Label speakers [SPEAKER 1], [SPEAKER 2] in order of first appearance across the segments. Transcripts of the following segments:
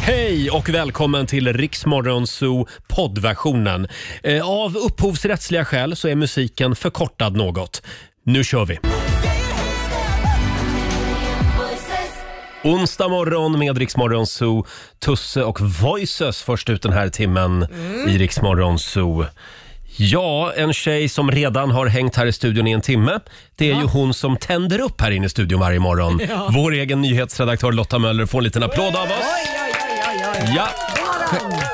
[SPEAKER 1] Hej och välkommen till Riksmorgon Zoo poddversionen. Eh, Av upphovsrättsliga skäl så är musiken förkortad något. Nu kör vi! Onsdag morgon med Riksmorgon Zoo. Tusse och Voices först ut den här timmen i Riksmorgon Zoo. Ja, en tjej som redan har hängt här i studion i en timme. Det är ju hon som tänder upp här inne i studion varje morgon.
[SPEAKER 2] Ja.
[SPEAKER 1] Vår egen nyhetsredaktör Lotta Möller får en liten applåd av oss. Ja.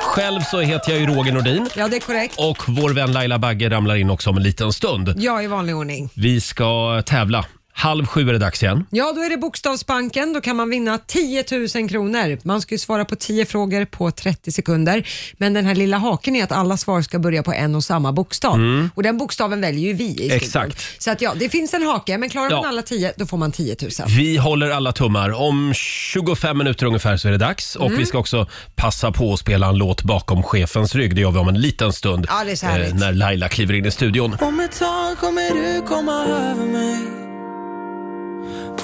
[SPEAKER 1] Själv så heter jag ju Roger Nordin.
[SPEAKER 3] Ja, det är korrekt.
[SPEAKER 1] Och vår vän Laila Bagge ramlar in också om en liten stund.
[SPEAKER 3] Ja, i vanlig ordning.
[SPEAKER 1] Vi ska tävla. Halv sju är det dags igen.
[SPEAKER 3] Ja, då är det Bokstavsbanken. Då kan man vinna 10 000 kronor. Man ska ju svara på 10 frågor på 30 sekunder. Men den här lilla haken är att alla svar ska börja på en och samma bokstav.
[SPEAKER 1] Mm.
[SPEAKER 3] Och den bokstaven väljer ju vi i studion.
[SPEAKER 1] Exakt.
[SPEAKER 3] Så att ja, det finns en hake, men klarar man
[SPEAKER 1] Ja.
[SPEAKER 3] alla 10, då får man 10 000.
[SPEAKER 1] Vi håller alla tummar. Om 25 minuter ungefär så är det dags. Och
[SPEAKER 3] Mm.
[SPEAKER 1] vi ska också passa på att spela en låt bakom chefens rygg. Det gör vi om en liten stund. Eh,
[SPEAKER 4] Ja, det är så härligt.
[SPEAKER 1] när Laila kliver in i studion.
[SPEAKER 4] Om ett tag kommer du komma över mig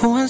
[SPEAKER 4] på en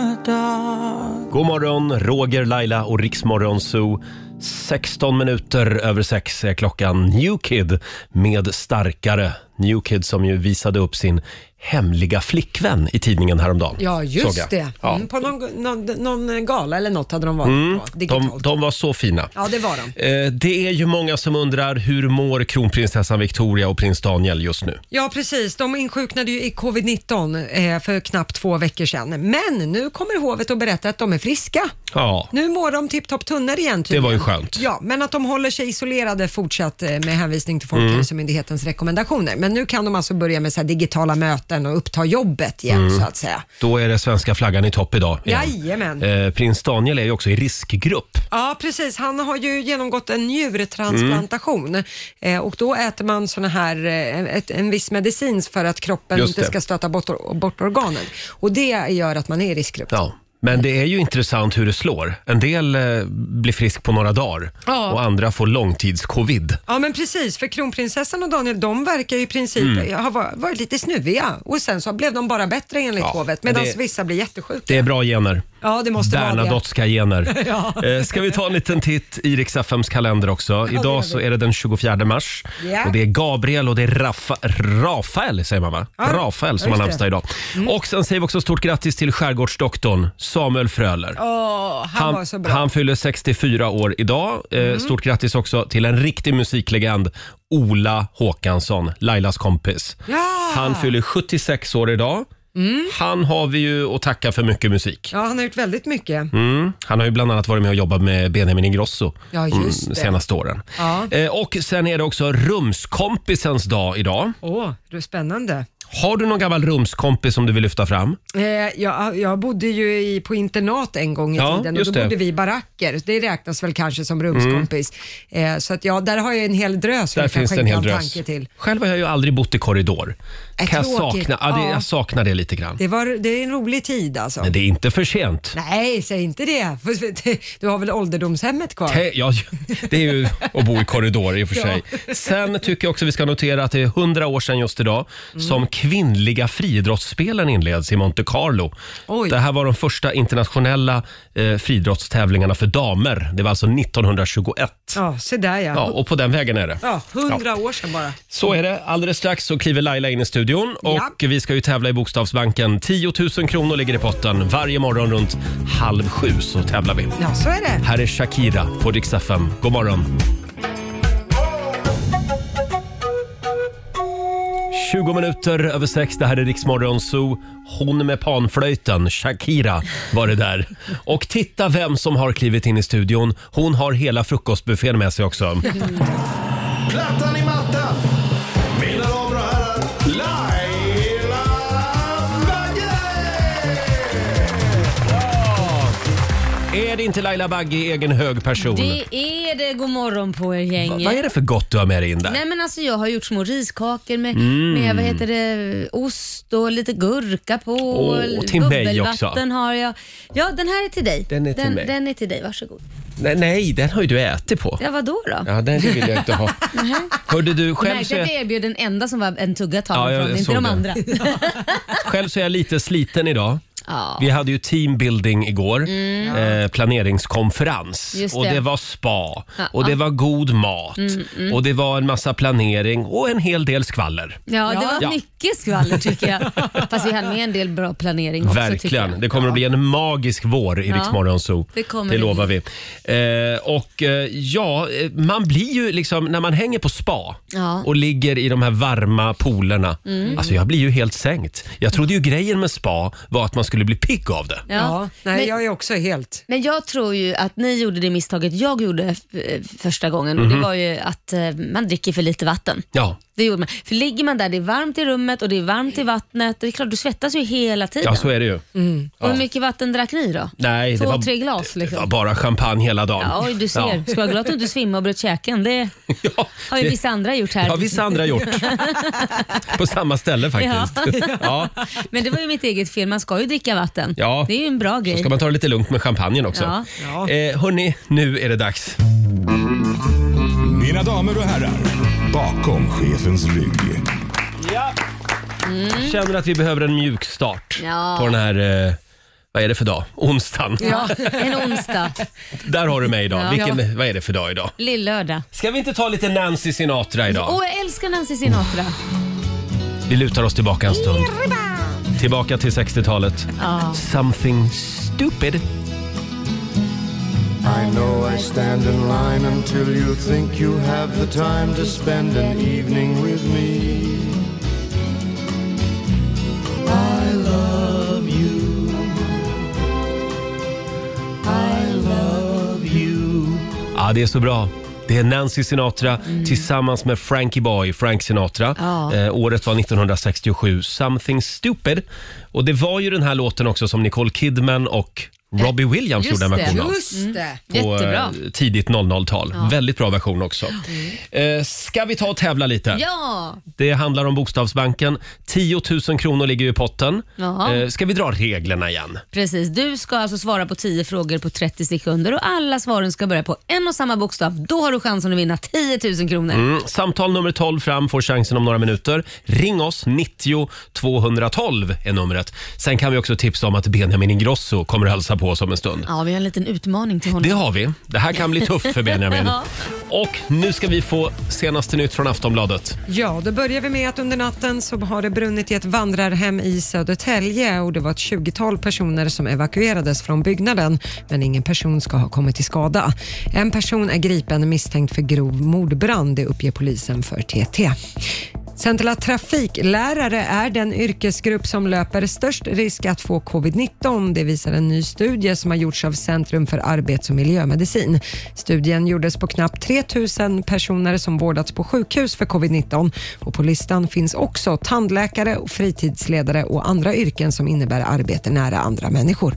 [SPEAKER 4] sommardag
[SPEAKER 1] God morgon, Roger, Laila och Riksmorgon Zoo. 16 minuter över sex är klockan. New Kid med Starkare. New Kid som ju visade upp sin hemliga flickvän i tidningen häromdagen.
[SPEAKER 3] Ja,
[SPEAKER 1] Såg
[SPEAKER 3] just
[SPEAKER 1] jag.
[SPEAKER 3] det.
[SPEAKER 1] Ja.
[SPEAKER 3] Mm, på någon, någon, någon gala eller något hade de varit
[SPEAKER 1] Mm,
[SPEAKER 3] på.
[SPEAKER 1] de,
[SPEAKER 3] Digitalt.
[SPEAKER 1] de var så fina.
[SPEAKER 3] Ja, det var de.
[SPEAKER 1] Eh, Det är ju många som undrar hur mår kronprinsessan Victoria och prins Daniel just nu?
[SPEAKER 3] Ja, precis. De insjuknade ju i covid-19 eh, för knappt två veckor sedan. Men nu kommer hovet och berättar att de är friska.
[SPEAKER 1] Ja,
[SPEAKER 3] Nu mår de tipptopp tunnor igen tydligen.
[SPEAKER 1] Det var ju skönt.
[SPEAKER 3] Ja, men att de håller sig isolerade fortsatt eh, med hänvisning till
[SPEAKER 1] Mm.
[SPEAKER 3] Folkhälsomyndighetens rekommendationer. Men nu kan de alltså börja med så här digitala möten och uppta jobbet igen
[SPEAKER 1] Mm.
[SPEAKER 3] så att säga.
[SPEAKER 1] då är det svenska flaggan i topp idag. igen.
[SPEAKER 3] Jajamän.
[SPEAKER 1] Eh, Prins Daniel är ju också i riskgrupp.
[SPEAKER 3] Ja, precis. Han har ju genomgått en njurtransplantation
[SPEAKER 1] Mm.
[SPEAKER 3] eh, och då äter man såna här, eh, ett, en viss medicin för att kroppen
[SPEAKER 1] Just
[SPEAKER 3] inte
[SPEAKER 1] det.
[SPEAKER 3] ska stöta bort, bort organen. Och det gör att man är i riskgrupp.
[SPEAKER 1] Ja. Men det är ju intressant hur det slår. En del eh, blir frisk på några dagar
[SPEAKER 3] Ja.
[SPEAKER 1] och andra får långtidscovid.
[SPEAKER 3] Ja men precis, för kronprinsessan och Daniel de verkar ju i princip
[SPEAKER 1] Mm.
[SPEAKER 3] ha va- varit lite snuviga och sen så blev de bara bättre enligt hovet medan
[SPEAKER 1] det-
[SPEAKER 3] vissa blir jättesjuka.
[SPEAKER 1] Det är bra gener.
[SPEAKER 3] Ja det måste vara det.
[SPEAKER 1] Bernadotteska gener.
[SPEAKER 3] Ja.
[SPEAKER 1] Eh, Ska vi ta en liten titt i Rix FMs kalender också?
[SPEAKER 3] det gör
[SPEAKER 1] Idag
[SPEAKER 3] vi.
[SPEAKER 1] så är det den 24 mars.
[SPEAKER 3] Ja.
[SPEAKER 1] Och det är Gabriel och det är Rafa, Rafael, säger man va?
[SPEAKER 2] Ja,
[SPEAKER 1] Rafael som har
[SPEAKER 2] just det.
[SPEAKER 1] namnsdag idag.
[SPEAKER 3] Mm.
[SPEAKER 1] Och sen säger vi också stort grattis till skärgårdsdoktorn Samuel Fröler.
[SPEAKER 3] Åh, han, var så bra. Mm.
[SPEAKER 1] han fyller 64 år idag. Eh, Stort grattis också till en riktig musiklegend, Ola Håkansson, Lailas kompis.
[SPEAKER 3] Ja. Mm.
[SPEAKER 1] Han fyller 76 år idag. Han har vi ju att tacka för mycket musik.
[SPEAKER 3] Ja han har gjort väldigt mycket.
[SPEAKER 1] Mm. Han har ju bland annat varit med och jobbat med Benjamin Ingrosso
[SPEAKER 3] Ja, just
[SPEAKER 1] de
[SPEAKER 3] det.
[SPEAKER 1] senaste åren.
[SPEAKER 3] Ja.
[SPEAKER 1] Eh, och sen är det också rumskompisens dag idag.
[SPEAKER 3] Åh, det är spännande.
[SPEAKER 1] Har du någon gammal rumskompis som du vill lyfta fram?
[SPEAKER 3] Eh, jag, jag bodde ju i, på internat en gång i
[SPEAKER 1] Ja,
[SPEAKER 3] tiden och
[SPEAKER 1] just
[SPEAKER 3] då
[SPEAKER 1] det.
[SPEAKER 3] bodde vi i baracker. Det räknas väl kanske som rumskompis. Eh, så att ja, där har jag en hel drös
[SPEAKER 1] Mm. Där
[SPEAKER 3] jag kan
[SPEAKER 1] finns det en
[SPEAKER 3] skänka
[SPEAKER 1] hel drös.
[SPEAKER 3] tanke till.
[SPEAKER 1] Själv har jag ju aldrig bott i korridor.
[SPEAKER 3] Äh,
[SPEAKER 1] kan jag,
[SPEAKER 3] tråkigt.
[SPEAKER 1] sakna, ja, det,
[SPEAKER 3] Ja.
[SPEAKER 1] jag saknar det lite grann.
[SPEAKER 3] Det, var, det är en rolig tid alltså.
[SPEAKER 1] Men det är inte för sent.
[SPEAKER 3] Nej, säg inte det. För Du har väl ålderdomshemmet kvar?
[SPEAKER 1] Te- Ja, det är ju att bo i korridor i och för
[SPEAKER 3] Ja.
[SPEAKER 1] sig. Sen tycker jag också vi ska notera att det är 100 år sedan just idag
[SPEAKER 3] Mm.
[SPEAKER 1] som kvinnliga friidrottsspelen inleds i Monte Carlo.
[SPEAKER 3] Oj.
[SPEAKER 1] Det här var de första internationella eh, friidrottstävlingarna för damer. Det var alltså 1921.
[SPEAKER 3] Ja, se där ja.
[SPEAKER 1] Ja, och på den vägen är det.
[SPEAKER 3] Ja, hundra
[SPEAKER 1] Ja.
[SPEAKER 3] år sedan bara.
[SPEAKER 1] Så är det. Alldeles strax så kliver Laila in i studion och
[SPEAKER 3] Ja.
[SPEAKER 1] vi ska ju tävla i Bokstavsbanken. 10 000 kronor ligger i potten. Varje morgon runt halv sju så tävlar vi.
[SPEAKER 3] Ja, så är det.
[SPEAKER 1] Här är Shakira på Rix FM. God morgon. 20 minuter över sex, det här är Riksmorgon Zoo. Hon med panflöjten, Shakira, var det där. Och titta vem som har klivit in i studion. Hon har hela frukostbuffén med sig också.
[SPEAKER 5] Plattan i mattan. Mina damer och herrar, Laila Bagge!
[SPEAKER 1] Är det inte Laila Bagge i egen hög person?
[SPEAKER 6] Det är det. God morgon på er
[SPEAKER 1] Va-
[SPEAKER 6] gänget.
[SPEAKER 1] Vad är det för gott du har med dig in där?
[SPEAKER 6] Nej men alltså jag har gjort små riskakor med,
[SPEAKER 1] Mm.
[SPEAKER 6] med vad heter det, ost och lite gurka på.
[SPEAKER 1] Åh, och till mig
[SPEAKER 6] bubbelvatten
[SPEAKER 1] också.
[SPEAKER 6] har jag. Ja den här är till dig.
[SPEAKER 1] Den är till
[SPEAKER 6] den,
[SPEAKER 1] mig.
[SPEAKER 6] Den är till dig, varsågod.
[SPEAKER 1] Nej, nej, den har ju du ätit på.
[SPEAKER 6] Ja vadå då?
[SPEAKER 1] Ja, den vill jag inte ha.
[SPEAKER 6] Nähä.
[SPEAKER 1] Hörde du,
[SPEAKER 6] Du
[SPEAKER 1] själv så
[SPEAKER 6] märkte
[SPEAKER 1] är
[SPEAKER 6] att jag erbjöd den enda som var en tugga
[SPEAKER 1] Ja,
[SPEAKER 6] tagen
[SPEAKER 1] jag
[SPEAKER 6] från, inte
[SPEAKER 1] såg
[SPEAKER 6] de
[SPEAKER 1] det.
[SPEAKER 6] andra.
[SPEAKER 1] Själv så är jag lite sliten idag.
[SPEAKER 6] Ja.
[SPEAKER 1] Vi hade ju teambuilding igår, eh, planeringskonferens.
[SPEAKER 6] Mm. Just
[SPEAKER 1] Och
[SPEAKER 6] det.
[SPEAKER 1] det var spa
[SPEAKER 6] Ja. Mm,
[SPEAKER 1] och det var god mat och det var en massa planering och en hel del skvaller.
[SPEAKER 6] Ja, det
[SPEAKER 3] Ja.
[SPEAKER 6] var
[SPEAKER 1] Ja.
[SPEAKER 6] mycket skvaller tycker jag. Fast vi hade med en del bra planering också. tycker
[SPEAKER 1] Verkligen.
[SPEAKER 6] jag.
[SPEAKER 1] Det kommer att bli en magisk vår i
[SPEAKER 6] Ja.
[SPEAKER 1] Rix Morgon Zoo.
[SPEAKER 6] Det kommer
[SPEAKER 1] det
[SPEAKER 6] det
[SPEAKER 1] lovar vi. Eh, och eh, ja, eh, man blir ju liksom, när man hänger på spa
[SPEAKER 6] Ja. Mm.
[SPEAKER 1] och ligger i de här varma poolerna. Alltså jag blir ju helt sänkt. Jag trodde ju grejen med spa var att man skulle bli pigg av det.
[SPEAKER 6] Ja.
[SPEAKER 3] Ja, nej,
[SPEAKER 6] men,
[SPEAKER 3] jag är också helt...
[SPEAKER 6] men jag tror ju att ni gjorde det misstaget jag gjorde eh, första gången och det
[SPEAKER 1] Mhm.
[SPEAKER 6] var ju att eh, man dricker för lite vatten.
[SPEAKER 1] Ja,
[SPEAKER 6] Det gjorde man. För ligger man där, det är varmt i rummet och det är varmt i vattnet. Det är klart, du svettas ju hela tiden.
[SPEAKER 1] ja så är det ju.
[SPEAKER 6] Och hur mycket vatten drack ni då?
[SPEAKER 1] Nej,
[SPEAKER 6] Två,
[SPEAKER 1] det var,
[SPEAKER 6] tre glas
[SPEAKER 1] det
[SPEAKER 6] liksom.
[SPEAKER 1] var bara champagne hela dagen.
[SPEAKER 6] Ja, oj, du ser.
[SPEAKER 1] Ja.
[SPEAKER 6] Ska jag vara glad att du inte svimmade och bröt käken. Det
[SPEAKER 1] Ja,
[SPEAKER 6] har ju
[SPEAKER 1] det-
[SPEAKER 6] vissa andra gjort här.
[SPEAKER 1] Ja, vissa andra har gjort. På samma ställe faktiskt. Ja.
[SPEAKER 6] Men det var ju mitt eget fel. Man ska ju dricka vatten.
[SPEAKER 1] Ja.
[SPEAKER 6] Det är ju en bra
[SPEAKER 1] Så
[SPEAKER 6] grej.
[SPEAKER 1] ska man ta det lite lugnt med champagnen också.
[SPEAKER 6] Ja.
[SPEAKER 3] Ja.
[SPEAKER 1] Eh, hörni, nu är det dags.
[SPEAKER 5] Mina damer och herrar, bakom chefens rygg.
[SPEAKER 1] Känner att vi behöver en mjuk start
[SPEAKER 6] Mm. Ja.
[SPEAKER 1] på den här, eh, vad är det för dag? Onsdagen.
[SPEAKER 6] Ja. En onsdag,
[SPEAKER 1] Där har du mig idag.
[SPEAKER 6] Ja.
[SPEAKER 1] Vilken, vad är det för dag idag?
[SPEAKER 6] lillördag.
[SPEAKER 1] Ska vi inte ta lite Nancy Sinatra idag?
[SPEAKER 6] Åh, jag älskar Nancy Sinatra.
[SPEAKER 1] Vi lutar oss tillbaka en stund. Tillbaka till 60-talet. Something stupid.
[SPEAKER 2] I know I stand in line until you think you have the time to spend an evening with me.
[SPEAKER 1] Ja, det är så bra. Det är Nancy Sinatra tillsammans med Frankie Boy, Frank Sinatra.
[SPEAKER 6] Mm. Ja.
[SPEAKER 1] Eh, året var 1967, Something Stupid. Och det var ju den här låten också som Nicole Kidman och Robbie Williams
[SPEAKER 6] Just
[SPEAKER 1] gjorde en
[SPEAKER 6] det.
[SPEAKER 1] version av.
[SPEAKER 3] Just det.
[SPEAKER 1] på,
[SPEAKER 6] Jättebra.
[SPEAKER 1] eh, tidigt 00-tal. Väldigt bra version också. Eh, ska vi ta och tävla lite?
[SPEAKER 6] Mm. Ja,
[SPEAKER 1] Det handlar om Bokstavsbanken. 10 000 kronor ligger ju i potten.
[SPEAKER 6] Jaha.
[SPEAKER 1] Eh, ska vi dra reglerna igen?
[SPEAKER 6] precis. Du ska alltså svara på 10 frågor på 30 sekunder och alla svaren ska börja på en och samma bokstav. Då har du chansen att vinna 10 000 kronor.
[SPEAKER 1] Mm, samtal nummer 12 fram får chansen om några minuter. Ring oss, 90 212 är numret. Sen kan vi också tipsa om att Benjamin Ingrosso kommer att hälsa på oss om en stund.
[SPEAKER 6] Ja, vi har en liten utmaning till honom.
[SPEAKER 1] Det har vi. Det här kan bli tufft för Benjamin.
[SPEAKER 6] Ja.
[SPEAKER 1] Och nu ska vi få senaste nytt från Aftonbladet.
[SPEAKER 3] Ja, då börjar vi med att under natten så har det brunnit i ett vandrarhem i Södertälje och det var ett 20-tal personer som evakuerades från byggnaden men ingen person ska ha kommit till skada. En person är gripen misstänkt för grov mordbrand, det uppger polisen för TT. Sen till att trafiklärare är den yrkesgrupp som löper störst risk att få covid-19. Det visar en ny studie som har gjorts av Centrum för arbets och miljömedicin. Studien gjordes på knappt 3 000 personer som vårdats på sjukhus för covid-19 och på listan finns också tandläkare, och fritidsledare och andra yrken som innebär arbete nära andra människor.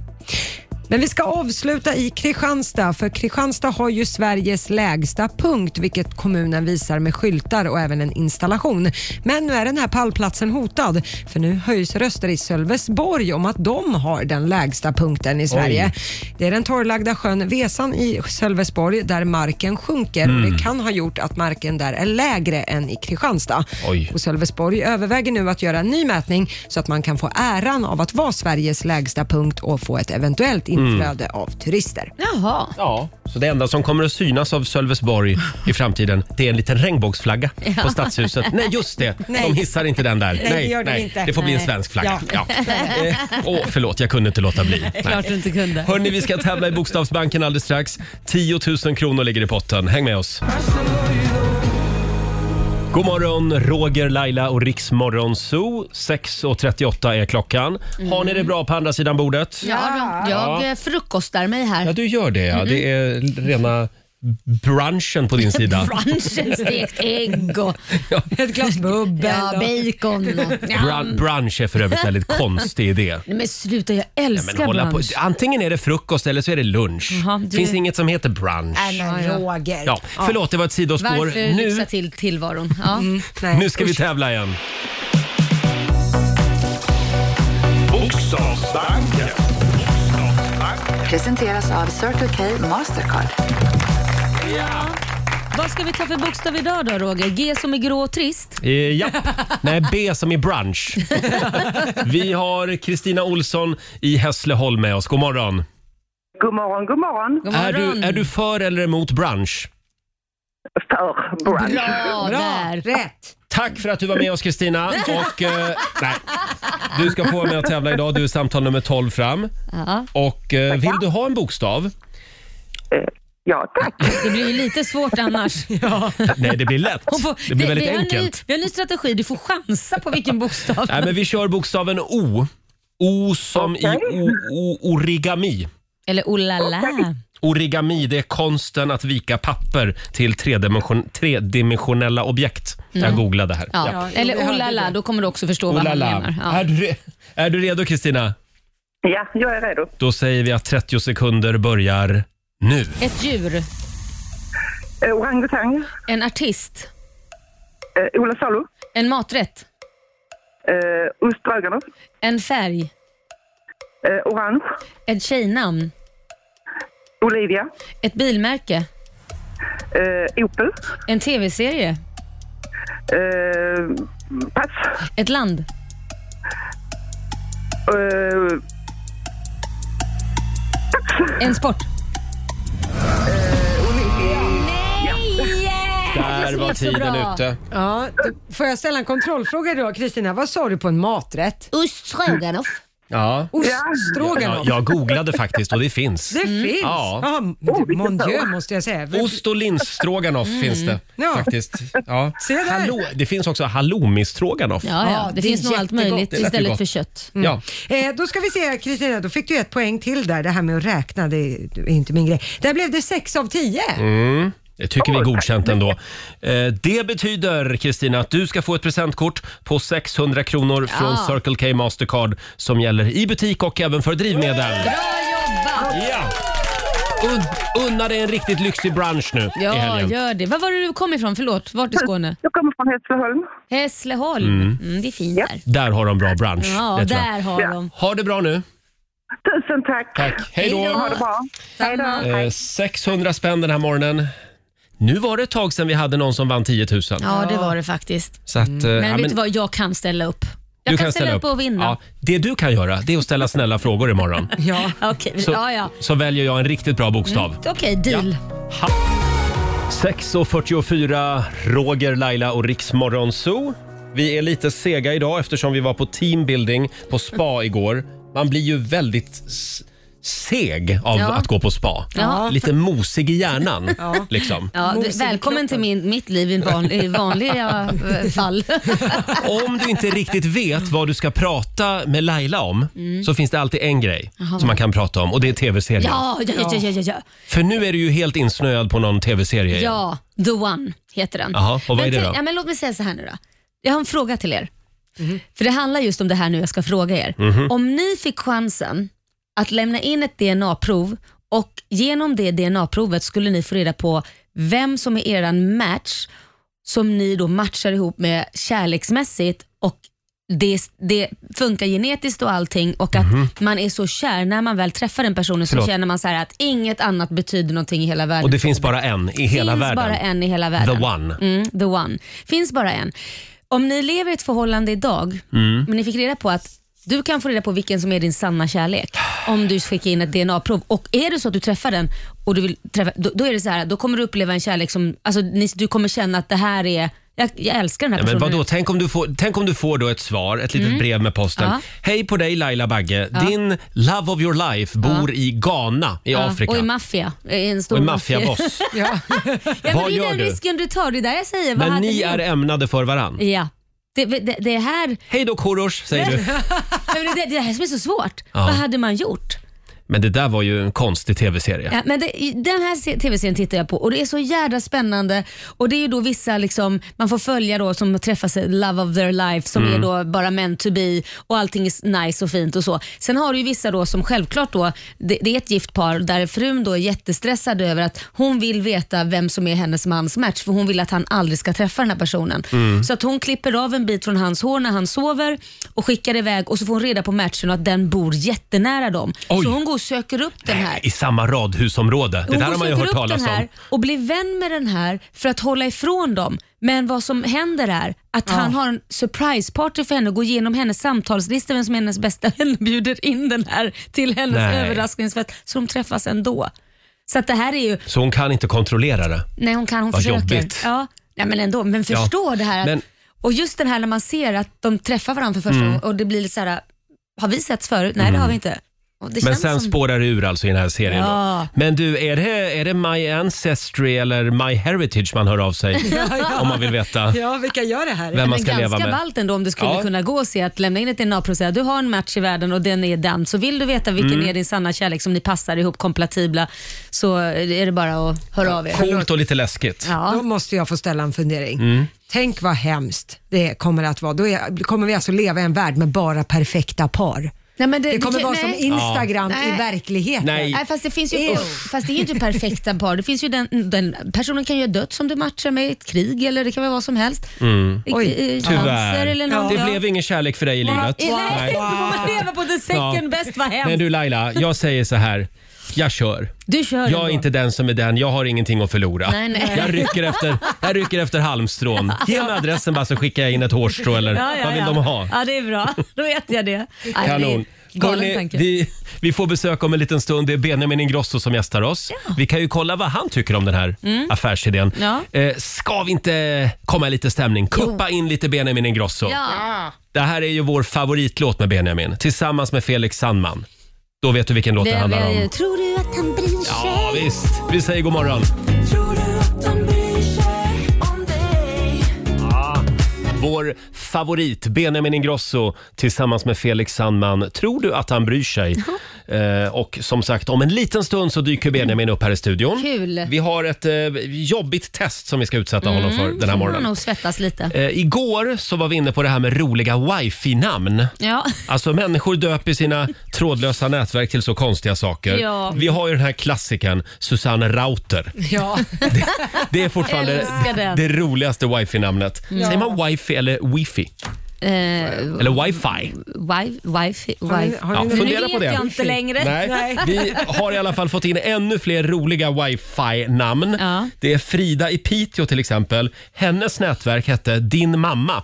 [SPEAKER 3] Men vi ska avsluta i Kristianstad, för Kristianstad har ju Sveriges lägsta punkt, vilket kommunen visar med skyltar och även en installation. Men nu är den här pallplatsen hotad, för nu höjs röster i Sölvesborg om att de har den lägsta punkten i Sverige. Det är den torrlagda sjön Vesan i Sölvesborg där marken sjunker och det kan ha gjort att marken där är lägre än i Kristianstad.
[SPEAKER 1] Oj.
[SPEAKER 3] Och Sölvesborg överväger nu att göra en ny mätning så att man kan få äran av att vara Sveriges lägsta punkt och få ett eventuellt
[SPEAKER 1] Mm.
[SPEAKER 3] inflöde av turister.
[SPEAKER 6] Jaha.
[SPEAKER 1] Ja. Så det enda som kommer att synas av Sölvesborg i framtiden, det är en liten regnbågsflagga på Stadshuset. Nej, just det!
[SPEAKER 3] Nej.
[SPEAKER 1] De hissar inte den där. Nej,
[SPEAKER 3] det gör de inte.
[SPEAKER 1] det får bli en
[SPEAKER 3] Nej.
[SPEAKER 1] svensk flagga. Ja. Eh, Åh, förlåt, jag kunde inte låta bli. Nej.
[SPEAKER 6] Klart du inte kunde.
[SPEAKER 1] Hörni, vi ska tävla i Bokstavsbanken alldeles strax. 10 000 kronor ligger i potten. Häng med oss. God morgon, Roger, Laila och Riksmorgon Zoo. 6.38 är klockan. Har ni det
[SPEAKER 3] Mm.
[SPEAKER 1] bra på andra sidan bordet?
[SPEAKER 6] Ja, då. jag eh, frukostar mig
[SPEAKER 1] Ja,
[SPEAKER 6] här.
[SPEAKER 1] du gör det. Ja. Det är rena brunchen på din sida.
[SPEAKER 6] Brunchen, stekt ägg och
[SPEAKER 3] Ett glas bubbel.
[SPEAKER 6] ja, bacon. och- Ja.
[SPEAKER 1] Brun brunch är för övrigt en väldigt konstig idé.
[SPEAKER 6] Nej, Men sluta, jag
[SPEAKER 1] Men
[SPEAKER 6] älskar
[SPEAKER 1] hålla på.
[SPEAKER 6] brunch.
[SPEAKER 1] Antingen är det frukost eller så är det lunch.
[SPEAKER 6] Jaha, du-
[SPEAKER 1] finns det inget som heter brunch.
[SPEAKER 3] Roger.
[SPEAKER 1] Ja, förlåt, det var ett sidospår.
[SPEAKER 6] Varför lyxa
[SPEAKER 1] Nu, Mm.
[SPEAKER 6] till tillvaron? Ja.
[SPEAKER 3] Nej.
[SPEAKER 1] nu ska vi tävla igen.
[SPEAKER 5] Bokstavsbanken.
[SPEAKER 7] Presenteras av Circle K Mastercard.
[SPEAKER 6] Vad ska vi ta för bokstav idag då Roger? G som är grå och trist.
[SPEAKER 1] Eh, ja. Nej, B som i brunch. Vi har Kristina Olsson i Hässleholm med oss. God morgon.
[SPEAKER 7] God morgon, god morgon.
[SPEAKER 6] God
[SPEAKER 1] Är
[SPEAKER 6] morgon.
[SPEAKER 1] du, är du för eller emot brunch?
[SPEAKER 7] För brunch.
[SPEAKER 6] Bra, där.
[SPEAKER 3] Rätt.
[SPEAKER 1] Tack för att du var med oss Kristina. Och, eh, nej, du ska få vara med och tävla idag. Du är samtal nummer 12 fram.
[SPEAKER 6] Ja.
[SPEAKER 1] Och eh, vill du ha en bokstav?
[SPEAKER 7] Eh, Ja, tack.
[SPEAKER 6] Det blir ju lite svårt annars.
[SPEAKER 1] Nej, det blir lätt. Det blir väldigt
[SPEAKER 6] vi, Har en ny,
[SPEAKER 1] enkelt.
[SPEAKER 6] vi har en ny strategi, du får chansa på vilken bokstav.
[SPEAKER 1] Nej, men vi kör bokstaven O. O som i o, o, origami.
[SPEAKER 6] Eller oh la la.
[SPEAKER 1] Origami, det är konsten att vika papper till tredimension, tredimensionella objekt. Jag googlade här.
[SPEAKER 6] Mm. Ja.
[SPEAKER 1] Ja.
[SPEAKER 6] Eller
[SPEAKER 3] vi
[SPEAKER 6] oh
[SPEAKER 3] hörde
[SPEAKER 6] la la,
[SPEAKER 3] det.
[SPEAKER 6] då kommer du också förstå
[SPEAKER 1] Oh
[SPEAKER 6] vad
[SPEAKER 1] la
[SPEAKER 6] han
[SPEAKER 1] la.
[SPEAKER 6] menar.
[SPEAKER 1] Är,
[SPEAKER 6] Ja.
[SPEAKER 1] du, re- är du redo Kristina?
[SPEAKER 7] Ja, jag är redo.
[SPEAKER 1] Då säger vi att 30 sekunder börjar nu.
[SPEAKER 6] Ett djur,
[SPEAKER 7] Eh, Orangutang.
[SPEAKER 6] en artist,
[SPEAKER 7] Eh, Ola Salo.
[SPEAKER 6] en maträtt,
[SPEAKER 7] Eh, Ostbögarna.
[SPEAKER 6] en färg,
[SPEAKER 7] Eh, orange.
[SPEAKER 6] ett tjejnamn,
[SPEAKER 7] Olivia.
[SPEAKER 6] ett bilmärke,
[SPEAKER 7] Eh, Opel.
[SPEAKER 6] en tv-serie,
[SPEAKER 7] Eh, pass.
[SPEAKER 6] ett land,
[SPEAKER 7] Eh,
[SPEAKER 6] en sport.
[SPEAKER 1] Där
[SPEAKER 6] Alltså,
[SPEAKER 1] var tiden ute.
[SPEAKER 3] Ja, då får jag ställa en kontrollfråga då, Kristina? Vad sa du på en maträtt?
[SPEAKER 6] Oststroganoff.
[SPEAKER 1] Ja. Ja,
[SPEAKER 3] Oststroganoff?
[SPEAKER 1] jag googlade faktiskt och det finns.
[SPEAKER 3] Det finns!
[SPEAKER 1] Ja.
[SPEAKER 3] Ja.
[SPEAKER 7] vilken
[SPEAKER 3] mon dieu,
[SPEAKER 7] fråga.
[SPEAKER 3] måste jag säga.
[SPEAKER 1] Ost och linsstroganoff
[SPEAKER 6] Mm.
[SPEAKER 1] finns det
[SPEAKER 3] Ja.
[SPEAKER 1] faktiskt. Ja.
[SPEAKER 3] Se där.
[SPEAKER 1] det finns också halloumistroganoff.
[SPEAKER 6] Ja, Mm. ja,
[SPEAKER 3] Ja,
[SPEAKER 6] det,
[SPEAKER 3] det är
[SPEAKER 6] finns nog allt
[SPEAKER 3] jättegott.
[SPEAKER 6] möjligt
[SPEAKER 1] Det lät ju
[SPEAKER 6] istället
[SPEAKER 1] gott.
[SPEAKER 6] för kött.
[SPEAKER 1] Ja.
[SPEAKER 3] Eh, då ska vi se Kristina, då fick du ett poäng till där. Det här med att räkna, det är inte min grej. Där blev det 6 av 10.
[SPEAKER 1] Mm. Det tycker vi är godkänt ändå. Eh, Det betyder, Kristina, att du ska få ett presentkort på 600 kronor från
[SPEAKER 6] Ja.
[SPEAKER 1] Circle K Mastercard som gäller i butik och även för drivmedel.
[SPEAKER 6] Bra jobbat!
[SPEAKER 1] Ja. Un- unna dig en riktigt lyxig brunch nu i
[SPEAKER 6] Ja,
[SPEAKER 1] helgen.
[SPEAKER 6] gör det. Var var det du kom ifrån? Förlåt, vart i Skåne?
[SPEAKER 7] jag kommer från Hässleholm.
[SPEAKER 6] Hässleholm. Mm. det är fint där.
[SPEAKER 1] Där har de bra brunch.
[SPEAKER 6] Ja,
[SPEAKER 1] det tror jag.
[SPEAKER 6] där har
[SPEAKER 7] Ja.
[SPEAKER 6] de.
[SPEAKER 1] Ha det bra nu.
[SPEAKER 7] Tusen tack.
[SPEAKER 1] Tack. Hej
[SPEAKER 6] Hej
[SPEAKER 1] då.
[SPEAKER 6] då.
[SPEAKER 7] Ha det bra. Hej då.
[SPEAKER 1] Eh, 600 spänn den här morgonen. Nu var det ett tag sedan vi hade någon som vann 10 000.
[SPEAKER 6] Ja, det var det faktiskt.
[SPEAKER 1] Så att, eh, ja,
[SPEAKER 6] Men vet du vad, jag kan ställa upp. Jag
[SPEAKER 1] du
[SPEAKER 6] kan, ställa, upp och vinna.
[SPEAKER 1] Ja, det du kan göra det är att ställa snälla frågor imorgon.
[SPEAKER 3] Ja.
[SPEAKER 6] Okej,
[SPEAKER 1] Så,
[SPEAKER 6] ja, Mm. ja.
[SPEAKER 1] så väljer jag en riktigt bra bokstav.
[SPEAKER 6] Okej, deal.
[SPEAKER 1] 6.44, Roger, Laila och Riksmorgon Zoo. Vi är lite sega idag eftersom vi var på teambuilding på spa igår. Man blir ju väldigt s- seg av
[SPEAKER 6] Ja.
[SPEAKER 1] att gå på spa.
[SPEAKER 6] Ja.
[SPEAKER 1] Lite mosig i hjärnan. Liksom.
[SPEAKER 6] Ja, du,
[SPEAKER 3] Mos i
[SPEAKER 6] välkommen till min, mitt liv i van, i vanliga eh, fall.
[SPEAKER 1] Om du inte riktigt vet vad du ska prata med Laila om så finns det alltid en grej som man kan prata om och det är tv-serien.
[SPEAKER 6] ja, ja, ja, ja, ja, ja.
[SPEAKER 1] För nu är du ju helt insnöad på någon tv-serie. igen.
[SPEAKER 6] Ja, The One heter den.
[SPEAKER 1] Jaha, och vad
[SPEAKER 6] men
[SPEAKER 1] är det
[SPEAKER 6] tänk-
[SPEAKER 1] då?
[SPEAKER 6] Ja, men låt mig säga så här nu då. Jag har en fråga till er. För det handlar just om det här nu jag ska fråga er.
[SPEAKER 1] Mhm.
[SPEAKER 6] Om ni fick chansen att lämna in ett DNA-prov och genom det DNA-provet skulle ni få reda på vem som är eran match som ni då matchar ihop med kärleksmässigt och det, det funkar genetiskt och allting och att man är så kär när man väl träffar den personen
[SPEAKER 1] Mhm. Förlåt.
[SPEAKER 6] så känner man så här att inget annat betyder någonting i hela världen.
[SPEAKER 1] Och det finns bara en i hela
[SPEAKER 6] finns
[SPEAKER 1] världen.
[SPEAKER 6] bara en i hela världen.
[SPEAKER 1] The one.
[SPEAKER 6] Mm, the one. Finns bara en. Om ni lever i ett förhållande idag,
[SPEAKER 1] Mm.
[SPEAKER 6] men ni fick reda på att du kan få reda på vilken som är din sanna kärlek om du skickar in ett DNA-prov. Och är det så att du träffar den, och du vill träffa, då, då är det så här, då kommer du uppleva en kärlek som, alltså, ni, du kommer känna att det här är, jag, jag älskar den här
[SPEAKER 1] Ja, men
[SPEAKER 6] personen.
[SPEAKER 1] vadå? Tänk, om du får, tänk om du får då ett svar, ett litet brev med posten.
[SPEAKER 6] Mm. Ja.
[SPEAKER 1] Hej på dig Laila Bagge. Din love of your life bor i Ghana i
[SPEAKER 6] Ja,
[SPEAKER 1] Afrika.
[SPEAKER 6] Och i maffia. I En stor
[SPEAKER 1] Och är maffiaboss.
[SPEAKER 3] Ja.
[SPEAKER 6] Ja,
[SPEAKER 1] Vad
[SPEAKER 6] men det är
[SPEAKER 1] gör
[SPEAKER 6] den
[SPEAKER 1] du?
[SPEAKER 6] risken du tar, det är där jag säger. vad
[SPEAKER 1] Men
[SPEAKER 6] hade
[SPEAKER 1] ni är ämnade för varann.
[SPEAKER 6] Ja. Det, det, det, här,
[SPEAKER 1] Hej då Korosh, säger du.
[SPEAKER 6] Ja, men det, det här som är så svårt.
[SPEAKER 1] Ja.
[SPEAKER 6] Vad hade man gjort?
[SPEAKER 1] Men det där var ju en konstig tv-serie.
[SPEAKER 6] Ja, men det, den här se- tv-serien tittar jag på och det är så jädra spännande. Och det är ju då vissa liksom, man får följa då som träffas i Love of their life som är då bara meant to be och allting är s- nice och fint och så. Sen har du ju vissa då som självklart då, det, det är ett gift par där frun då är jättestressad över att hon vill veta vem som är hennes mans match för hon vill att han aldrig ska träffa den här personen. Så att hon klipper av en bit från hans hår när han sover och skickar iväg och så får hon reda på matchen och att den bor jättenära dem.
[SPEAKER 1] Oj.
[SPEAKER 6] Så hon går och söker upp den här.
[SPEAKER 1] I samma radhusområde. Det
[SPEAKER 6] Hon
[SPEAKER 1] där har man ju
[SPEAKER 6] söker
[SPEAKER 1] hört
[SPEAKER 6] upp
[SPEAKER 1] talas
[SPEAKER 6] den här
[SPEAKER 1] om.
[SPEAKER 6] och blir vän med den här för att hålla ifrån dem. Men vad som händer är att han har en surprise party för henne och går igenom hennes samtalslista, vem som är hennes bästa vän och bjuder in den här till hennes
[SPEAKER 1] Nej.
[SPEAKER 6] överraskningsfest. Så de träffas ändå. Så att det här är ju,
[SPEAKER 1] Så hon kan inte kontrollera det.
[SPEAKER 6] nej hon kan, hon
[SPEAKER 1] Vad
[SPEAKER 6] försöker.
[SPEAKER 1] jobbigt.
[SPEAKER 6] Ja, nej men ändå, men
[SPEAKER 1] Ja,
[SPEAKER 6] förstå det här. att-
[SPEAKER 1] men- Mm.
[SPEAKER 6] Och just den här när man ser att de träffar varandra för första gången och det blir lite så här, har vi setts förut? Nej det har vi inte. Och det
[SPEAKER 1] Men
[SPEAKER 6] känns
[SPEAKER 1] sen
[SPEAKER 6] som-
[SPEAKER 1] spårar det ur alltså i den här serien. då.
[SPEAKER 6] Ja.
[SPEAKER 1] Men du, är det, är det My Ancestry eller My Heritage man hör av sig? Om man vill veta
[SPEAKER 3] Ja, vilka gör det här?
[SPEAKER 1] vem man
[SPEAKER 6] Men
[SPEAKER 1] ska leva
[SPEAKER 6] ganska
[SPEAKER 1] med.
[SPEAKER 6] ballt ändå om det skulle
[SPEAKER 1] Ja.
[SPEAKER 6] kunna gå att se att lämna in ett DNA-prov och säga du har en match i världen och den är den. Så vill du veta vilken
[SPEAKER 1] Mm.
[SPEAKER 6] är din sanna kärlek som ni passar ihop kompatibla så är det bara att höra av er.
[SPEAKER 1] Coolt och lite läskigt.
[SPEAKER 3] Då
[SPEAKER 6] Ja.
[SPEAKER 3] måste jag få ställa en fundering. Tänk vad hemskt det kommer att vara. Då är, kommer vi alltså leva i en värld med bara perfekta par.
[SPEAKER 6] Nej, men
[SPEAKER 3] Det kommer
[SPEAKER 6] kan-
[SPEAKER 3] vara
[SPEAKER 6] nej.
[SPEAKER 3] som Instagram
[SPEAKER 6] Ja.
[SPEAKER 3] i
[SPEAKER 6] Nej.
[SPEAKER 3] verkligheten.
[SPEAKER 1] Nej,
[SPEAKER 6] Nej, fast det finns ju, fast det är ju inte perfekta par. Det finns ju den, den personen kan ju ha dött som du matchar med i ett krig eller det kan vara vad som helst. Mm.
[SPEAKER 3] Oj.
[SPEAKER 1] tyvärr.
[SPEAKER 6] Eller något,
[SPEAKER 1] Det
[SPEAKER 6] ja.
[SPEAKER 1] blev ingen kärlek för dig i livet.
[SPEAKER 6] Nej, då får man leva på the second
[SPEAKER 1] Ja.
[SPEAKER 6] best, vad
[SPEAKER 1] Men
[SPEAKER 6] hemskt.
[SPEAKER 1] du Laila, jag säger så här. Jag kör.
[SPEAKER 6] Du kör
[SPEAKER 1] Jag är
[SPEAKER 6] ändå.
[SPEAKER 1] inte den som är den. Jag har ingenting att förlora.
[SPEAKER 6] Nej, nej.
[SPEAKER 1] Jag, rycker efter, jag rycker efter halmstrån. Ge mig adressen bara så skickar jag in ett hårstrå eller
[SPEAKER 6] Ja, ja,
[SPEAKER 1] vad vill
[SPEAKER 6] ja.
[SPEAKER 1] de ha?
[SPEAKER 6] Ja, det är bra. Då vet jag det. Nej,
[SPEAKER 1] Kanon.
[SPEAKER 6] det är galen
[SPEAKER 1] Hörrni,
[SPEAKER 6] tanke.
[SPEAKER 1] vi, vi får besök om en liten stund. Det är Benjamin Ingrosso som gästar oss. Vi kan ju kolla vad han tycker om den här affärsidén.
[SPEAKER 6] Mm. Ja.
[SPEAKER 1] Eh, ska vi inte komma i lite stämning? Kuppa in lite Benjamin Ingrosso.
[SPEAKER 6] Ja.
[SPEAKER 1] Det här är ju vår favoritlåt med Benjamin tillsammans med Felix Sandman. Då vet du vilken låt det, handlar om.
[SPEAKER 6] Tror du att han bryr sig?
[SPEAKER 1] Ja, visst. Vi säger god morgon.
[SPEAKER 4] Tror du att han bryr sig om dig?
[SPEAKER 1] Vår favorit Benjamin Ingrosso tillsammans med Felix Sandman. Tror du att han bryr sig? Eh, och som sagt, om en liten stund så dyker Benjamin upp här i studion.
[SPEAKER 6] Kul.
[SPEAKER 1] Vi har ett eh, jobbigt test som vi ska utsätta honom för
[SPEAKER 4] Mm.
[SPEAKER 1] den här
[SPEAKER 6] Får man
[SPEAKER 1] morgonen.
[SPEAKER 6] nog svettas lite.
[SPEAKER 1] Eh, igår så var vi inne på det här med roliga wifi-namn.
[SPEAKER 6] Ja.
[SPEAKER 1] Alltså människor döper sina trådlösa nätverk till så konstiga saker.
[SPEAKER 6] Ja.
[SPEAKER 1] Vi har ju den här klassikern Susanne Rauter.
[SPEAKER 3] Ja.
[SPEAKER 1] Det är fortfarande
[SPEAKER 6] Älskar den.
[SPEAKER 1] det roligaste wifi-namnet. Säger man wifi eller wifi?
[SPEAKER 6] Eh,
[SPEAKER 1] Eller wifi?
[SPEAKER 6] wifi, wifi,
[SPEAKER 3] Har ni-
[SPEAKER 6] wifi.
[SPEAKER 3] har ni
[SPEAKER 1] Ja,
[SPEAKER 3] någon-
[SPEAKER 1] fundera
[SPEAKER 6] vet
[SPEAKER 1] på det.
[SPEAKER 6] jag inte längre.
[SPEAKER 1] Nej. Vi har i alla fall fått in ännu fler roliga wifi-namn.
[SPEAKER 6] Ja.
[SPEAKER 1] Det är Frida i Piteå till exempel. Hennes nätverk hette Din mamma.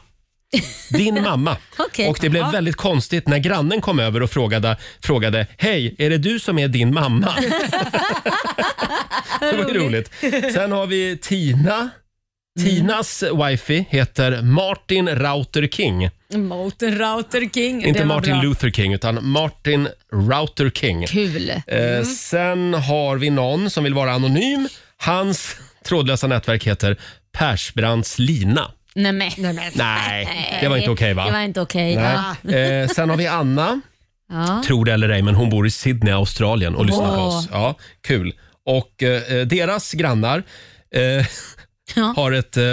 [SPEAKER 1] Din mamma.
[SPEAKER 6] Okej.
[SPEAKER 1] Och det blev
[SPEAKER 6] Ja.
[SPEAKER 1] väldigt konstigt när grannen kom över och frågade, frågade Hej, är det du som är din mamma? det var ju roligt. Sen har vi Tina.
[SPEAKER 6] Mm.
[SPEAKER 1] Tinas wifi heter Martin Router King.
[SPEAKER 6] Martin Router King.
[SPEAKER 1] Inte
[SPEAKER 6] Det var
[SPEAKER 1] Martin
[SPEAKER 6] bra.
[SPEAKER 1] Luther King, utan Martin Router King.
[SPEAKER 6] Kul.
[SPEAKER 1] Eh, sen har vi någon som vill vara anonym. Hans trådlösa nätverk heter Persbrandts lina.
[SPEAKER 6] Nej, men.
[SPEAKER 3] Nej, men.
[SPEAKER 1] Nej, det var inte okej
[SPEAKER 6] Det var
[SPEAKER 1] va?
[SPEAKER 6] inte okej. Ja.
[SPEAKER 1] Nej. Eh, sen har vi Anna,
[SPEAKER 6] Ja.
[SPEAKER 1] tror det eller ej, men hon bor i Sydney, Australien och lyssnar på
[SPEAKER 6] Åh.
[SPEAKER 1] oss. Ja, kul. Och eh, eh, deras grannar eh,
[SPEAKER 6] Ja.
[SPEAKER 1] har ett eh,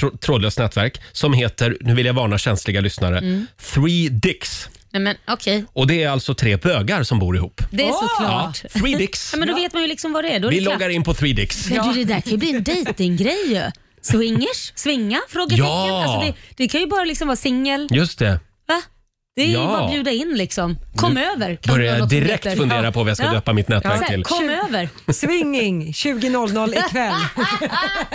[SPEAKER 1] tr- trådlöst nätverk som heter, nu vill jag varna känsliga lyssnare,
[SPEAKER 6] Mm.
[SPEAKER 1] Three Dicks.
[SPEAKER 6] Nej, men okej.
[SPEAKER 1] Och det är alltså tre bögar som bor ihop.
[SPEAKER 6] Det är
[SPEAKER 1] Ja,
[SPEAKER 6] såklart.
[SPEAKER 1] Three Dicks.
[SPEAKER 6] Ja, men då vet man ju liksom vad det är. Då är
[SPEAKER 1] Vi
[SPEAKER 6] det klart.
[SPEAKER 1] loggar in på Three Dicks.
[SPEAKER 6] Men du, det där kan ju bli en dejtinggrej ju. Swingers? Svinga? Frågetecken?
[SPEAKER 1] Ja.
[SPEAKER 6] Alltså det, det kan ju bara liksom vara singel.
[SPEAKER 1] Just det.
[SPEAKER 6] Va? Det är ju
[SPEAKER 1] Ja.
[SPEAKER 6] bara att bjuda in liksom. Kom över. Kan
[SPEAKER 1] Börjar
[SPEAKER 6] du göra
[SPEAKER 1] jag
[SPEAKER 6] något som
[SPEAKER 1] direkt
[SPEAKER 6] heter?
[SPEAKER 1] fundera
[SPEAKER 6] Ja.
[SPEAKER 1] på vad jag ska
[SPEAKER 6] Ja.
[SPEAKER 1] döpa mitt nätverk
[SPEAKER 6] Så här,
[SPEAKER 1] till.
[SPEAKER 6] Kom över.
[SPEAKER 3] Swinging 20.00 ikväll.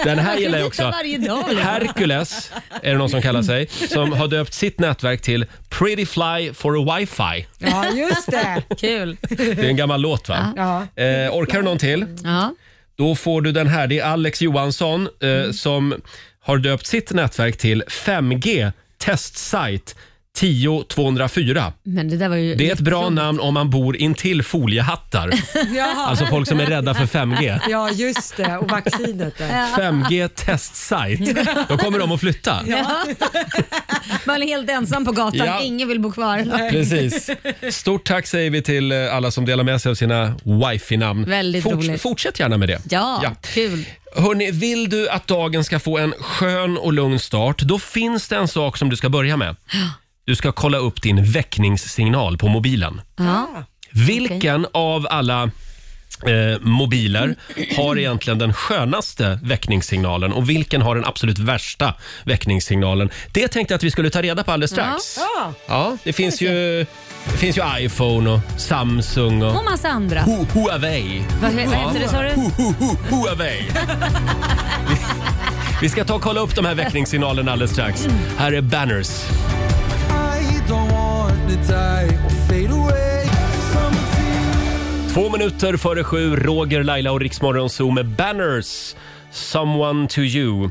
[SPEAKER 1] Den här gillar jag
[SPEAKER 6] byta
[SPEAKER 1] också.
[SPEAKER 6] varje dag. liksom.
[SPEAKER 1] Hercules är det någon som kallar sig, som har döpt sitt nätverk till Pretty Fly for a Wifi.
[SPEAKER 3] Ja, just det.
[SPEAKER 6] Kul.
[SPEAKER 1] Det är en gammal låt va?
[SPEAKER 3] Ja.
[SPEAKER 1] Eh, orkar du någon till?
[SPEAKER 6] Ja.
[SPEAKER 1] Då får du den här. Det är Alex Johansson eh, som har döpt sitt nätverk till 5G testsite 10204.
[SPEAKER 6] Men det där var ju...
[SPEAKER 1] Det är ett bra namn om man bor intill foliehattar.
[SPEAKER 3] Jaha.
[SPEAKER 1] Alltså folk som är rädda för 5G.
[SPEAKER 3] Ja, just det. Och vaccinet. Där.
[SPEAKER 1] 5G testsite. Då kommer de att flytta.
[SPEAKER 6] Man är helt ensam på gatan.
[SPEAKER 1] Ja.
[SPEAKER 6] Ingen vill bo kvar.
[SPEAKER 1] Precis. Stort tack säger vi till eh, alla som delar med sig av sina wifi-namn.
[SPEAKER 6] Väldigt roligt.
[SPEAKER 1] Fortsätt gärna med det.
[SPEAKER 6] Ja, kul.
[SPEAKER 1] Hörrni, vill du att dagen ska få en skön och lugn start, då finns det en sak som du ska börja med. Du ska kolla upp din väckningssignal på mobilen.
[SPEAKER 6] Ja.
[SPEAKER 1] Vilken av alla eh, mobiler har egentligen den skönaste väckningssignalen och vilken har den absolut värsta väckningssignalen? Det tänkte jag att vi skulle ta reda på alldeles strax.
[SPEAKER 3] Ja.
[SPEAKER 1] Ja, det finns ju, det finns ju iPhone och Samsung och
[SPEAKER 6] Och massa andra.
[SPEAKER 1] Hu- Huawei.
[SPEAKER 6] Vad, vad heter det sa du?
[SPEAKER 1] Hu- hu- hu- Huawei. Vi- Vi ska ta och kolla upp de här väckningssignalerna alldeles strax. Här är Banners.
[SPEAKER 4] I don't want to die or fade away.
[SPEAKER 1] Två minuter före sju, Roger, Laila och Riksmorgon Zoo med Banners. Someone to you.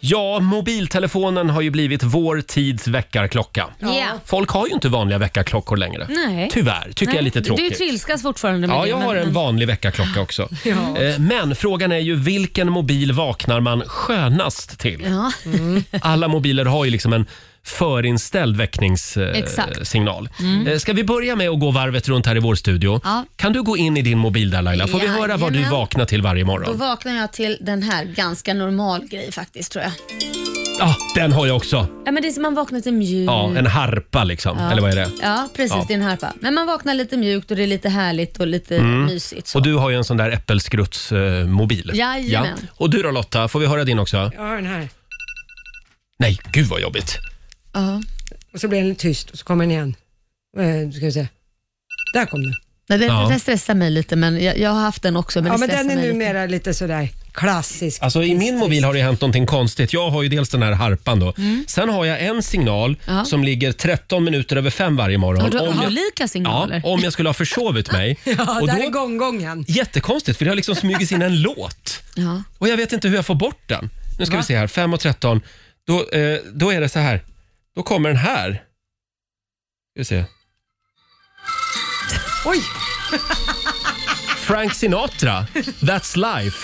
[SPEAKER 1] Ja, mobiltelefonen har ju blivit vår tids väckarklocka.
[SPEAKER 6] Ja.
[SPEAKER 1] Folk har ju inte vanliga väckarklockor längre.
[SPEAKER 6] Nej.
[SPEAKER 1] Tyvärr, tycker jag är lite
[SPEAKER 6] Du
[SPEAKER 1] tråkigt.
[SPEAKER 6] trilskas fortfarande med
[SPEAKER 1] Ja,
[SPEAKER 6] det,
[SPEAKER 1] jag
[SPEAKER 6] men-
[SPEAKER 1] har en vanlig väckarklocka också. Eh, Men frågan är ju vilken mobil vaknar man skönast till? Mm.
[SPEAKER 6] Ja.
[SPEAKER 1] Alla mobiler har ju liksom en förinställd
[SPEAKER 6] Exakt.
[SPEAKER 1] väckningssignal. Mm. Ska vi börja med att gå varvet runt här i vår studio?
[SPEAKER 6] Ja.
[SPEAKER 1] Kan du gå in i din mobil där Laila? Får vi höra vad du
[SPEAKER 6] Jajamän.
[SPEAKER 1] vaknar till varje
[SPEAKER 6] Då
[SPEAKER 1] morgon?
[SPEAKER 6] vaknar jag till den här ganska normal grej faktiskt tror jag.
[SPEAKER 1] Ja, den har jag också.
[SPEAKER 6] Ja, men det är som man vaknar till mjuk.
[SPEAKER 1] Ja, en harpa liksom. Eller vad är det?
[SPEAKER 6] Mm. Ja, precis.
[SPEAKER 1] Ja.
[SPEAKER 6] Det är en harpa. Men man vaknar lite mjukt och det är lite härligt och lite mysigt. Så.
[SPEAKER 1] Mm. Och du har ju en sån där äppelskrutsmobil.
[SPEAKER 6] Jajamän.
[SPEAKER 1] Och du då Lotta, får vi höra din också?
[SPEAKER 3] Jag har den här.
[SPEAKER 1] Nej, gud vad jobbigt.
[SPEAKER 6] Ja.
[SPEAKER 3] Och så blir den tyst och så kommer den igen. Eh, ska vi se. Där kom den.
[SPEAKER 6] Nej, den,
[SPEAKER 1] Ja.
[SPEAKER 6] den stressar mig lite, men jag, jag har haft den också. Men
[SPEAKER 3] Ja,
[SPEAKER 6] det
[SPEAKER 3] men den
[SPEAKER 6] stressar
[SPEAKER 3] är
[SPEAKER 6] mig lite.
[SPEAKER 3] numera lite. sådär klassisk.
[SPEAKER 1] Alltså i min mobil har det hänt någonting konstigt. Jag har ju dels den här harpan då.
[SPEAKER 3] Mm.
[SPEAKER 1] Sen har jag en signal
[SPEAKER 6] Ja.
[SPEAKER 1] som ligger 13 minuter över fem varje morgon.
[SPEAKER 6] Har du
[SPEAKER 1] Om jag-
[SPEAKER 6] olika
[SPEAKER 1] Ja,
[SPEAKER 6] signaler?
[SPEAKER 1] om jag skulle ha försovit mig.
[SPEAKER 3] Ja,
[SPEAKER 1] och
[SPEAKER 3] där är
[SPEAKER 1] då,
[SPEAKER 3] gonggongen.
[SPEAKER 1] jättekonstigt, för det har liksom smugits in en låt.
[SPEAKER 6] Ja.
[SPEAKER 1] Och jag vet inte hur jag får bort den. Nu ska vi se här, 5 och 13. Då, eh, då är det så här. Då kommer den här. Ska vi se.
[SPEAKER 3] Oj!
[SPEAKER 1] Frank Sinatra, That's Life.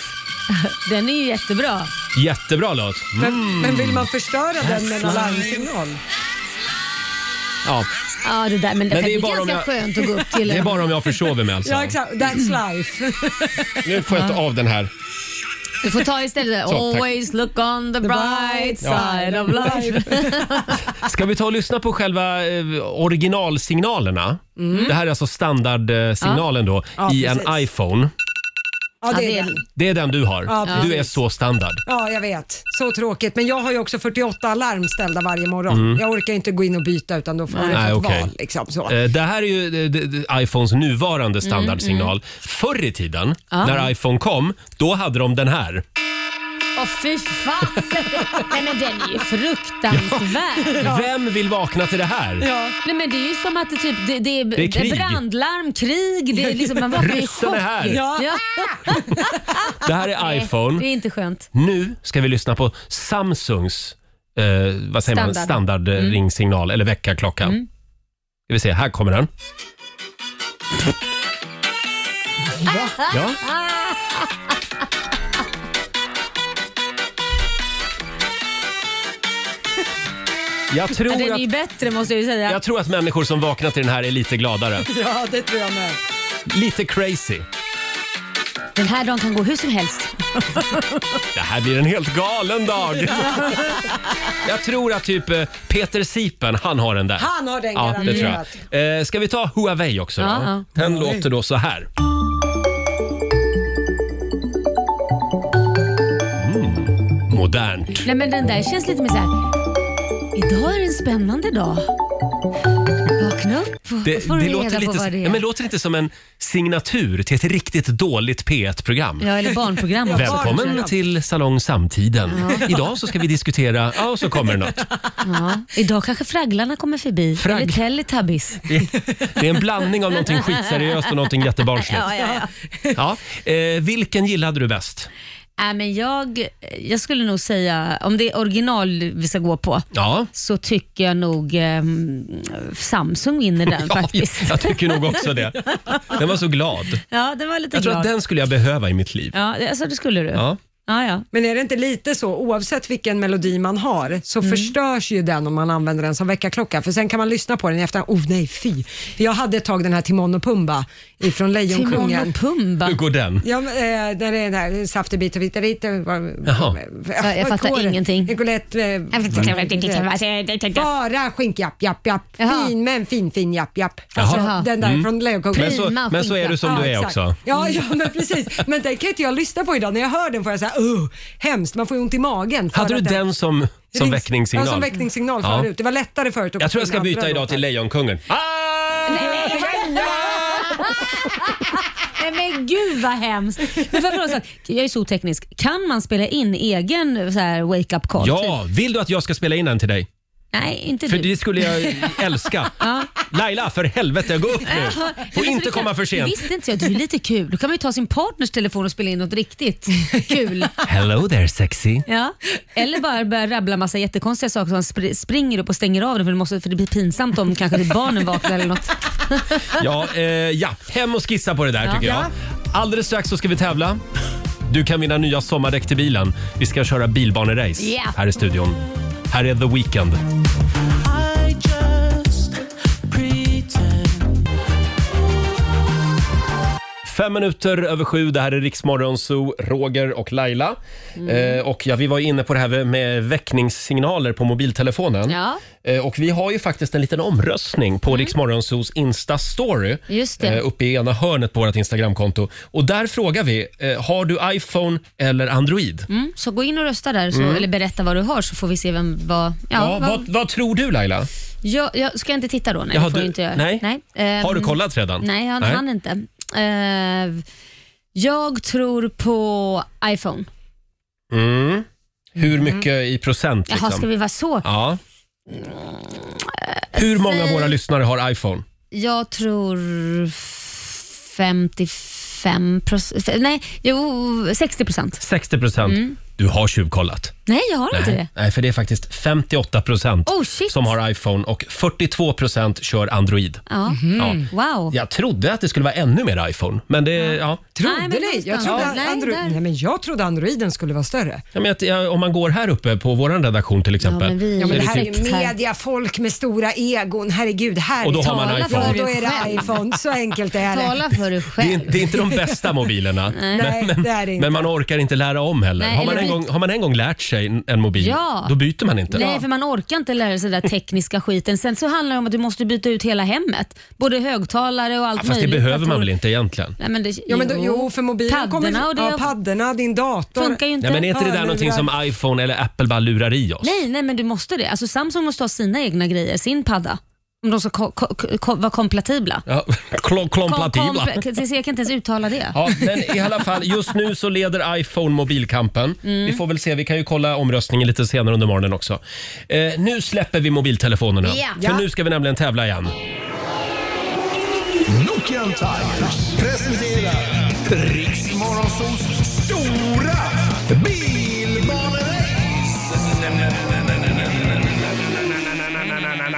[SPEAKER 6] Den är ju jättebra.
[SPEAKER 1] Jättebra låt. Mm.
[SPEAKER 3] Men, men vill man förstöra den med en alarmsignal?
[SPEAKER 1] Ja,
[SPEAKER 6] Ja, det där, men, det,
[SPEAKER 1] det är
[SPEAKER 6] är
[SPEAKER 1] bara om
[SPEAKER 6] ganska
[SPEAKER 1] jag-
[SPEAKER 6] skönt att gå upp till
[SPEAKER 1] det är
[SPEAKER 6] en.
[SPEAKER 1] bara om jag försover mig alltså.
[SPEAKER 3] Ja, exakt. That's life.
[SPEAKER 1] Nu får jag ta av den här.
[SPEAKER 6] Du får ta istället
[SPEAKER 1] tack.
[SPEAKER 6] Always look on the bright side of life.
[SPEAKER 1] Ska vi ta och lyssna på själva eh, originalsignalerna? Det här är alltså standardsignalen då
[SPEAKER 3] Mm. Ja,
[SPEAKER 1] i
[SPEAKER 3] precis.
[SPEAKER 1] en iPhone.
[SPEAKER 3] Ja, det
[SPEAKER 6] det
[SPEAKER 3] är
[SPEAKER 6] är
[SPEAKER 3] den.
[SPEAKER 1] Det är den du har.
[SPEAKER 3] Ja,
[SPEAKER 1] du
[SPEAKER 3] precis.
[SPEAKER 1] är så standard.
[SPEAKER 3] Ja, jag vet. Så tråkigt. Men jag har ju också 48 alarm ställda varje morgon. Jag orkar inte gå in och byta utan då får man
[SPEAKER 1] Nej,
[SPEAKER 3] ett
[SPEAKER 1] okej.
[SPEAKER 3] val. Liksom, så.
[SPEAKER 1] Eh, Det här är ju eh, d- d- iPhones
[SPEAKER 3] Mm,
[SPEAKER 1] nuvarande standardsignal. Förr i tiden, när iPhone kom, då hade de den här.
[SPEAKER 6] Åh fy fasen! Nej men den är ju fruktansvärd.
[SPEAKER 1] Vem vill vakna till det här?
[SPEAKER 6] Nej men det är ju som att det typ, det, det, är,
[SPEAKER 1] är krig.
[SPEAKER 6] brandlarm, krig, det är liksom, man vaknar i
[SPEAKER 1] Ryssen är
[SPEAKER 6] chock.
[SPEAKER 1] här.
[SPEAKER 6] Ja.
[SPEAKER 1] Det här är
[SPEAKER 6] Det
[SPEAKER 1] iPhone.
[SPEAKER 6] är inte skönt.
[SPEAKER 1] Nu ska vi lyssna på Samsungs eh, vad säger man,
[SPEAKER 6] Standard. Mm.
[SPEAKER 1] standard eh, ringsignal eller väckarklocka. Ska vi se, här kommer den. Ja. Jag
[SPEAKER 6] Ja,
[SPEAKER 1] tror
[SPEAKER 6] den är
[SPEAKER 1] att
[SPEAKER 6] ju bättre måste jag ju säga.
[SPEAKER 1] Jag tror att människor som vaknar till den här är lite gladare.
[SPEAKER 3] Ja, det tror jag med.
[SPEAKER 1] Lite crazy.
[SPEAKER 6] Den här dagen kan gå hur som helst.
[SPEAKER 1] Det här blir en helt galen dag. Jag tror att typ eh, Peter Sipen, han har den där.
[SPEAKER 3] Han har den
[SPEAKER 1] Ja, det tror
[SPEAKER 3] garanterat.
[SPEAKER 1] jag. Eh, Ska vi ta Huawei också då?
[SPEAKER 6] Ja,
[SPEAKER 1] Den låter då så här. Mm, modernt.
[SPEAKER 6] Nej men den där känns lite mer såhär, idag är en spännande dag. Vakna upp och
[SPEAKER 1] Det,
[SPEAKER 6] får
[SPEAKER 1] det,
[SPEAKER 6] du
[SPEAKER 1] låter
[SPEAKER 6] reda på
[SPEAKER 1] lite,
[SPEAKER 6] vad det
[SPEAKER 1] ja,
[SPEAKER 6] är.
[SPEAKER 1] men låter inte som en signatur till ett riktigt dåligt P1-program.
[SPEAKER 6] Ja eller barnprogram också.
[SPEAKER 1] Välkommen till Salong Samtiden. Idag så ska vi diskutera, ja och så kommer det något.
[SPEAKER 6] Ja. Idag kanske fragglarna kommer förbi.
[SPEAKER 1] Fragg-
[SPEAKER 6] Eller Teletubbies.
[SPEAKER 1] Det är en blandning av någonting skitseriöst och någonting jättebarnsligt.
[SPEAKER 6] Ja, ja, ja.
[SPEAKER 1] Ja. Eh, vilken gillade du bäst?
[SPEAKER 6] Nej, men jag, jag skulle nog säga, om det är original vi ska gå på,
[SPEAKER 1] Ja.
[SPEAKER 6] så tycker jag nog eh, Samsung vinner den
[SPEAKER 1] Ja, jag,
[SPEAKER 6] faktiskt.
[SPEAKER 1] jag tycker nog också det. Den var så glad.
[SPEAKER 6] Ja, den var lite
[SPEAKER 1] Jag tror
[SPEAKER 6] glad.
[SPEAKER 1] att den skulle jag behöva i mitt liv.
[SPEAKER 6] Ja, alltså det skulle du.
[SPEAKER 1] Ja.
[SPEAKER 6] Ja, ja.
[SPEAKER 3] Men är det inte lite så, oavsett vilken melodi man har, så förstörs ju den om man använder den som väckarklocka. För sen kan man lyssna på den i efterhand. Oh nej, fy. För jag hade ett tag den här Timon och Pumba ifrån
[SPEAKER 6] Timon
[SPEAKER 3] Lejonkungen.
[SPEAKER 6] och Pumba.
[SPEAKER 1] Hur går den?
[SPEAKER 3] Ja, men, eh, när det är den här saftig bit och vita lite. eh,
[SPEAKER 1] Jaha.
[SPEAKER 6] jag fattar ingenting.
[SPEAKER 3] Nicolette...
[SPEAKER 6] Alltså,
[SPEAKER 3] eh, Bara skinkjapp, japp, japp.
[SPEAKER 6] Jaha.
[SPEAKER 3] Fin men fin, fin, japp, japp.
[SPEAKER 6] Jaha.
[SPEAKER 3] Alltså, den där från Lejonkungen.
[SPEAKER 1] Mm. Men så,
[SPEAKER 6] Prima
[SPEAKER 1] men så är du som
[SPEAKER 3] Ja,
[SPEAKER 1] du är
[SPEAKER 3] exakt.
[SPEAKER 1] också.
[SPEAKER 3] Ja, ja, men precis. Men den kan inte jag lyssna på idag. När jag hör den får jag såhär, uh, hemskt. Man får ju ont i magen. för
[SPEAKER 1] Hade du
[SPEAKER 3] att
[SPEAKER 1] den som, som
[SPEAKER 3] Rings-
[SPEAKER 1] väckningssignal?
[SPEAKER 3] Ja, som väckningssignal
[SPEAKER 1] Ja.
[SPEAKER 3] förut. Det var lättare förut. att
[SPEAKER 1] Jag tror jag
[SPEAKER 3] sjunga
[SPEAKER 1] ska byta
[SPEAKER 3] andra
[SPEAKER 1] idag
[SPEAKER 3] låtar.
[SPEAKER 1] till Lejonkungen.
[SPEAKER 6] Nej men gud vad hemskt. Men för att fråga, så här, jag är så oteknisk. Kan man spela in egen så här, wake up call?
[SPEAKER 1] Ja,
[SPEAKER 3] typ.
[SPEAKER 1] vill du att jag ska spela in den till dig?
[SPEAKER 6] Nej, inte
[SPEAKER 1] För
[SPEAKER 6] du.
[SPEAKER 1] det skulle jag älska. Laila, för helvete, gå upp nu!
[SPEAKER 6] Jaha, men
[SPEAKER 1] Får
[SPEAKER 6] så
[SPEAKER 1] inte
[SPEAKER 6] det kan-
[SPEAKER 1] komma för
[SPEAKER 6] Det
[SPEAKER 1] sent.
[SPEAKER 6] visste inte jag. Det är ju lite kul. Då kan man ju ta sin partners telefon och spela in något riktigt kul.
[SPEAKER 1] Hello there sexy.
[SPEAKER 6] Ja. Eller bara börja rabbla massa jättekonstiga saker så man spr- springer upp och stänger av den för det, måste, för det blir pinsamt om kanske det barnen vaknar eller något.
[SPEAKER 1] Ja, eh, ja, hem och skissa på det där
[SPEAKER 6] Ja.
[SPEAKER 1] tycker jag. Alldeles strax så ska vi tävla. Du kan vinna nya sommardäck till bilen. Vi ska köra bilbanerace
[SPEAKER 6] Yeah.
[SPEAKER 1] här i studion. Här är The Weeknd.
[SPEAKER 4] I just pretend
[SPEAKER 1] Fem minuter över sju, det här är Riksmorgon Zoo, Roger och Laila.
[SPEAKER 6] Mm.
[SPEAKER 1] Eh, och ja, vi var ju inne på det här med väckningssignaler på mobiltelefonen.
[SPEAKER 6] Ja.
[SPEAKER 1] Eh, och vi har ju faktiskt en liten omröstning på mm. Riksmorgon Zoos Insta-story. eh,
[SPEAKER 6] Just det.
[SPEAKER 1] uppe i ena hörnet på vårt Instagramkonto. Och där frågar vi, eh, har du iPhone eller Android?
[SPEAKER 6] Mm, så gå in och rösta där, så, eller berätta vad du har så får vi se vem vad...
[SPEAKER 1] Mm. Ja,
[SPEAKER 6] vad-
[SPEAKER 1] vad, vad tror du Laila?
[SPEAKER 6] Jag, jag, ska jag inte titta då? Nej,
[SPEAKER 1] Jaha,
[SPEAKER 6] det får
[SPEAKER 1] du-
[SPEAKER 6] jag inte göra.
[SPEAKER 1] nej.
[SPEAKER 6] Ehm,
[SPEAKER 1] Har du kollat redan?
[SPEAKER 6] Nej, jag
[SPEAKER 1] Nej.
[SPEAKER 6] hann inte. Ehm, jag tror på iPhone.
[SPEAKER 1] Mm. Hur mycket i procent?
[SPEAKER 6] Jaha, ska
[SPEAKER 1] Liksom?
[SPEAKER 6] vi vara så?
[SPEAKER 1] Ja. Hur många av
[SPEAKER 6] säg-
[SPEAKER 1] våra lyssnare har iPhone?
[SPEAKER 6] Jag tror 55 procent. Nej, jo, 60 procent.
[SPEAKER 1] 60 procent. Du har tjuvkollat.
[SPEAKER 6] Nej, jag Mm. har inte det.
[SPEAKER 1] Nej, för det är faktiskt 58 procent
[SPEAKER 6] Oh shit.
[SPEAKER 1] som har iPhone och 42 procent kör Android.
[SPEAKER 6] Ja.
[SPEAKER 3] Mhm.
[SPEAKER 1] Ja.
[SPEAKER 6] Wow.
[SPEAKER 1] Jag trodde att det skulle vara ännu mer iPhone, men det, ja.
[SPEAKER 3] Trodde
[SPEAKER 6] Nej, men
[SPEAKER 3] ni? Jag
[SPEAKER 6] någonstans.
[SPEAKER 3] trodde,
[SPEAKER 6] Ja, nej,
[SPEAKER 3] Andro-
[SPEAKER 6] där.
[SPEAKER 3] nej, men jag trodde androiden skulle vara större.
[SPEAKER 1] Ja, men att, ja, om man går här uppe på vår redaktion till exempel.
[SPEAKER 6] men vi- Ja,
[SPEAKER 1] så
[SPEAKER 6] men
[SPEAKER 1] är
[SPEAKER 3] det
[SPEAKER 1] det
[SPEAKER 3] här
[SPEAKER 1] typ,
[SPEAKER 3] är ju media, folk med stora egon. Herregud, här
[SPEAKER 1] Och då
[SPEAKER 3] är
[SPEAKER 1] har man
[SPEAKER 3] tala för-
[SPEAKER 1] iPhone.
[SPEAKER 3] Då är det iPhone. Så enkelt är det.
[SPEAKER 6] Tala för dig
[SPEAKER 1] det, är,
[SPEAKER 6] själv.
[SPEAKER 1] det är inte de bästa mobilerna,
[SPEAKER 3] Nej, det är det inte.
[SPEAKER 1] men man orkar inte lära om heller.
[SPEAKER 6] Nej,
[SPEAKER 1] har, man
[SPEAKER 6] eller
[SPEAKER 1] en
[SPEAKER 6] byt-
[SPEAKER 1] gång, har man en gång lärt sig en mobil,
[SPEAKER 6] Ja.
[SPEAKER 1] då byter man inte.
[SPEAKER 6] Nej, för man orkar inte lära sig den där tekniska skiten. Sen så handlar det om att du måste byta ut hela hemmet. Både högtalare och allt
[SPEAKER 1] Fast det
[SPEAKER 6] möjligt.
[SPEAKER 1] behöver man
[SPEAKER 6] datorer.
[SPEAKER 1] väl inte egentligen?
[SPEAKER 6] Nej, men det,
[SPEAKER 3] Ja, men då, jo, för mobilen
[SPEAKER 6] Paddorna
[SPEAKER 3] kommer...
[SPEAKER 6] och det
[SPEAKER 3] ja, paddorna, din dator.
[SPEAKER 6] funkar ju inte.
[SPEAKER 1] Nej, men är inte det där
[SPEAKER 3] Hörlurar.
[SPEAKER 1] någonting som iPhone eller Apple bara lurar i oss?
[SPEAKER 6] nej, nej, men du måste det. Alltså, Samsung måste ha sina egna grejer, sin padda. Om de ska ko- ko- ko- vara kompatibla.
[SPEAKER 1] Ja, klo- Kompatibla.
[SPEAKER 6] Kom- kompla- jag kan inte ens uttala det.
[SPEAKER 1] Ja, men i alla fall, just nu så leder iPhone mobilkampen.
[SPEAKER 6] Mm.
[SPEAKER 1] Vi får väl se, vi kan ju kolla omröstningen lite senare under morgonen också. Eh, nu släpper vi mobiltelefonerna,
[SPEAKER 6] Ja.
[SPEAKER 1] för nu ska vi nämligen tävla igen.
[SPEAKER 5] Nokian Tigers presenterar Riksmorgonsols stora bilbanerace.
[SPEAKER 6] Men,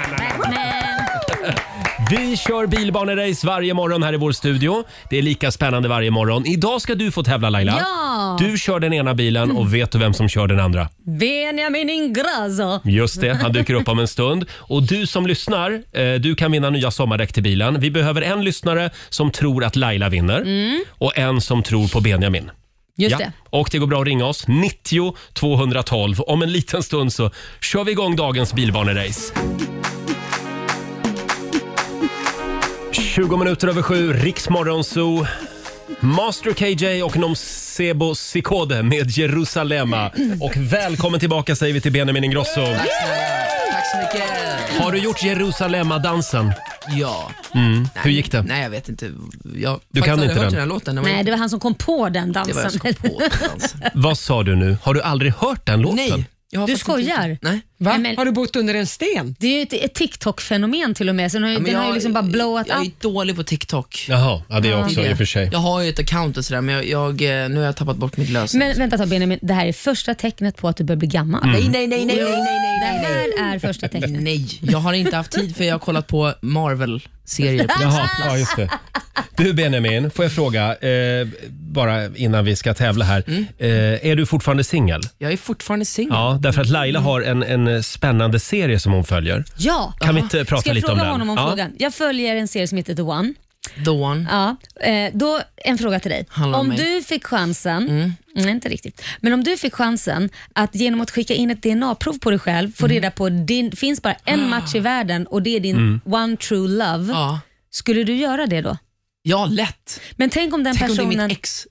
[SPEAKER 1] Vi kör bilbanerace varje morgon här i vår studio. Det är lika spännande varje morgon. Idag ska du få tävla Laila.
[SPEAKER 6] Ja.
[SPEAKER 1] Du kör den ena bilen och vet du vem som kör den andra?
[SPEAKER 6] Benjamin Ingrosso.
[SPEAKER 1] Just det, han dyker upp om en stund. Och du som lyssnar, eh, du kan vinna nya sommardäck till bilen. Vi behöver en lyssnare som tror att Laila vinner
[SPEAKER 6] Mm.
[SPEAKER 1] och en som tror på Benjamin.
[SPEAKER 6] Just
[SPEAKER 1] Ja.
[SPEAKER 6] det.
[SPEAKER 1] Och det går bra att ringa oss, 90 212. Om en liten stund så kör vi igång dagens bilbanerace. 20 minuter över sju, Riksmorgon Zoo. Master KJ och Nomsebo Sikode med Jerusalema. Och välkommen tillbaka säger vi till Benjamin Ingrosso.
[SPEAKER 8] Tack så mycket.
[SPEAKER 1] Har du gjort Jerusalema-dansen?
[SPEAKER 8] Ja.
[SPEAKER 1] Hur gick det?
[SPEAKER 8] Nej, jag vet inte. Jag
[SPEAKER 1] Du kan
[SPEAKER 8] faktiskt aldrig
[SPEAKER 1] inte
[SPEAKER 8] hört
[SPEAKER 1] den.
[SPEAKER 8] den här låten. Den var
[SPEAKER 6] Nej,
[SPEAKER 8] inte-
[SPEAKER 6] det var han som kom på den
[SPEAKER 8] det var jag
[SPEAKER 6] dansen.
[SPEAKER 8] som kom på den dansen.
[SPEAKER 1] Vad sa du nu? Har du aldrig hört den låten?
[SPEAKER 8] Nej. jag har
[SPEAKER 6] Du
[SPEAKER 8] faktiskt inte-
[SPEAKER 6] skojar?
[SPEAKER 8] Nej.
[SPEAKER 3] Va?
[SPEAKER 6] Nej, men-
[SPEAKER 3] Har du bott under en sten?
[SPEAKER 6] Det är ju ett, ett TikTok-fenomen till och med. Så den har ju,
[SPEAKER 8] Ja, men
[SPEAKER 6] den har ju
[SPEAKER 8] jag-
[SPEAKER 6] liksom bara blowat
[SPEAKER 8] Jag är
[SPEAKER 6] up.
[SPEAKER 8] dålig på TikTok.
[SPEAKER 1] Jaha, ja, det är jag också
[SPEAKER 8] Det.
[SPEAKER 1] i och för sig.
[SPEAKER 8] Jag har ju ett account och sådär, men jag, jag, eh, nu har jag tappat bort mitt lösenord.
[SPEAKER 6] Men vänta ett tag Benjamin, det här är första tecknet på att du börjar bli gammal.
[SPEAKER 8] Nej, nej, nej, nej, nej, nej, nej,
[SPEAKER 6] Det
[SPEAKER 8] nej, nej.
[SPEAKER 6] här är första tecknet.
[SPEAKER 8] Nej, jag har inte haft tid för jag har kollat på Marvel-serier.
[SPEAKER 1] Jaha, ja, just det. Du Benjamin, får jag fråga. Eh, bara innan vi ska tävla här. Eh, är du fortfarande singel?
[SPEAKER 8] Mm. Jag är fortfarande singel.
[SPEAKER 1] Ja, därför att Laila har en, en spännande serie som hon följer.
[SPEAKER 6] Ja.
[SPEAKER 1] Kan vi inte prata
[SPEAKER 6] Ska jag
[SPEAKER 1] lite om
[SPEAKER 6] fråga
[SPEAKER 1] den?
[SPEAKER 6] honom om
[SPEAKER 1] Ja.
[SPEAKER 6] frågan? Jag följer en serie som heter The One.
[SPEAKER 8] The one.
[SPEAKER 6] Ja, eh, då en fråga till dig.
[SPEAKER 8] Handlar om
[SPEAKER 6] om
[SPEAKER 8] mig. Mm.
[SPEAKER 6] du fick chansen, nej inte riktigt, men om du fick chansen att genom att skicka in ett DNA-prov på dig själv få
[SPEAKER 8] Mm.
[SPEAKER 6] reda på, det finns bara en match i världen och det är din one true love.
[SPEAKER 8] Ah. Mm. Ja.
[SPEAKER 6] Skulle du göra det då?
[SPEAKER 8] ja, lätt.
[SPEAKER 6] Men tänk om den
[SPEAKER 8] Tänk om det är
[SPEAKER 6] personen...
[SPEAKER 8] mitt ex.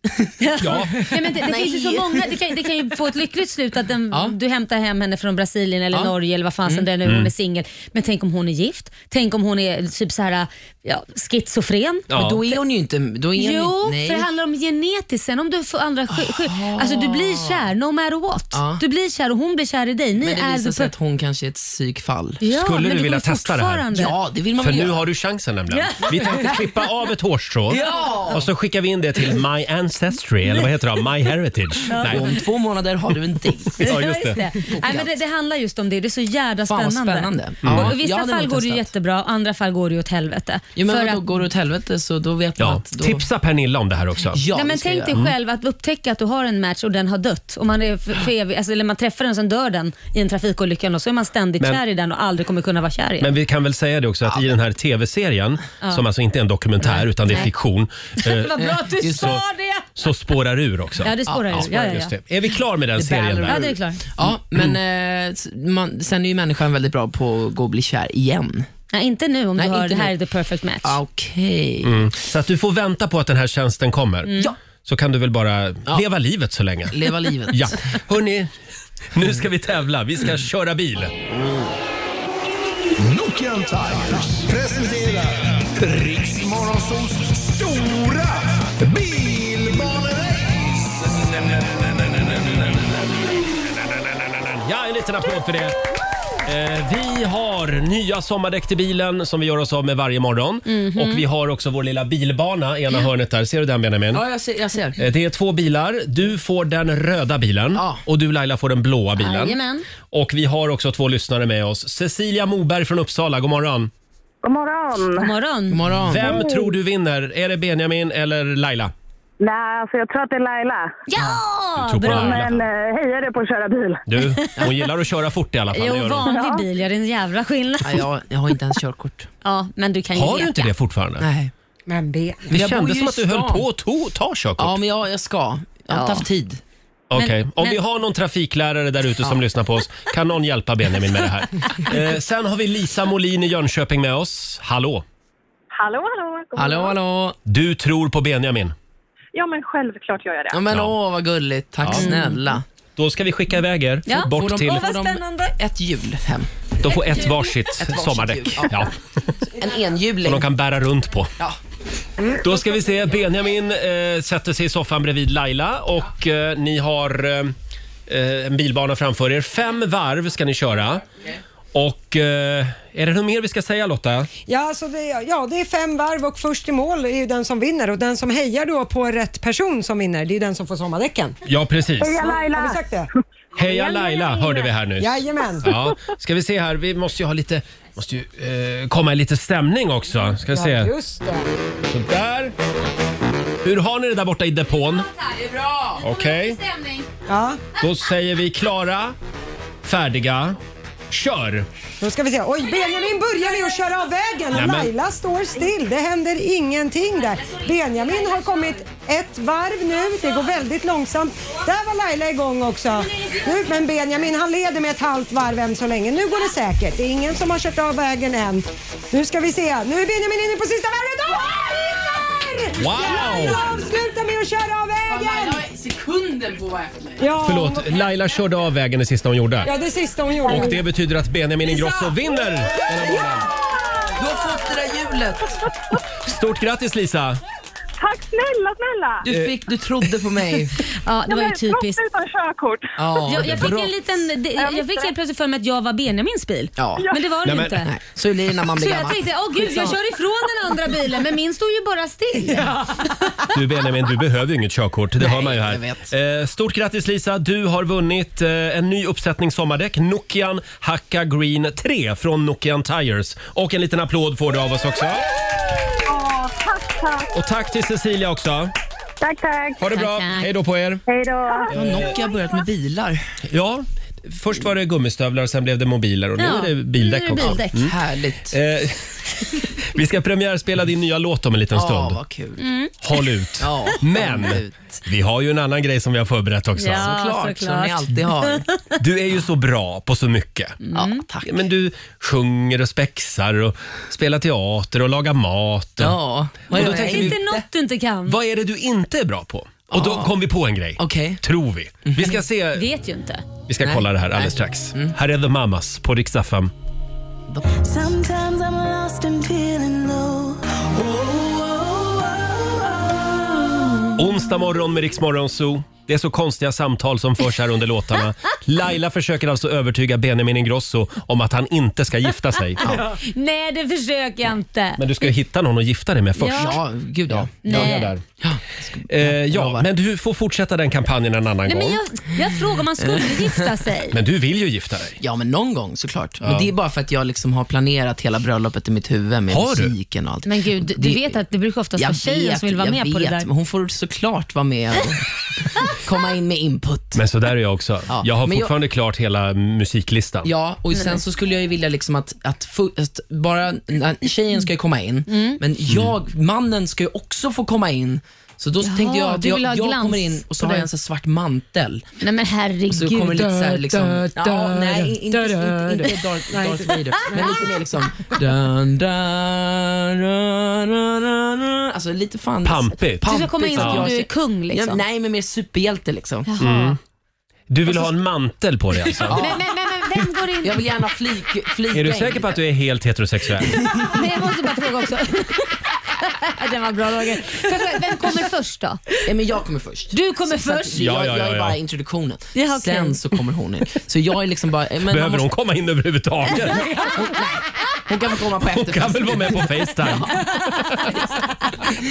[SPEAKER 1] Ja.
[SPEAKER 6] Nej, men det, det finns ju så många, det kan, det kan ju få ett lyckligt slut att den,
[SPEAKER 8] Ja.
[SPEAKER 6] du hämtar hem henne från Brasilien eller
[SPEAKER 8] Ja. Mm.
[SPEAKER 6] Norge eller vad fan som det är nu hon är singel. Men tänk om hon är gift? Tänk om hon är typ så här, ja, schizofren?
[SPEAKER 8] Men
[SPEAKER 1] Ja.
[SPEAKER 8] då är hon ju inte... Då är
[SPEAKER 6] Jo,
[SPEAKER 8] hon, ju- nej. Ah.
[SPEAKER 6] för det handlar om genetiskt. Sen om du får andra sky- sky- Alltså du blir kär no matter what.
[SPEAKER 8] Ja.
[SPEAKER 6] Du blir kär och hon blir kär i dig. Ni
[SPEAKER 8] Ah. Men det
[SPEAKER 6] är
[SPEAKER 8] visar
[SPEAKER 6] the
[SPEAKER 8] sig
[SPEAKER 6] per-
[SPEAKER 8] att hon kanske är ett psykfall.
[SPEAKER 6] Ja,
[SPEAKER 1] Skulle
[SPEAKER 6] men
[SPEAKER 1] du
[SPEAKER 6] det
[SPEAKER 1] vilja
[SPEAKER 6] går ju
[SPEAKER 1] testa det här?
[SPEAKER 6] fortfarande.
[SPEAKER 8] Ja, det vill man
[SPEAKER 1] För
[SPEAKER 8] väl
[SPEAKER 1] nu
[SPEAKER 8] göra.
[SPEAKER 1] har du chansen nämligen. Vi tänkte klippa av ett hårstrå
[SPEAKER 8] Ja!
[SPEAKER 1] och så skickar vi in det till My Ancestry, eller vad heter det? My Heritage.
[SPEAKER 8] Och
[SPEAKER 1] Nej.
[SPEAKER 8] om två månader har du en dejt.
[SPEAKER 1] Ja, just det.
[SPEAKER 6] Nej, men det, det handlar just om det. Det är så jävla
[SPEAKER 8] Fan, vad
[SPEAKER 6] spännande.
[SPEAKER 8] spännande. Mm. Ja.
[SPEAKER 6] Och I
[SPEAKER 8] Jag
[SPEAKER 6] vissa
[SPEAKER 8] hade
[SPEAKER 6] fall
[SPEAKER 8] nog
[SPEAKER 6] går det ju
[SPEAKER 8] testat.
[SPEAKER 6] jättebra, andra fall går det ju åt helvete.
[SPEAKER 8] Jo, men
[SPEAKER 6] För
[SPEAKER 8] vadå,
[SPEAKER 6] att-
[SPEAKER 8] går det åt helvete så då vet man
[SPEAKER 1] Ja.
[SPEAKER 8] att... Då...
[SPEAKER 1] Tipsa Pernilla om det här också.
[SPEAKER 8] Ja,
[SPEAKER 6] Nej,
[SPEAKER 8] det
[SPEAKER 6] men
[SPEAKER 8] ska
[SPEAKER 6] tänk
[SPEAKER 8] jag
[SPEAKER 6] dig
[SPEAKER 8] göra.
[SPEAKER 6] själv att upptäcka att du har en match och den har dött. Och man är för, för evig, alltså, eller man träffar den, sen dör den i en trafikolycka och så är man ständigt
[SPEAKER 1] Men-
[SPEAKER 6] kär i den och aldrig kommer kunna vara kär igen.
[SPEAKER 1] Men vi kan väl säga det också att i den här tv-serien, som alltså inte är en dokumentär utan det är fiktion, eh,
[SPEAKER 6] Vad bra att du
[SPEAKER 8] Just
[SPEAKER 6] sa
[SPEAKER 1] så.
[SPEAKER 6] det!
[SPEAKER 1] så spårar ur också.
[SPEAKER 6] Ja, det spårar
[SPEAKER 8] Ja,
[SPEAKER 6] ju. Ja, ja,
[SPEAKER 1] Just
[SPEAKER 6] ja.
[SPEAKER 1] det. Är vi klar med den
[SPEAKER 8] The
[SPEAKER 1] serien?
[SPEAKER 8] Ballerina.
[SPEAKER 1] Där?
[SPEAKER 6] ja, det är klart.
[SPEAKER 8] Ja, men eh, s- man, sen är ju människan väldigt bra på att gå och bli kär igen.
[SPEAKER 6] Nej, inte nu om
[SPEAKER 8] Nej,
[SPEAKER 6] du hör
[SPEAKER 8] inte
[SPEAKER 6] det här
[SPEAKER 8] nu.
[SPEAKER 6] är the perfect match.
[SPEAKER 8] Okej.
[SPEAKER 1] Mm. Så att du får vänta på att den här tjänsten kommer.
[SPEAKER 6] Mm.
[SPEAKER 8] Ja.
[SPEAKER 1] Så kan du väl bara leva livet så länge.
[SPEAKER 8] Leva livet.
[SPEAKER 1] Ja, hörni. Nu ska vi tävla. Vi ska köra bil.
[SPEAKER 5] Nokian Tigers presenterar Riksmorgonsols stora bilbanerace.
[SPEAKER 1] Ja, en liten applåd för det. Eh, vi har nya sommardäck till bilen som vi gör oss av med varje morgon.
[SPEAKER 6] Mhm.
[SPEAKER 1] Och vi har också vår lilla bilbana i ena hörnet där. Ser du den Benjamin?
[SPEAKER 8] Ja, jag ser. Jag ser.
[SPEAKER 1] Eh, Det är två bilar. Du får den röda bilen
[SPEAKER 8] Ja.
[SPEAKER 1] och du Laila får den blåa bilen.
[SPEAKER 6] Jajamän.
[SPEAKER 1] Och vi har också två lyssnare med oss. Cecilia Moberg från Uppsala, god morgon.
[SPEAKER 7] God morgon.
[SPEAKER 6] God morgon.
[SPEAKER 8] God morgon.
[SPEAKER 1] Vem tror du vinner? Är det Benjamin eller Laila?
[SPEAKER 7] Nej, alltså jag tror att det är Laila.
[SPEAKER 1] Du
[SPEAKER 6] Ja!
[SPEAKER 1] tror på
[SPEAKER 6] Bra.
[SPEAKER 1] Laila.
[SPEAKER 7] Men eh, hejade på att köra bil.
[SPEAKER 1] Du, hon gillar att köra fort i alla fall. det
[SPEAKER 6] Jo,
[SPEAKER 1] gör hon.
[SPEAKER 6] vanlig bil gör en jävla skillnad.
[SPEAKER 8] Ja, jag, jag har inte ens körkort.
[SPEAKER 6] Ja, men du kan ju
[SPEAKER 1] Har
[SPEAKER 6] leka.
[SPEAKER 1] du inte det fortfarande?
[SPEAKER 8] Nej.
[SPEAKER 3] Men B.
[SPEAKER 1] Det
[SPEAKER 8] Jag bor
[SPEAKER 1] kändes
[SPEAKER 8] ju
[SPEAKER 1] som
[SPEAKER 8] i
[SPEAKER 1] att du höll
[SPEAKER 8] stan.
[SPEAKER 1] på att to- ta körkort.
[SPEAKER 8] Ja, men jag, jag ska. Jag har inte haft tid.
[SPEAKER 1] Okej,
[SPEAKER 6] Men-
[SPEAKER 1] om
[SPEAKER 6] men-
[SPEAKER 1] vi har någon trafiklärare där ute som lyssnar på oss, kan någon hjälpa Benjamin med det här? Eh, sen har vi Lisa Molin i Jönköping med oss. Hallå!
[SPEAKER 7] Hallå, hallå. God
[SPEAKER 8] Hallå,
[SPEAKER 7] morgon.
[SPEAKER 8] hallå.
[SPEAKER 1] Du tror på Benjamin.
[SPEAKER 7] Ja, men självklart gör jag
[SPEAKER 8] Ja,
[SPEAKER 7] det.
[SPEAKER 8] men
[SPEAKER 1] Ja. Mm.
[SPEAKER 8] åh, vad gulligt. Tack snälla.
[SPEAKER 1] Då ska vi skicka iväg er
[SPEAKER 6] Ja.
[SPEAKER 1] bort
[SPEAKER 8] Får de-
[SPEAKER 1] till...
[SPEAKER 6] Åh,
[SPEAKER 8] Får
[SPEAKER 6] vad
[SPEAKER 8] de-
[SPEAKER 6] spännande.
[SPEAKER 8] Ett hjul hem.
[SPEAKER 1] De får ett varsitt sommardäck.
[SPEAKER 8] hjul,
[SPEAKER 1] Ja,
[SPEAKER 8] En
[SPEAKER 1] som
[SPEAKER 8] enhjuling.
[SPEAKER 1] de kan bära runt på.
[SPEAKER 8] Ja.
[SPEAKER 1] Då ska vi se. Benjamin eh, sätter sig i soffan bredvid Laila och eh, ni har eh, eh, en bilbana framför er. Fem varv ska ni köra. Och eh, är det något mer vi ska säga Lotta?
[SPEAKER 3] Ja, så det, ja, det är fem varv och först i mål är ju den som vinner och den som hejar då på rätt person som vinner, det är ju den som får sommardäcken.
[SPEAKER 1] Ja, precis.
[SPEAKER 7] Heja
[SPEAKER 3] Har
[SPEAKER 7] Laila!
[SPEAKER 3] vi sagt det?
[SPEAKER 1] Heja Laila hörde vi här nyss.
[SPEAKER 3] Jajamän.
[SPEAKER 1] Ja, ska vi se här. Vi måste ju ha lite... Måste ju eh, komma i lite stämning också. Ska vi
[SPEAKER 3] Ja,
[SPEAKER 1] se.
[SPEAKER 3] just det.
[SPEAKER 1] Där. Hur har ni det där borta i depån?
[SPEAKER 6] Det är bra.
[SPEAKER 1] Okej.
[SPEAKER 3] Ja,
[SPEAKER 1] Då säger vi klara, färdiga, kör!
[SPEAKER 3] då ska vi se. Oj, Benjamin börjar med att köra av vägen och
[SPEAKER 1] Nämen.
[SPEAKER 3] Laila står still. Det händer ingenting där. Benjamin har kommit ett varv nu. Det går väldigt långsamt. Där var Laila igång också. Nu, men Benjamin han leder med ett halvt varv än så länge. Nu går det säkert. Det är ingen som har kört av vägen än. Nu ska vi se. Nu är Benjamin inne på sista varvet. Åh, han vinner!
[SPEAKER 1] Wow!
[SPEAKER 3] Laila avslutar med att köra av vägen.
[SPEAKER 8] sekunder på vad efter mig.
[SPEAKER 3] Ja,
[SPEAKER 1] Förlåt, Laila körde av vägen det sista hon gjorde.
[SPEAKER 3] Ja, det sista hon gjorde.
[SPEAKER 1] Och det betyder att Benjamin Ingrosso vinner den här morgonen.
[SPEAKER 8] Du har fått det där hjulet.
[SPEAKER 1] Stort grattis Lisa!
[SPEAKER 7] Tack snälla, snälla!
[SPEAKER 8] Du, fick, du trodde på mig.
[SPEAKER 6] Ja, det var ju typiskt.
[SPEAKER 7] Trots utan körkort.
[SPEAKER 8] Ja,
[SPEAKER 6] Jag, jag
[SPEAKER 8] det är
[SPEAKER 6] fick
[SPEAKER 8] bra.
[SPEAKER 6] en liten... det- Jag fick helt plötsligt för mig att jag var Benjamins bil.
[SPEAKER 8] Ja.
[SPEAKER 6] Men det var
[SPEAKER 1] Nej,
[SPEAKER 6] det
[SPEAKER 1] men-
[SPEAKER 6] ju inte.
[SPEAKER 8] Nej, så är det när man
[SPEAKER 6] Så
[SPEAKER 8] blir
[SPEAKER 6] jag
[SPEAKER 8] gammal.
[SPEAKER 6] tänkte, åh gud, jag kör ifrån den andra bilen, men min stod ju bara still.
[SPEAKER 1] Du Benjamin, du behöver ju inget körkort. Det hör man ju
[SPEAKER 8] jag
[SPEAKER 1] här. Eh, Stort grattis Lisa! Du har vunnit eh, en ny uppsättning sommardäck. Nokian Hakka Green 3 från Nokian Tires. Och en liten applåd får du av oss också.
[SPEAKER 7] Åh, tack, tack.
[SPEAKER 1] Och tack till Cecilia också.
[SPEAKER 7] Tack, tack.
[SPEAKER 1] Ha det bra,
[SPEAKER 6] Tack, tack.
[SPEAKER 1] hej då på er.
[SPEAKER 7] Hej då.
[SPEAKER 8] Nu har Nokia börjat med bilar.
[SPEAKER 1] Ja, först var det gummistövlar, sen blev det mobiler och nu är det bildäck
[SPEAKER 6] nu är det
[SPEAKER 1] också.
[SPEAKER 6] bildäck.
[SPEAKER 8] Mm. Härligt.
[SPEAKER 1] Eh, vi ska premiärspela din nya låt om en liten
[SPEAKER 8] Ja,
[SPEAKER 1] stund.
[SPEAKER 8] vad kul.
[SPEAKER 6] Mm.
[SPEAKER 1] Håll ut.
[SPEAKER 8] Ja,
[SPEAKER 1] Men
[SPEAKER 8] ut.
[SPEAKER 1] vi har ju en annan grej som vi har förberett också.
[SPEAKER 6] Ja,
[SPEAKER 8] Klart, som
[SPEAKER 6] såklart.
[SPEAKER 8] ni alltid har.
[SPEAKER 1] Du är ju så bra på så mycket.
[SPEAKER 6] Mm.
[SPEAKER 8] Ja, tack.
[SPEAKER 1] Men du sjunger och spexar och spelar teater och lagar mat. Och...
[SPEAKER 8] Ja, vad
[SPEAKER 1] Och då
[SPEAKER 8] gör jag?
[SPEAKER 1] tänker
[SPEAKER 6] Finns det något du inte kan?
[SPEAKER 1] Vad är det du inte är bra på? Och då kom vi på en grej.
[SPEAKER 8] Okej. Mm-hmm.
[SPEAKER 1] Tror vi. Vi ska se.
[SPEAKER 6] Vet ju inte.
[SPEAKER 1] Vi ska kolla det här alldeles strax.
[SPEAKER 6] Mm.
[SPEAKER 1] Här är The Mamas på Rix FM.
[SPEAKER 4] Sometimes I'm lost and feeling low.
[SPEAKER 1] Onsdag morgon med Rix Morgon Zoo. Det är så konstiga samtal som förs här under låtarna. Laila försöker alltså övertyga Benjamin Ingrosso om att han inte ska gifta sig.
[SPEAKER 6] Nej, det försöker jag inte.
[SPEAKER 1] Men du ska ju hitta någon att gifta dig med först.
[SPEAKER 6] Ja.
[SPEAKER 8] Ja, gud ja.
[SPEAKER 1] Börja
[SPEAKER 6] Nej.
[SPEAKER 1] där. Eh, ja, men du får fortsätta den kampanjen en annan
[SPEAKER 6] Nej, men
[SPEAKER 1] gång.
[SPEAKER 6] jag, jag frågar om man skulle gifta sig.
[SPEAKER 1] Men du vill ju gifta dig.
[SPEAKER 8] Ja, men någon gång såklart. Men det är bara för att jag liksom har planerat hela bröllopet i mitt huvud med
[SPEAKER 1] Har du?
[SPEAKER 8] musiken och allt.
[SPEAKER 6] Men gud, du
[SPEAKER 8] Det-
[SPEAKER 6] vet att det brukar oftast vara tjejen som vill vara
[SPEAKER 8] jag
[SPEAKER 6] med på det
[SPEAKER 8] vet,
[SPEAKER 6] där.
[SPEAKER 8] men Hon får såklart vara med och komma in med input.
[SPEAKER 1] Men så där är jag också.
[SPEAKER 8] Ja,
[SPEAKER 1] Jag har
[SPEAKER 8] men jag-
[SPEAKER 1] fortfarande klart hela musiklistan.
[SPEAKER 8] Ja, och sen så skulle jag ju vilja liksom att, att, fu- att bara, tjejen ska ju komma in,
[SPEAKER 6] Mm.
[SPEAKER 8] men jag, mannen ska ju också få komma in. Så då tänkte jag att
[SPEAKER 6] du
[SPEAKER 8] jag,
[SPEAKER 6] vill ha
[SPEAKER 8] jag
[SPEAKER 6] glans
[SPEAKER 8] kommer in och så
[SPEAKER 6] på
[SPEAKER 8] har jag
[SPEAKER 6] dig.
[SPEAKER 8] en sån här svart mantel.
[SPEAKER 6] Nej men herregud.
[SPEAKER 8] Så kommer lite såhär liksom... Ja, nej, inte, inte,
[SPEAKER 3] da, da,
[SPEAKER 8] inte, inte Darth, Darth Vader, men lite mer liksom... Dun, dun, dun, dun, dun, dun. Alltså lite fan...
[SPEAKER 1] Pampigt.
[SPEAKER 6] Du ska komma in
[SPEAKER 8] så att
[SPEAKER 6] som om
[SPEAKER 8] jag
[SPEAKER 6] du är
[SPEAKER 8] ser-
[SPEAKER 6] kung liksom.
[SPEAKER 8] Ja, nej, men mer superhjälte liksom.
[SPEAKER 6] Jaha.
[SPEAKER 1] Mm. Du vill ha en mantel på dig alltså?
[SPEAKER 6] Men, men, men, men vem går in?
[SPEAKER 8] Jag vill gärna flik, flika
[SPEAKER 1] Är du
[SPEAKER 8] in.
[SPEAKER 1] säker på att du är helt heterosexuell?
[SPEAKER 6] Men jag måste bara fråga också. Den var bra Roger. Får jag fråga, Vem kommer först då?
[SPEAKER 8] Nej, men jag kommer först.
[SPEAKER 6] Du kommer
[SPEAKER 8] Så att
[SPEAKER 6] först.
[SPEAKER 1] Ja,
[SPEAKER 8] jag,
[SPEAKER 1] ja, ja,
[SPEAKER 8] jag är
[SPEAKER 1] ja.
[SPEAKER 8] bara introduktionen.
[SPEAKER 6] Ja, okej.
[SPEAKER 8] Sen så kommer hon in. Så jag är liksom bara... Men man
[SPEAKER 1] Behöver
[SPEAKER 8] måste-
[SPEAKER 1] hon komma in överhuvudtaget?
[SPEAKER 8] Hon kan väl komma på
[SPEAKER 1] Hon kan
[SPEAKER 8] efterfest.
[SPEAKER 1] väl vara med på Facetime?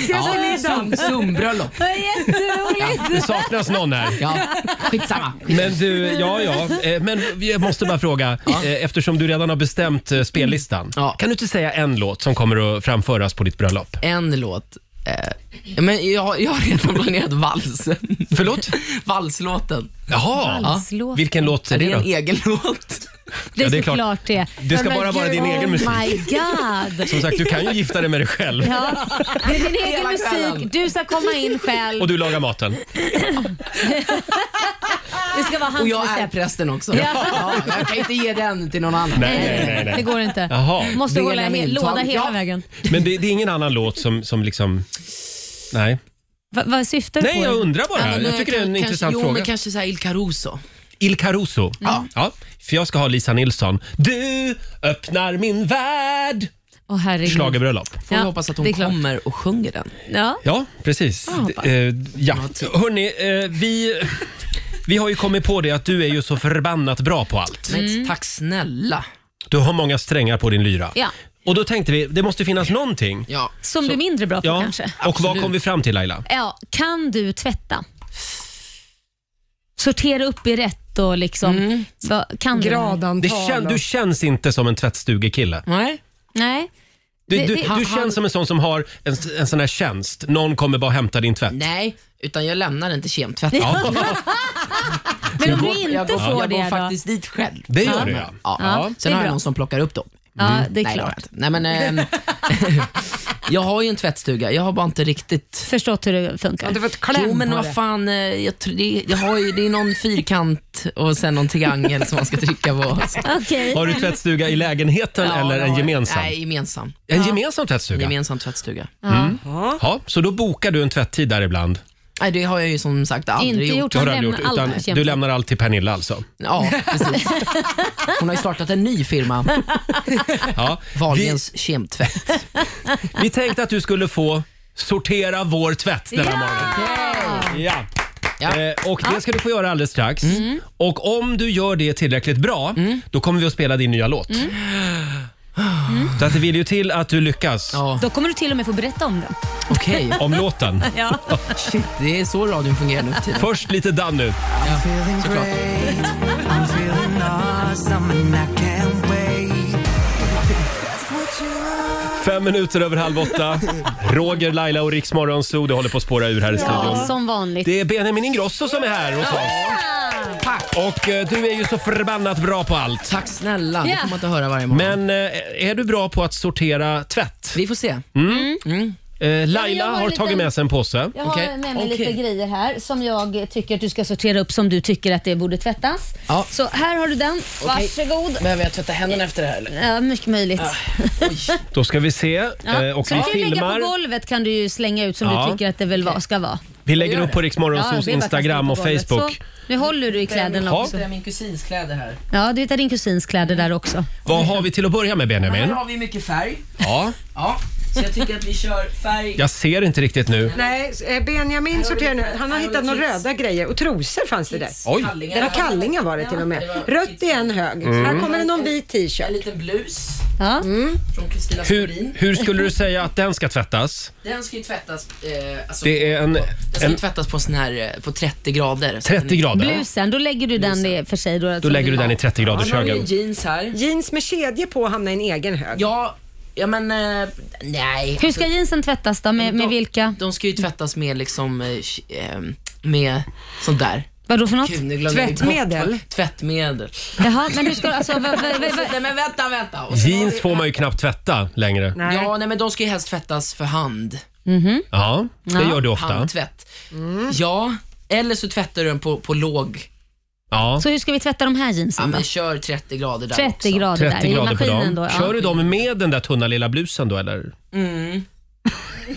[SPEAKER 8] Ja, Zoom- Zoom-bröllop.
[SPEAKER 6] Det är jätteroligt.
[SPEAKER 1] Det saknas någon här.
[SPEAKER 8] Ja, skitsamma.
[SPEAKER 1] Men du, ja ja. Eh, Men jag måste bara fråga, eh, eftersom du redan har bestämt eh, spellistan.
[SPEAKER 8] Ja.
[SPEAKER 1] Kan du inte säga en låt som kommer att framföras på ditt bröllop?
[SPEAKER 8] En låt. Eh, men jag, jag har redan planerat valsen.
[SPEAKER 1] Förlåt?
[SPEAKER 8] Valslåten.
[SPEAKER 1] Jaha!
[SPEAKER 6] Valslåten.
[SPEAKER 1] Vilken låt är
[SPEAKER 8] Det
[SPEAKER 1] det
[SPEAKER 8] är en
[SPEAKER 1] då?
[SPEAKER 8] egen låt.
[SPEAKER 6] Det är,
[SPEAKER 1] Ja, det är klart.
[SPEAKER 6] såklart det.
[SPEAKER 1] Det ska
[SPEAKER 6] Men
[SPEAKER 1] bara vara
[SPEAKER 6] gud,
[SPEAKER 1] din egen musik.
[SPEAKER 6] Oh my god.
[SPEAKER 1] Som sagt, du kan ju gifta dig med dig själv.
[SPEAKER 6] Ja, det är din egen
[SPEAKER 8] Hela kvällen.
[SPEAKER 6] musik, du ska komma in själv.
[SPEAKER 1] Och du lagar maten.
[SPEAKER 6] Det ska vara hans
[SPEAKER 8] Och jag är
[SPEAKER 6] recept.
[SPEAKER 8] prästen också. Ja, jag kan inte ge den till någon annan.
[SPEAKER 1] Nej, nej, nej.
[SPEAKER 6] Det
[SPEAKER 1] nej.
[SPEAKER 6] går inte.
[SPEAKER 1] Jaha.
[SPEAKER 6] Måste
[SPEAKER 8] Benjamin
[SPEAKER 6] hålla he- låda
[SPEAKER 8] Tag-
[SPEAKER 6] hela
[SPEAKER 8] Ja.
[SPEAKER 6] vägen.
[SPEAKER 1] Men det, det är ingen annan låt som, som liksom... Nej.
[SPEAKER 6] Va, vad syftar du
[SPEAKER 1] Nej,
[SPEAKER 6] på?
[SPEAKER 1] jag undrar bara.
[SPEAKER 8] Ja, men,
[SPEAKER 1] jag
[SPEAKER 8] eh,
[SPEAKER 1] tycker det är en
[SPEAKER 8] kanske,
[SPEAKER 1] intressant
[SPEAKER 8] jo,
[SPEAKER 1] fråga.
[SPEAKER 8] Men kanske så här Il Caruso. Mm.
[SPEAKER 1] Il Caruso. Ja. För jag ska ha Lisa Nilsson. Du öppnar min värld.
[SPEAKER 6] Åh herregud.
[SPEAKER 1] Schlagerbröllop.
[SPEAKER 8] Får
[SPEAKER 6] Ja,
[SPEAKER 8] vi hoppas att
[SPEAKER 6] det är
[SPEAKER 8] hon
[SPEAKER 6] klart.
[SPEAKER 8] kommer och sjunger den.
[SPEAKER 6] Ja.
[SPEAKER 1] Ja, precis.
[SPEAKER 8] Ah,
[SPEAKER 1] D- eh, ja. Hörni, eh, vi, vi har ju kommit på det att du är ju så förbannat bra på allt.
[SPEAKER 8] Men tack snälla.
[SPEAKER 1] Du har många strängar på din lyra.
[SPEAKER 6] Mm. Ja.
[SPEAKER 1] Och då tänkte vi, det måste finnas någonting.
[SPEAKER 8] Ja.
[SPEAKER 6] Som du är mindre bra på
[SPEAKER 1] Ja.
[SPEAKER 6] kanske.
[SPEAKER 1] Och vad kom vi fram till Laila?
[SPEAKER 6] Ja, kan du tvätta? Sortera upp i rätt och liksom...
[SPEAKER 8] Mm.
[SPEAKER 6] Va, kan du?
[SPEAKER 1] Det
[SPEAKER 3] Gradantal.
[SPEAKER 1] kän, du känns inte som en tvättstugekille.
[SPEAKER 8] Nej.
[SPEAKER 6] Nej.
[SPEAKER 1] Du,
[SPEAKER 6] Det-
[SPEAKER 1] du,
[SPEAKER 6] det-
[SPEAKER 1] du
[SPEAKER 8] han-
[SPEAKER 1] känns som en sån som har en, en sån här tjänst. Någon kommer bara hämta din tvätt.
[SPEAKER 8] Nej, utan jag lämnar den till kemtvätten.
[SPEAKER 1] Ja,
[SPEAKER 6] Men om du
[SPEAKER 8] Jag går- jag
[SPEAKER 6] inte
[SPEAKER 8] går,
[SPEAKER 6] får
[SPEAKER 8] jag
[SPEAKER 6] det
[SPEAKER 8] går
[SPEAKER 6] då?
[SPEAKER 8] faktiskt dit själv.
[SPEAKER 1] det gör du ja.
[SPEAKER 8] Ja.
[SPEAKER 6] Ja, det
[SPEAKER 8] Sen
[SPEAKER 6] är
[SPEAKER 8] har jag
[SPEAKER 6] bra.
[SPEAKER 8] någon som plockar upp dem.
[SPEAKER 6] Ja, det är
[SPEAKER 8] Mm. Nej, det har
[SPEAKER 6] klart.
[SPEAKER 8] jag inte. Nej, men, ehm, jag har ju en tvättstuga, jag har bara inte riktigt...
[SPEAKER 6] Förstått hur det funkar.
[SPEAKER 3] Det var ett
[SPEAKER 8] Jo
[SPEAKER 3] kläm
[SPEAKER 8] men
[SPEAKER 3] på
[SPEAKER 8] vad
[SPEAKER 3] det.
[SPEAKER 8] fan, eh, jag, tr- det, jag har ju, det är någon fyrkant och sen någon triangel som man ska trycka på.
[SPEAKER 6] Okej.
[SPEAKER 1] Har du tvättstuga i lägenheten
[SPEAKER 8] Ja,
[SPEAKER 1] eller
[SPEAKER 8] jag
[SPEAKER 1] en
[SPEAKER 8] har-
[SPEAKER 1] gemensam?
[SPEAKER 8] Nej, gemensam.
[SPEAKER 1] En gemensam tvättstuga?
[SPEAKER 8] Gemensam tvättstuga.
[SPEAKER 1] Ja, så då bokar du en tvätttid där ibland?
[SPEAKER 8] Nej, det har jag ju som sagt aldrig
[SPEAKER 6] Inte gjort.
[SPEAKER 1] Det har du
[SPEAKER 6] Jag
[SPEAKER 1] aldrig gjort,
[SPEAKER 6] lämnar
[SPEAKER 1] utan
[SPEAKER 6] allt.
[SPEAKER 1] du lämnar allt till Pernilla alltså?
[SPEAKER 8] Ja, precis. Hon har ju startat en ny firma,
[SPEAKER 1] Ja. Vi,
[SPEAKER 8] Wahlgrens kemtvätt.
[SPEAKER 1] vi tänkte att du skulle få sortera vår tvätt denna morgon. Ja.
[SPEAKER 8] Ja.
[SPEAKER 1] Eh, och det ska du få göra alldeles strax.
[SPEAKER 6] Mm.
[SPEAKER 1] Och om du gör det tillräckligt bra, då kommer vi att spela din nya låt.
[SPEAKER 6] Mm.
[SPEAKER 1] Mm. Så att det vill ju till att du lyckas.
[SPEAKER 8] Ja,
[SPEAKER 6] Då kommer du till och med få berätta om den.
[SPEAKER 8] okej.
[SPEAKER 1] Om låten.
[SPEAKER 6] Ja.
[SPEAKER 8] Shit, det är så radion fungerar nu för tiden.
[SPEAKER 1] Först lite Danny.
[SPEAKER 4] Feeling great. I'm feeling awesome and I can't wait. That's what you are.
[SPEAKER 1] Fem minuter över halv åtta. Roger, Laila och Riks Morgonzoo, det håller på att spåra ur här i studion.
[SPEAKER 6] Ja, som vanligt.
[SPEAKER 1] Det är Benjamin Ingrosso som är här hos oss. Och eh, du är ju så förbannat bra på allt.
[SPEAKER 8] Tack snälla, det
[SPEAKER 6] Ja.
[SPEAKER 8] får man inte höra varje morgon.
[SPEAKER 1] Men eh, är du bra på att sortera tvätt?
[SPEAKER 8] Vi får se.
[SPEAKER 1] Eh, Laila
[SPEAKER 6] jag har
[SPEAKER 1] har
[SPEAKER 6] en
[SPEAKER 1] tagit
[SPEAKER 6] liten-
[SPEAKER 1] med sig en påse.
[SPEAKER 6] Jag har
[SPEAKER 8] Okej.
[SPEAKER 6] med mig
[SPEAKER 8] Okej.
[SPEAKER 6] lite grejer här som jag tycker att du ska sortera upp som du tycker att det borde tvättas.
[SPEAKER 8] Ja.
[SPEAKER 6] Så här har du den. Varsågod.
[SPEAKER 8] Behöver jag tvätta händerna efter det här eller?
[SPEAKER 6] Ja, mycket möjligt.
[SPEAKER 1] Då ska vi se.
[SPEAKER 6] Ja.
[SPEAKER 1] Ah, Eh, och
[SPEAKER 6] så
[SPEAKER 1] vi
[SPEAKER 6] du kan ju lägga
[SPEAKER 1] filmar.
[SPEAKER 6] på golvet kan du ju slänga ut som
[SPEAKER 1] Ja.
[SPEAKER 6] du tycker att det väl var, ska vara.
[SPEAKER 1] Vi lägger upp på Rix
[SPEAKER 6] det är bara
[SPEAKER 1] Morgonzoos
[SPEAKER 6] att kasta
[SPEAKER 1] Instagram
[SPEAKER 6] på
[SPEAKER 1] och
[SPEAKER 6] golvet.
[SPEAKER 1] Facebook.
[SPEAKER 6] Så, nu håller du i kläderna
[SPEAKER 1] Ja.
[SPEAKER 6] också.
[SPEAKER 8] Det är min kusins kläder här.
[SPEAKER 6] Ja, du hittar din kusins kläder där också.
[SPEAKER 1] Vad har vi till att börja med
[SPEAKER 8] Här
[SPEAKER 1] Benjamin?
[SPEAKER 8] har vi mycket färg.
[SPEAKER 1] Ja.
[SPEAKER 8] Ja, så jag tycker att vi kör färg.
[SPEAKER 1] Jag ser inte riktigt nu.
[SPEAKER 3] Nej, eh, Benjamin sorterar nu. Han har hittat några röda grejer och trosor fanns det där.
[SPEAKER 1] Oj.
[SPEAKER 8] kallingar.
[SPEAKER 3] Det var kallingar var det till och med. Rött i en hög.
[SPEAKER 1] Mm.
[SPEAKER 3] Här kommer det någon vit
[SPEAKER 8] En
[SPEAKER 3] t-shirt.
[SPEAKER 8] liten blus
[SPEAKER 6] Ja.
[SPEAKER 8] från Kristina
[SPEAKER 1] Hur,
[SPEAKER 8] Skolin.
[SPEAKER 1] hur skulle du säga att den ska tvättas?
[SPEAKER 8] Den ska ju tvättas... Eh, alltså,
[SPEAKER 1] Det är en,
[SPEAKER 8] den ska
[SPEAKER 1] en
[SPEAKER 8] ju tvättas på sån här eh, på 30 grader. Så att
[SPEAKER 1] 30
[SPEAKER 8] den är-
[SPEAKER 1] grader.
[SPEAKER 6] Blusen, då lägger du den i- för sig. Då, alltså.
[SPEAKER 1] Då lägger du den i 30
[SPEAKER 8] Ja,
[SPEAKER 1] graders
[SPEAKER 8] nu har vi
[SPEAKER 1] högen.
[SPEAKER 8] ju jeans här.
[SPEAKER 3] Jeans med kedja på hamnar i en egen hög.
[SPEAKER 8] Ja, ja men eh, nej.
[SPEAKER 6] Hur ska jeansen tvättas då? Med, med vilka?
[SPEAKER 8] De ska ju tvättas med liksom, eh, sh- ehm, med sånt där.
[SPEAKER 6] Vadå för något?
[SPEAKER 8] Gud, nu glömde jag ju bort
[SPEAKER 3] Tvättmedel?
[SPEAKER 8] vad- Tvättmedel.
[SPEAKER 6] Jaha, men du ska alltså... vad- vad- vad-
[SPEAKER 8] Nej men vänta, vänta. Och så-
[SPEAKER 1] Jeans får man ju knappt tvätta längre.
[SPEAKER 3] Nej.
[SPEAKER 8] Ja, nej men de ska ju helst tvättas för hand.
[SPEAKER 1] Ja, det gör du ofta.
[SPEAKER 8] Handtvätt. Ja, eller så tvättar du den på, på låg.
[SPEAKER 1] Ja.
[SPEAKER 6] Så hur ska vi tvätta de här
[SPEAKER 8] Ja,
[SPEAKER 6] jeansen då?
[SPEAKER 8] men kör 30 grader där
[SPEAKER 6] 30
[SPEAKER 8] också.
[SPEAKER 6] grader där
[SPEAKER 1] 30
[SPEAKER 6] i
[SPEAKER 1] grader på
[SPEAKER 6] maskinen
[SPEAKER 1] dem.
[SPEAKER 6] då.
[SPEAKER 1] Kör du dem med den där tunna lilla blusen då eller?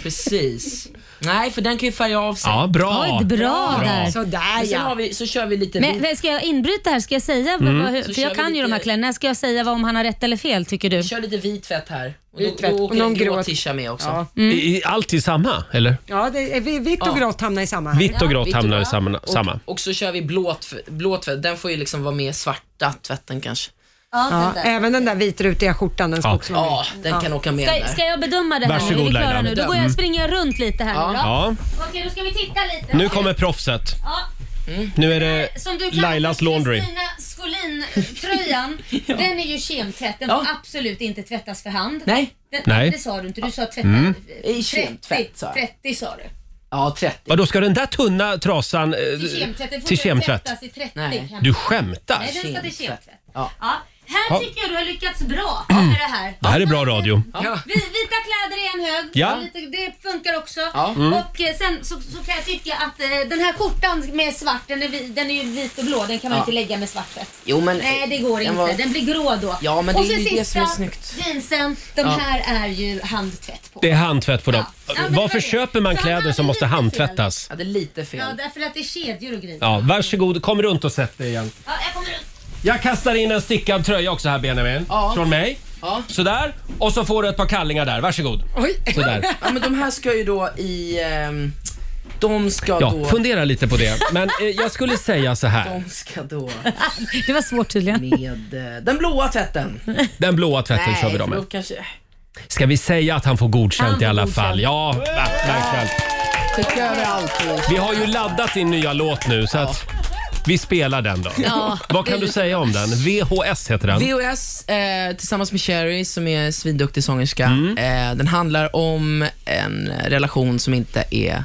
[SPEAKER 8] Precis. Nej, för den kan ju färga av sig.
[SPEAKER 1] Ja, bra.
[SPEAKER 6] Oj, bra
[SPEAKER 1] Bra.
[SPEAKER 6] där.
[SPEAKER 3] Sådär
[SPEAKER 8] Sen
[SPEAKER 3] ja.
[SPEAKER 8] har vi, så kör vi lite
[SPEAKER 6] Men men ska jag inbryta här? Ska jag säga?
[SPEAKER 1] Mm.
[SPEAKER 6] vad- vad-
[SPEAKER 8] Så
[SPEAKER 6] För
[SPEAKER 8] kör
[SPEAKER 6] jag
[SPEAKER 8] vi
[SPEAKER 6] kan ju de här
[SPEAKER 8] lite-
[SPEAKER 6] kläderna. Ska jag säga vad om han har rätt eller fel tycker du?
[SPEAKER 8] Vi kör lite vit tvätt här. Och
[SPEAKER 3] Vit tvätt.
[SPEAKER 8] Då, då
[SPEAKER 3] Och
[SPEAKER 8] åker
[SPEAKER 3] någon
[SPEAKER 8] en grå
[SPEAKER 3] grå.
[SPEAKER 8] tisha med också.
[SPEAKER 3] Ja.
[SPEAKER 1] I, i, allt i samma eller?
[SPEAKER 3] Ja, det är vi- vitt och grått hamnar i samma.
[SPEAKER 1] Vitt och grått
[SPEAKER 8] vitt och
[SPEAKER 1] hamnar i
[SPEAKER 8] grått.
[SPEAKER 1] samma.
[SPEAKER 8] Och,
[SPEAKER 1] samma.
[SPEAKER 8] och så kör vi blå, tv- blå tvätt. Den får ju liksom vara med i svarta tvätten kanske.
[SPEAKER 3] Ja, även den där vitrutiga skjortan, den ska
[SPEAKER 1] Ja.
[SPEAKER 3] också vara med.
[SPEAKER 8] Ja, Mm. den kan åka med
[SPEAKER 6] Ska,
[SPEAKER 8] där.
[SPEAKER 6] ska jag bedöma det här nu? Är
[SPEAKER 1] Varsågod,
[SPEAKER 6] vi klara
[SPEAKER 1] Laila. Mm.
[SPEAKER 6] nu? Då går jag, springer jag runt lite här
[SPEAKER 8] Ja.
[SPEAKER 6] nu då.
[SPEAKER 1] Ja,
[SPEAKER 6] Okej, då ska vi titta lite.
[SPEAKER 1] nu kommer proffset.
[SPEAKER 6] Ja.
[SPEAKER 1] Nu är det
[SPEAKER 6] Som du kallar
[SPEAKER 1] Lailas
[SPEAKER 6] för
[SPEAKER 1] laundry.
[SPEAKER 6] Kristina Skolin-tröjan, den är ju kemtvätt. Den får
[SPEAKER 8] Ja.
[SPEAKER 6] absolut inte tvättas för hand.
[SPEAKER 8] Nej,
[SPEAKER 6] Den,
[SPEAKER 1] Nej. Mm.
[SPEAKER 6] Det sa du inte. Du sa tvätta, 30,
[SPEAKER 8] i kemtvätt sa jag.
[SPEAKER 6] 30 sa du.
[SPEAKER 8] Ja, 30.
[SPEAKER 1] Vadå, ska den där tunna trasan eh,
[SPEAKER 6] Till kemtvätt. Den får
[SPEAKER 1] till
[SPEAKER 6] inte
[SPEAKER 1] kemtvätt?
[SPEAKER 6] tvättas i 30.
[SPEAKER 8] Nej.
[SPEAKER 6] kan-
[SPEAKER 1] Du skämtar?
[SPEAKER 6] Nej, den ska till
[SPEAKER 8] Kemtvätt.
[SPEAKER 6] kemtvätt.
[SPEAKER 8] Ja.
[SPEAKER 6] Ja. Här
[SPEAKER 1] Ja.
[SPEAKER 6] tycker jag du har lyckats bra med det här.
[SPEAKER 1] Det här är bra radio.
[SPEAKER 8] Ja.
[SPEAKER 6] Vi, vita kläder i en hög,
[SPEAKER 1] Ja.
[SPEAKER 6] Och lite, det funkar också.
[SPEAKER 8] Ja. Mm.
[SPEAKER 6] Och eh, sen så, så kan jag tycka att eh, den här skjortan med svart, den är, vi- den är ju vit och blå, den kan man
[SPEAKER 8] Ja.
[SPEAKER 6] inte lägga med svart tvätt.
[SPEAKER 8] Jo, men,
[SPEAKER 6] Nej det går
[SPEAKER 8] den
[SPEAKER 6] inte,
[SPEAKER 8] var-
[SPEAKER 6] den blir grå då.
[SPEAKER 8] Ja, men
[SPEAKER 6] och
[SPEAKER 8] det är
[SPEAKER 6] så
[SPEAKER 8] ju
[SPEAKER 6] sista,
[SPEAKER 8] det som är snyggt.
[SPEAKER 6] jeansen, de
[SPEAKER 8] Ja.
[SPEAKER 6] här är ju handtvätt på.
[SPEAKER 1] Det är handtvätt på dem.
[SPEAKER 6] Ja, men det var
[SPEAKER 1] Varför
[SPEAKER 6] det.
[SPEAKER 1] köper man
[SPEAKER 6] Så han
[SPEAKER 1] kläder
[SPEAKER 6] hade
[SPEAKER 1] som måste
[SPEAKER 6] lite fel.
[SPEAKER 1] handtvättas?
[SPEAKER 8] Jag hade lite fel.
[SPEAKER 6] Ja, därför att det är kedjor och grejer. Ja.
[SPEAKER 1] Ja, varsågod, kom runt och sätt dig igen.
[SPEAKER 6] jag kommer ut.
[SPEAKER 1] Jag kastar in en stickad tröja också här Benjamin.
[SPEAKER 8] Ja.
[SPEAKER 1] Från mig.
[SPEAKER 8] Ja.
[SPEAKER 1] Sådär. Och så får du ett par kallingar där, varsågod.
[SPEAKER 3] Oj.
[SPEAKER 1] Sådär.
[SPEAKER 8] Ja, men de här ska ju då i... ehm, de ska
[SPEAKER 1] Ja,
[SPEAKER 8] då...
[SPEAKER 1] fundera lite på det. Men eh, jag skulle säga så här.
[SPEAKER 8] De ska då
[SPEAKER 6] Det var svårt tydligen. Mm.
[SPEAKER 8] med eh, den blåa tvätten.
[SPEAKER 1] Den blåa tvätten kör vi
[SPEAKER 8] för
[SPEAKER 1] dem med.
[SPEAKER 8] då kanske...
[SPEAKER 1] Ska vi säga att han får godkänt
[SPEAKER 6] Han får
[SPEAKER 1] i alla
[SPEAKER 6] godkänt.
[SPEAKER 1] fall? Ja, va, verkligen.
[SPEAKER 8] Skicka över allt.
[SPEAKER 1] Vi har ju laddat din nya låt nu så att vi spelar den då.
[SPEAKER 6] Ja.
[SPEAKER 1] Vad kan du säga om den? VHS heter den.
[SPEAKER 8] VOS eh, tillsammans med Cherry som är en svinduktig sångerska. Eh, den handlar om en relation som inte är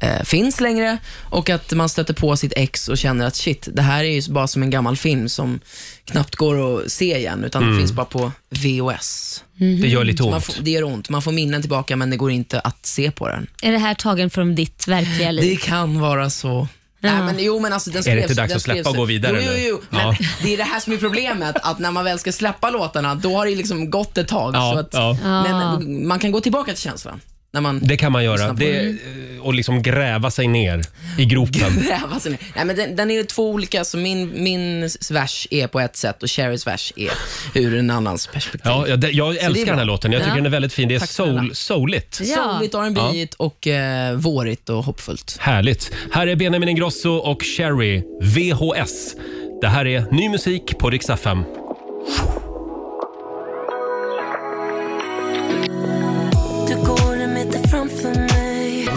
[SPEAKER 8] eh, finns längre och att man stöter på sitt ex och känner att shit, det här är ju bara som en gammal film som knappt går att se igen utan det finns bara på VOS.
[SPEAKER 1] Det gör lite
[SPEAKER 8] Man
[SPEAKER 1] ont.
[SPEAKER 8] får, det gör ont. Man får minnen tillbaka men det går inte att se på den.
[SPEAKER 6] Är det här tagen från ditt verkliga liv?
[SPEAKER 8] Det kan vara så. Nej, men, jo, men alltså, den
[SPEAKER 1] Är det
[SPEAKER 8] skrevs,
[SPEAKER 1] inte dags
[SPEAKER 8] den
[SPEAKER 1] att släppa
[SPEAKER 8] skrevs-
[SPEAKER 1] och gå vidare
[SPEAKER 8] jo, jo, jo.
[SPEAKER 1] nu?
[SPEAKER 8] Men
[SPEAKER 1] Ja.
[SPEAKER 8] Det är det här som är problemet, att när man väl ska släppa låtarna, då har det liksom gått ett tag.
[SPEAKER 1] Ja,
[SPEAKER 8] så att,
[SPEAKER 1] ja.
[SPEAKER 8] Men man kan gå tillbaka till känslan. När man
[SPEAKER 1] Det kan man göra.
[SPEAKER 8] Lyssna på
[SPEAKER 1] Det, eh, och liksom gräva sig ner i gropen.
[SPEAKER 8] gräva sig ner. Nej, men den, den är ju två olika, så min, min vers är på ett sätt och Cherrys vers är ur en annans perspektiv.
[SPEAKER 1] Ja, jag, jag älskar
[SPEAKER 8] bra.
[SPEAKER 1] den här låten. Jag tycker
[SPEAKER 6] Ja.
[SPEAKER 1] den är väldigt fin. Det är
[SPEAKER 8] Tack snälla.
[SPEAKER 1] soul, souligt.
[SPEAKER 6] Ja.
[SPEAKER 8] Soligt, rb och eh, vårigt och hoppfullt.
[SPEAKER 1] Härligt. Här är Benjamin Ingrosso och Cherry, VHS. Det här är ny musik på Rix FM.
[SPEAKER 4] Du går en meter framför mig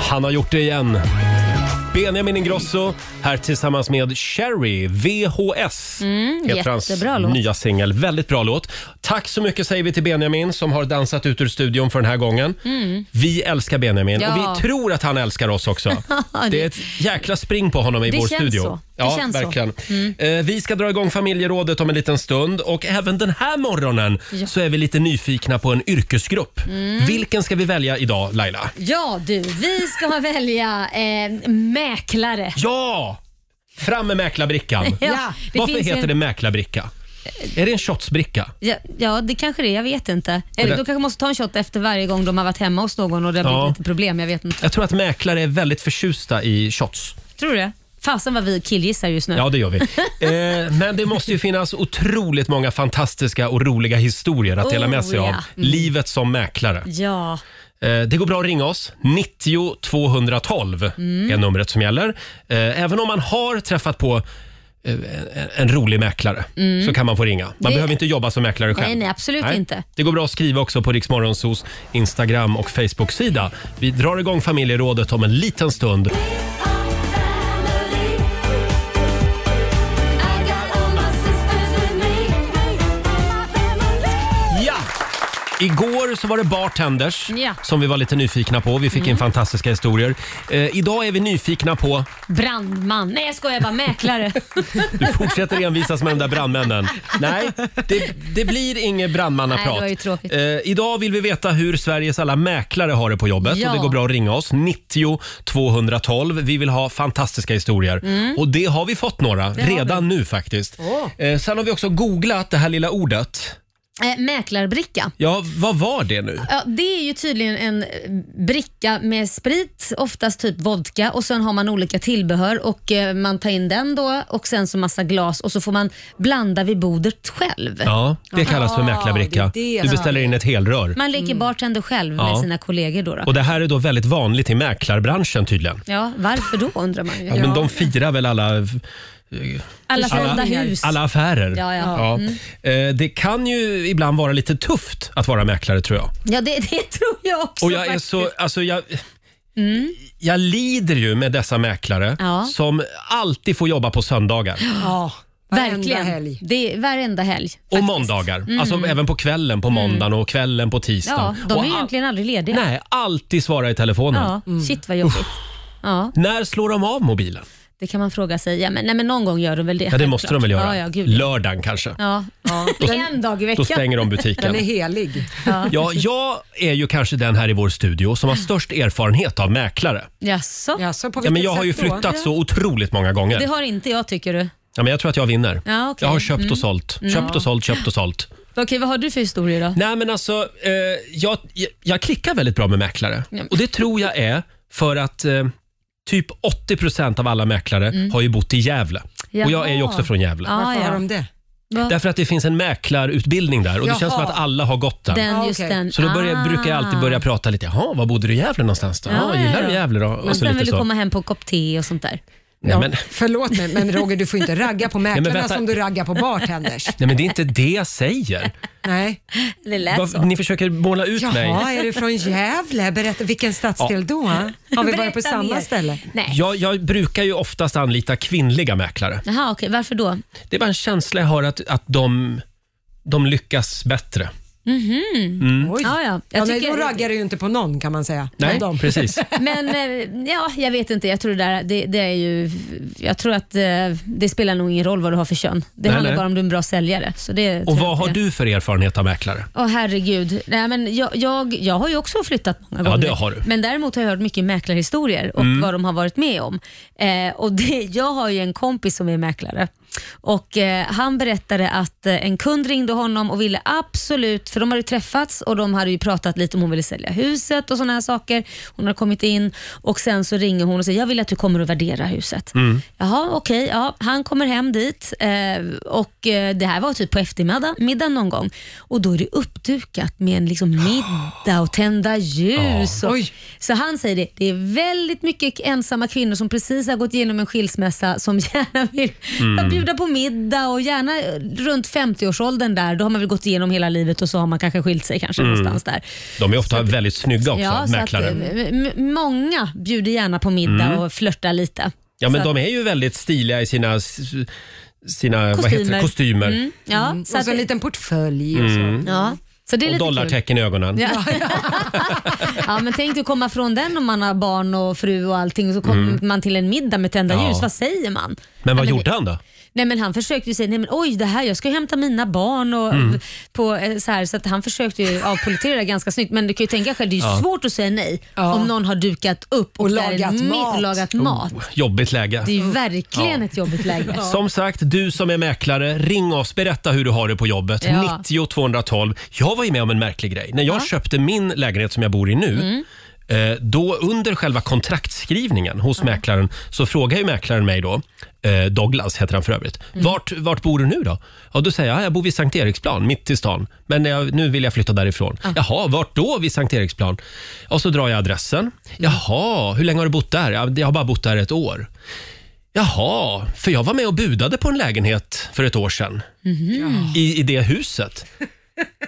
[SPEAKER 1] Han har gjort det igen. Benjamin Ingrosso här tillsammans med Cherry VHS. heter hans
[SPEAKER 6] Mm, jättebra låt.
[SPEAKER 1] nya singel. Väldigt bra låt. Tack så mycket säger vi till Benjamin som har dansat ut ur studion för den här gången. Vi älskar Benjamin
[SPEAKER 6] Mm. Ja.
[SPEAKER 1] och vi tror att han älskar oss också. Det är ett jäkla spring på honom i
[SPEAKER 6] Det
[SPEAKER 1] vår
[SPEAKER 6] känns
[SPEAKER 1] studio.
[SPEAKER 6] så. Det
[SPEAKER 1] ja,
[SPEAKER 6] känns så. Mm.
[SPEAKER 1] verkligen. Eh, Vi ska dra igång familjerådet om en liten stund och även den här morgonen
[SPEAKER 6] Ja. Mm.
[SPEAKER 1] så är vi lite nyfikna på en yrkesgrupp. Vilken ska vi välja idag Laila?
[SPEAKER 6] Ja du, vi ska välja eh, mäklare.
[SPEAKER 1] Ja! Fram med mäklarbrickan.
[SPEAKER 6] Ja, det
[SPEAKER 1] Varför
[SPEAKER 6] finns ju
[SPEAKER 1] heter
[SPEAKER 6] en-
[SPEAKER 1] det mäklarbricka? Är det en shotsbricka?
[SPEAKER 6] Ja, ja, det kanske det är. Jag vet inte.
[SPEAKER 1] Det
[SPEAKER 6] Eller
[SPEAKER 1] där-
[SPEAKER 6] då kanske man måste ta en shot efter varje gång de har varit hemma hos någon och det har blivit
[SPEAKER 1] Ja.
[SPEAKER 6] lite problem. Jag vet inte.
[SPEAKER 1] Jag tror att mäklare är väldigt förtjusta i shots.
[SPEAKER 6] Tror du det? Fasen vad vi killgissar just nu.
[SPEAKER 1] Ja, det gör vi. Eh, men det måste ju finnas otroligt många fantastiska och roliga historier att dela med sig
[SPEAKER 6] Oh,
[SPEAKER 1] av.
[SPEAKER 6] ja. Mm.
[SPEAKER 1] Livet som mäklare.
[SPEAKER 6] Ja.
[SPEAKER 1] Eh, Det går bra att ringa oss. 90 212 är numret som gäller. Eh, Även om man har träffat på eh, en- en rolig mäklare så kan man få ringa. Man
[SPEAKER 6] Mm. Det-
[SPEAKER 1] behöver inte jobba som mäklare själv.
[SPEAKER 6] nej, absolut inte.
[SPEAKER 1] Det går bra att skriva också på Riksmorgonsos Instagram och Facebook-sida. Vi drar igång familjerådet om en liten stund. Ja! Igår så var det bartenders
[SPEAKER 6] Ja. Mm.
[SPEAKER 1] som vi var lite nyfikna på. Vi fick in fantastiska historier. Eh, idag är vi nyfikna på
[SPEAKER 6] Brandman. Nej jag skojar bara. Mäklare.
[SPEAKER 1] Du fortsätter envisas med de där brandmännen. Nej, det, det blir inget brandmannaprat.
[SPEAKER 6] Nej, det var ju tråkigt.
[SPEAKER 1] Eh, idag vill vi veta hur Sveriges alla mäklare har det på jobbet.
[SPEAKER 6] Ja.
[SPEAKER 1] Och det går bra att ringa oss. 90 212. Vi vill ha fantastiska historier. Och det har vi fått några redan nu faktiskt. Eh, sen har vi också googlat det här lilla ordet.
[SPEAKER 6] eh, mäklarbricka.
[SPEAKER 1] Ja, vad var det nu?
[SPEAKER 6] Ja, det är ju tydligen en eh, bricka med sprit, oftast typ vodka och sen har man olika tillbehör och eh, man tar in den då och sen så massa glas och så får man blanda vid bordet själv.
[SPEAKER 1] Ja, det kallas för
[SPEAKER 3] Ja,
[SPEAKER 1] mäklarbricka.
[SPEAKER 3] det är det.
[SPEAKER 1] Du beställer in ett helrör.
[SPEAKER 6] Man leker bartender själv
[SPEAKER 1] Mm. Ja.
[SPEAKER 6] med sina kollegor då. då.
[SPEAKER 1] Och det här är då väldigt vanligt i mäklarbranschen tydligen.
[SPEAKER 6] Ja, varför då undrar man ju.
[SPEAKER 1] Ja, men de firar väl alla
[SPEAKER 6] Alla
[SPEAKER 1] alla-
[SPEAKER 6] brända hus.
[SPEAKER 1] Alla affärer.
[SPEAKER 6] Ja, ja. Mm.
[SPEAKER 1] Eh, Det kan ju ibland vara lite tufft att vara mäklare tror jag.
[SPEAKER 6] Ja, det, det tror jag också.
[SPEAKER 1] Och jag är
[SPEAKER 6] faktiskt. Mm.
[SPEAKER 1] så, alltså jag, jag lider ju med dessa mäklare
[SPEAKER 6] Ja.
[SPEAKER 1] som alltid får jobba på söndagar
[SPEAKER 3] Ja, varenda
[SPEAKER 6] Verkligen.
[SPEAKER 3] helg.
[SPEAKER 6] Det är varenda helg.
[SPEAKER 1] och måndagar. Alltså även på kvällen på måndagen och kvällen på
[SPEAKER 6] Mm. Ja,
[SPEAKER 1] tisdagen.
[SPEAKER 6] de
[SPEAKER 1] och
[SPEAKER 6] är
[SPEAKER 1] all-
[SPEAKER 6] ju egentligen aldrig lediga.
[SPEAKER 1] Nej, Mm. alltid svara i telefonen.
[SPEAKER 6] Ja, shit vad jobbigt. Ja,
[SPEAKER 1] När slår de av mobilen?
[SPEAKER 6] det kan man fråga sig. Ja, men, nej, men någon gång gör de väl det.
[SPEAKER 1] Ja, det
[SPEAKER 6] självklart.
[SPEAKER 1] måste de väl göra?
[SPEAKER 6] Ja, ja, gud.
[SPEAKER 1] Lördagen kanske.
[SPEAKER 6] Ja. En dag
[SPEAKER 1] Då
[SPEAKER 6] i veckan.
[SPEAKER 1] stänger de
[SPEAKER 3] Den är
[SPEAKER 1] butiken.
[SPEAKER 3] helig.
[SPEAKER 1] Ja, jag är ju kanske den här i vår studio som har störst erfarenhet av mäklare.
[SPEAKER 6] Jaså?
[SPEAKER 3] Jaså, på
[SPEAKER 1] Ja, men
[SPEAKER 3] vilket
[SPEAKER 1] jag har ju
[SPEAKER 3] sätt då?
[SPEAKER 1] flyttat så otroligt många gånger.
[SPEAKER 6] Det har inte jag tycker du.
[SPEAKER 1] Ja, men jag tror att jag vinner.
[SPEAKER 6] Ja, Mm. okej.
[SPEAKER 1] Jag har köpt och sålt, köpt och sålt, köpt och sålt.
[SPEAKER 6] Okej, vad har du för historier då?
[SPEAKER 1] Nej, men alltså, eh, jag, jag- jag klickar väldigt bra med mäklare.
[SPEAKER 6] Ja.
[SPEAKER 1] Och det tror jag är för att eh, typ 80 av alla mäklare har ju bott i Gävle. Och jag är ju
[SPEAKER 6] Mm. Jaha.
[SPEAKER 1] också från Gävle.
[SPEAKER 6] Ja,
[SPEAKER 3] Varför
[SPEAKER 6] ja.
[SPEAKER 3] har de det?
[SPEAKER 6] Va?
[SPEAKER 1] Därför att det finns en mäklarutbildning där och det känns som
[SPEAKER 3] Jaha.
[SPEAKER 1] att alla har gått där.
[SPEAKER 6] Den,
[SPEAKER 3] Ja,
[SPEAKER 6] just
[SPEAKER 3] okej.
[SPEAKER 6] den.
[SPEAKER 1] Så då börjar,
[SPEAKER 6] Ah.
[SPEAKER 1] brukar jag alltid börja prata lite. Jaha, var bodde du i Gävle någonstans då? Ja,
[SPEAKER 6] Ja,
[SPEAKER 1] gillar
[SPEAKER 6] ja,
[SPEAKER 1] du
[SPEAKER 6] ja.
[SPEAKER 1] Gävle då?
[SPEAKER 6] Men
[SPEAKER 1] Och så
[SPEAKER 6] sen
[SPEAKER 1] lite
[SPEAKER 6] vill du
[SPEAKER 1] så.
[SPEAKER 6] komma hem på en kopp te och sånt där.
[SPEAKER 1] Nej, men,
[SPEAKER 3] Ja, förlåt mig, men Roger du får inte ragga på mäklarna
[SPEAKER 1] vänta.
[SPEAKER 3] som du raggar på bartenders.
[SPEAKER 1] nej, men det är inte det jag säger.
[SPEAKER 3] Nej.
[SPEAKER 6] Det lät
[SPEAKER 1] Vad-
[SPEAKER 6] så.
[SPEAKER 1] Ni försöker måla ut mig.
[SPEAKER 3] Jaha, är du från Gävle? Berätta, vilken stadsdel då? Har vi varit på
[SPEAKER 6] Berätta
[SPEAKER 3] samma
[SPEAKER 6] mer.
[SPEAKER 3] ställe?
[SPEAKER 6] Nej.
[SPEAKER 1] Jag, jag brukar ju oftast anlita kvinnliga mäklare.
[SPEAKER 6] Jaha, okej. Varför då?
[SPEAKER 1] Det är bara en känsla jag har att, att de, de lyckas bättre.
[SPEAKER 3] Oj.
[SPEAKER 6] Mm. Ja, ja.
[SPEAKER 3] Ja,
[SPEAKER 6] Jag
[SPEAKER 3] nej,
[SPEAKER 6] tycker-
[SPEAKER 3] då raggar du ju inte på någon kan man säga.
[SPEAKER 1] Nej,
[SPEAKER 3] Men de-
[SPEAKER 1] precis.
[SPEAKER 6] Men eh, ja, jag vet inte. Jag tror det där, det, det är ju, jag tror att eh, det spelar nog ingen roll vad du har för kön. Det handlar
[SPEAKER 1] nej.
[SPEAKER 6] bara om du är en bra säljare. Så det
[SPEAKER 1] Och
[SPEAKER 6] tror jag
[SPEAKER 1] vad har
[SPEAKER 6] inte.
[SPEAKER 1] du för erfarenhet av mäklare?
[SPEAKER 6] Åh herregud. Nej, men jag, jag, jag har ju också flyttat många
[SPEAKER 1] Ja,
[SPEAKER 6] gånger.
[SPEAKER 1] det har du.
[SPEAKER 6] Men däremot har jag hört mycket mäklarhistorier och vad de har varit med om. Eh, och det, jag har ju en kompis som är mäklare. Och eh, Han berättade att eh, en kund ringde honom och ville absolut, för de hade ju träffats och de hade ju pratat lite om hon ville sälja huset och sådana här saker. Hon hade kommit in och sen så ringer hon och säger, jag vill att du kommer och värderar huset. Jaha, okej. ja, han kommer hem dit eh, och eh, det här var typ på eftermiddagen middagen någon gång. Och då är det uppdukat med en liksom middag och tända ljus. Och,
[SPEAKER 3] Oj.
[SPEAKER 6] så han säger det, det
[SPEAKER 1] Mm.
[SPEAKER 6] är väldigt mycket ensamma kvinnor som precis har gått igenom en skilsmässa som gärna vill bjuda bjuda på middag och gärna eh, runt 50-årsåldern där. Då har man väl gått igenom hela livet och så har man kanske skilt sig kanske någonstans där.
[SPEAKER 1] De är ofta väldigt snygga Mm. också,
[SPEAKER 6] Ja, så att,
[SPEAKER 1] mäklare. Mm.
[SPEAKER 6] eh, m- många bjuder gärna på middag och flörtar lite.
[SPEAKER 1] Ja, men
[SPEAKER 6] så
[SPEAKER 1] de är ju väldigt stiliga i sina, sina vad heter det,
[SPEAKER 6] Kostymer.
[SPEAKER 1] kostymer.
[SPEAKER 6] Mm, ja, så
[SPEAKER 3] och
[SPEAKER 6] att,
[SPEAKER 3] så en liten portfölj och så.
[SPEAKER 6] ja. Så det är
[SPEAKER 1] Och
[SPEAKER 6] lite kul.
[SPEAKER 1] dollartecken i ögonen.
[SPEAKER 6] Ja. ja, men tänk dig att komma från den om man har barn och fru och allting och så kommer man till en middag med tända
[SPEAKER 1] Mm. Ja.
[SPEAKER 6] ljus. Vad säger man?
[SPEAKER 1] Men vad
[SPEAKER 6] Ja,
[SPEAKER 1] gjorde
[SPEAKER 6] det-
[SPEAKER 1] han då?
[SPEAKER 6] Nej, men han försökte ju säga nej men oj det här, jag ska ju hämta mina barn och
[SPEAKER 1] Mm.
[SPEAKER 6] på, eh, så, här, så att han försökte ju avpolitera det ganska snyggt. Men du kan ju tänka själv, det är ju svårt att säga nej
[SPEAKER 3] Ja.
[SPEAKER 6] om någon har dukat upp och,
[SPEAKER 3] Och
[SPEAKER 6] där är
[SPEAKER 3] lagat
[SPEAKER 6] mitt-
[SPEAKER 3] mat. Mm.
[SPEAKER 6] lagat mat.
[SPEAKER 1] Jobbigt läge.
[SPEAKER 6] Det är ju verkligen
[SPEAKER 1] Oh. Ja.
[SPEAKER 6] ett jobbigt läge.
[SPEAKER 1] Som sagt, du som är mäklare, ring oss. Berätta hur du har det på jobbet.
[SPEAKER 6] Ja.
[SPEAKER 1] 90 212. Jag var ju med om en märklig grej. När jag köpte min lägenhet som jag bor i nu, eh, då under själva kontraktskrivningen hos mäklaren så frågar ju mäklaren mig då, eh, Douglas heter han för övrigt, vart, vart bor du nu då? Ja, då säger jag, "Ja, jag bor vid Sankt Eriksplan, mitt i stan. Men jag, nu vill jag flytta därifrån. Jaha, vart då vid Sankt Eriksplan? Och så drar jag adressen. Jaha, hur länge har du bott där? "Ja, Jag har bara bott där ett år. Jaha, för jag var med och budade på en lägenhet för ett år sedan. I, I det huset.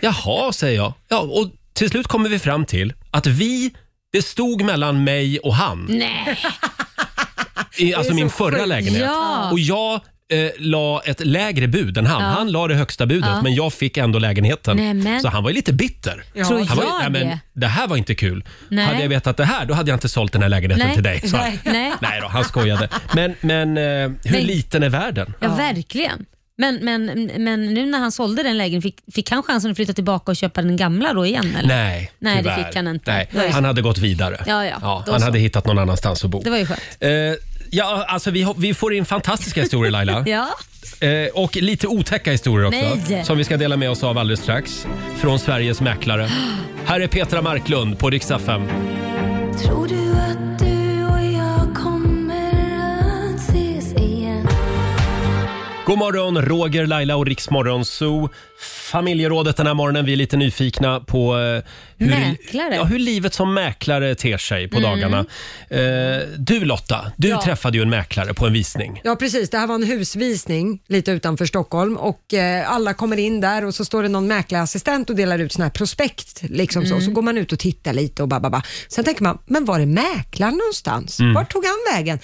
[SPEAKER 1] Jaha, säger jag. Ja, och till slut kommer vi fram till att vi, det stod mellan mig och han.
[SPEAKER 6] Nej,
[SPEAKER 1] I, alltså min förra lägenhet.
[SPEAKER 6] Ja.
[SPEAKER 1] Och jag eh, la ett lägre bud än han. Han la det högsta budet, men jag fick ändå lägenheten.
[SPEAKER 6] Nej, men.
[SPEAKER 1] Så han var ju lite bitter.
[SPEAKER 6] tror
[SPEAKER 1] Han
[SPEAKER 6] jag
[SPEAKER 1] var, ju- nej, men,
[SPEAKER 6] det.
[SPEAKER 1] det här var inte kul.
[SPEAKER 6] Nej.
[SPEAKER 1] Hade jag vetat det här, då hade jag inte sålt den här lägenheten
[SPEAKER 6] Nej.
[SPEAKER 1] till dig. sa han.
[SPEAKER 6] Nej.
[SPEAKER 1] nej då, han skojade. Men, men eh, hur
[SPEAKER 6] Nej.
[SPEAKER 1] liten är världen?
[SPEAKER 6] Ja, verkligen. Men, men, men nu när han sålde den lägenheten, fick, fick han chansen att flytta tillbaka och köpa den gamla då igen? Eller?
[SPEAKER 1] Nej,
[SPEAKER 6] Nej, det
[SPEAKER 1] tyvärr.
[SPEAKER 6] fick han inte.
[SPEAKER 1] Nej,
[SPEAKER 6] Nej.
[SPEAKER 1] han hade gått vidare.
[SPEAKER 6] Ja, ja. Då
[SPEAKER 1] han
[SPEAKER 6] så.
[SPEAKER 1] hade hittat någon annanstans att bo.
[SPEAKER 6] Det var ju skönt.
[SPEAKER 1] Eh, ja, alltså vi, har- vi får in fantastiska historier Laila.
[SPEAKER 6] Ja.
[SPEAKER 1] eh, och lite otäcka historier också.
[SPEAKER 6] Nej.
[SPEAKER 1] Som vi ska dela med oss av alldeles strax. Från Sveriges mäklare. Här är Petra Marklund på Riksa 5.
[SPEAKER 4] Tror du att du och jag kommer att ses igen?
[SPEAKER 1] God morgon, Roger, Laila och Riksmorgon Zoo. Familjerådet den här morgonen. Vi är lite nyfikna på eh, hur,
[SPEAKER 6] Mäklare.
[SPEAKER 1] ja, hur livet som mäklare ter sig
[SPEAKER 3] Mm.
[SPEAKER 1] på dagarna. Eh, du Lotta, du träffade ju en mäklare på en visning.
[SPEAKER 3] Ja precis, det här var en husvisning lite utanför Stockholm och eh, alla kommer in där och så står det någon mäklarassistent och delar ut såna här prospekt. Liksom
[SPEAKER 6] Mm.
[SPEAKER 3] så. så går man ut och tittar lite och ba, ba, ba. Sen tänker man, men var är mäklaren någonstans?
[SPEAKER 6] Mm.
[SPEAKER 3] Vart tog han vägen?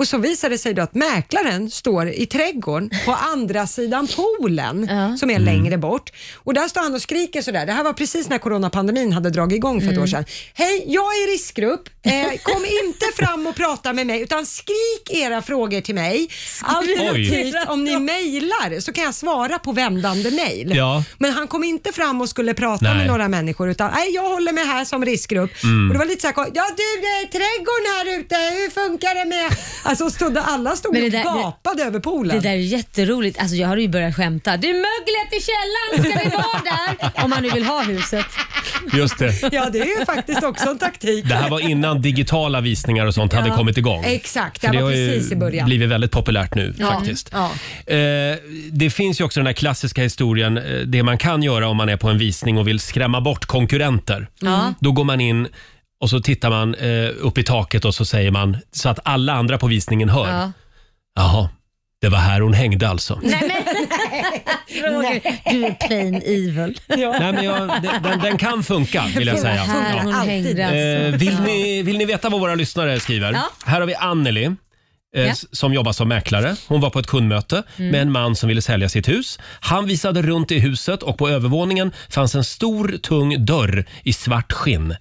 [SPEAKER 3] Och så visar det sig då att mäklaren står i trädgården på andra sidan poolen som är längre bort. Och där står han och skriker sådär. Det här var precis när coronapandemin hade dragit igång för ett år sedan. Hej, jag är i riskgrupp. Eh, kom inte fram och prata med mig utan skrik era frågor till mig. Alternativt om ni mejlar så kan jag svara på vändande mejl.
[SPEAKER 1] Ja.
[SPEAKER 3] Men han kom inte fram och skulle prata
[SPEAKER 1] Nej. Mm.
[SPEAKER 3] med några människor utan nej, jag håller mig här som riskgrupp. Och det var lite så här, ja du eh, trädgården här ute, hur funkar det med... Alltså stod, alla stod
[SPEAKER 6] Men det
[SPEAKER 3] och
[SPEAKER 6] där-
[SPEAKER 3] gapade över
[SPEAKER 6] Det
[SPEAKER 3] poolen.
[SPEAKER 6] där är ju jätteroligt. Alltså jag har ju börjat skämta. Du möglet i källaren, ska vi vara där? Om man nu vill ha huset.
[SPEAKER 1] Just det.
[SPEAKER 3] Ja, det är ju faktiskt också en taktik.
[SPEAKER 1] Det här var innan digitala visningar och sånt hade kommit igång.
[SPEAKER 3] Exakt,
[SPEAKER 1] För
[SPEAKER 3] det
[SPEAKER 1] det
[SPEAKER 3] var
[SPEAKER 1] har ju
[SPEAKER 3] precis i början.
[SPEAKER 1] blivit väldigt populärt nu faktiskt.
[SPEAKER 3] Ja.
[SPEAKER 1] Eh, det finns ju också den här klassiska historien, eh, det man kan göra om man är på en visning och vill skrämma bort konkurrenter.
[SPEAKER 6] Ja.
[SPEAKER 1] Då går man in och så tittar man eh, upp i taket och så säger man så att alla andra på visningen hör.
[SPEAKER 6] Ja.
[SPEAKER 1] Jaha, det var här hon hängde alltså.
[SPEAKER 6] Nej men Roger, du är plain evil.
[SPEAKER 1] Nej, men jag, den- den, den kan funka vill jag säga.
[SPEAKER 6] Här
[SPEAKER 1] Ja.
[SPEAKER 6] hon
[SPEAKER 3] Alltid.
[SPEAKER 6] hängde
[SPEAKER 1] Eh,
[SPEAKER 6] alltså.
[SPEAKER 1] vill, ni, vill ni veta vad våra lyssnare skriver?
[SPEAKER 6] Ja.
[SPEAKER 1] Här har vi Anneli. eh,
[SPEAKER 6] Ja. Mm.
[SPEAKER 1] s- Som jobbar som mäklare. Hon var på ett kundmöte med en man som ville sälja sitt hus. Han visade runt i huset och på övervåningen fanns en stor tung dörr i svart skinn.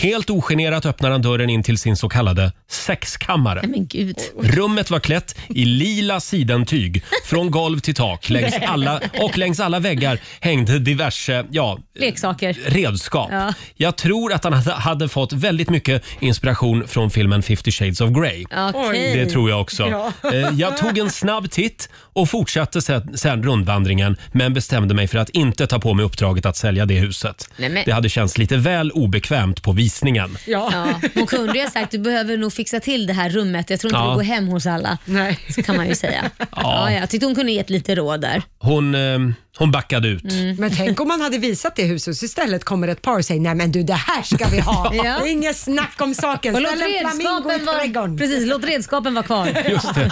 [SPEAKER 1] Helt ogenerat öppnar han dörren in till sin så kallade sexkammare.
[SPEAKER 6] Nej men gud.
[SPEAKER 1] Rummet var klätt i lila sidentyg från golv till tak längs alla, och längs alla väggar hängde diverse ja,
[SPEAKER 6] Leksaker.
[SPEAKER 1] redskap.
[SPEAKER 6] Ja.
[SPEAKER 1] Jag tror att han hade- hade fått väldigt mycket inspiration från filmen 50 shades of Grey.
[SPEAKER 6] Okej.
[SPEAKER 1] Det tror jag också. Eh, Jag tog en snabb titt och fortsatte sen, sen rundvandringen men bestämde mig för att inte ta på mig uppdraget att sälja det huset.
[SPEAKER 6] Nej, men-
[SPEAKER 1] Det hade känts lite väl obekvämt på visningen.
[SPEAKER 6] Ja. Hon kunde ju ha sagt du behöver nog fixa till det här rummet. Jag tror inte
[SPEAKER 1] Ja.
[SPEAKER 6] det går hem hos alla.
[SPEAKER 3] Nej.
[SPEAKER 6] Så kan man ju säga. Ja. Ja, jag tyckte hon kunde gett lite råd där.
[SPEAKER 1] Hon, eh, Hon backade ut.
[SPEAKER 6] Mm.
[SPEAKER 3] Men tänk om man hade visat det huset så istället kommer ett par och säger nej men du det här ska vi ha.
[SPEAKER 6] Ja.
[SPEAKER 3] Det är inget snack om saken.
[SPEAKER 6] Och låt
[SPEAKER 3] Ställ en flamingo i
[SPEAKER 6] redskapen, vara,
[SPEAKER 3] trädgården.
[SPEAKER 6] precis, låt redskapen vara kvar.
[SPEAKER 1] Just det.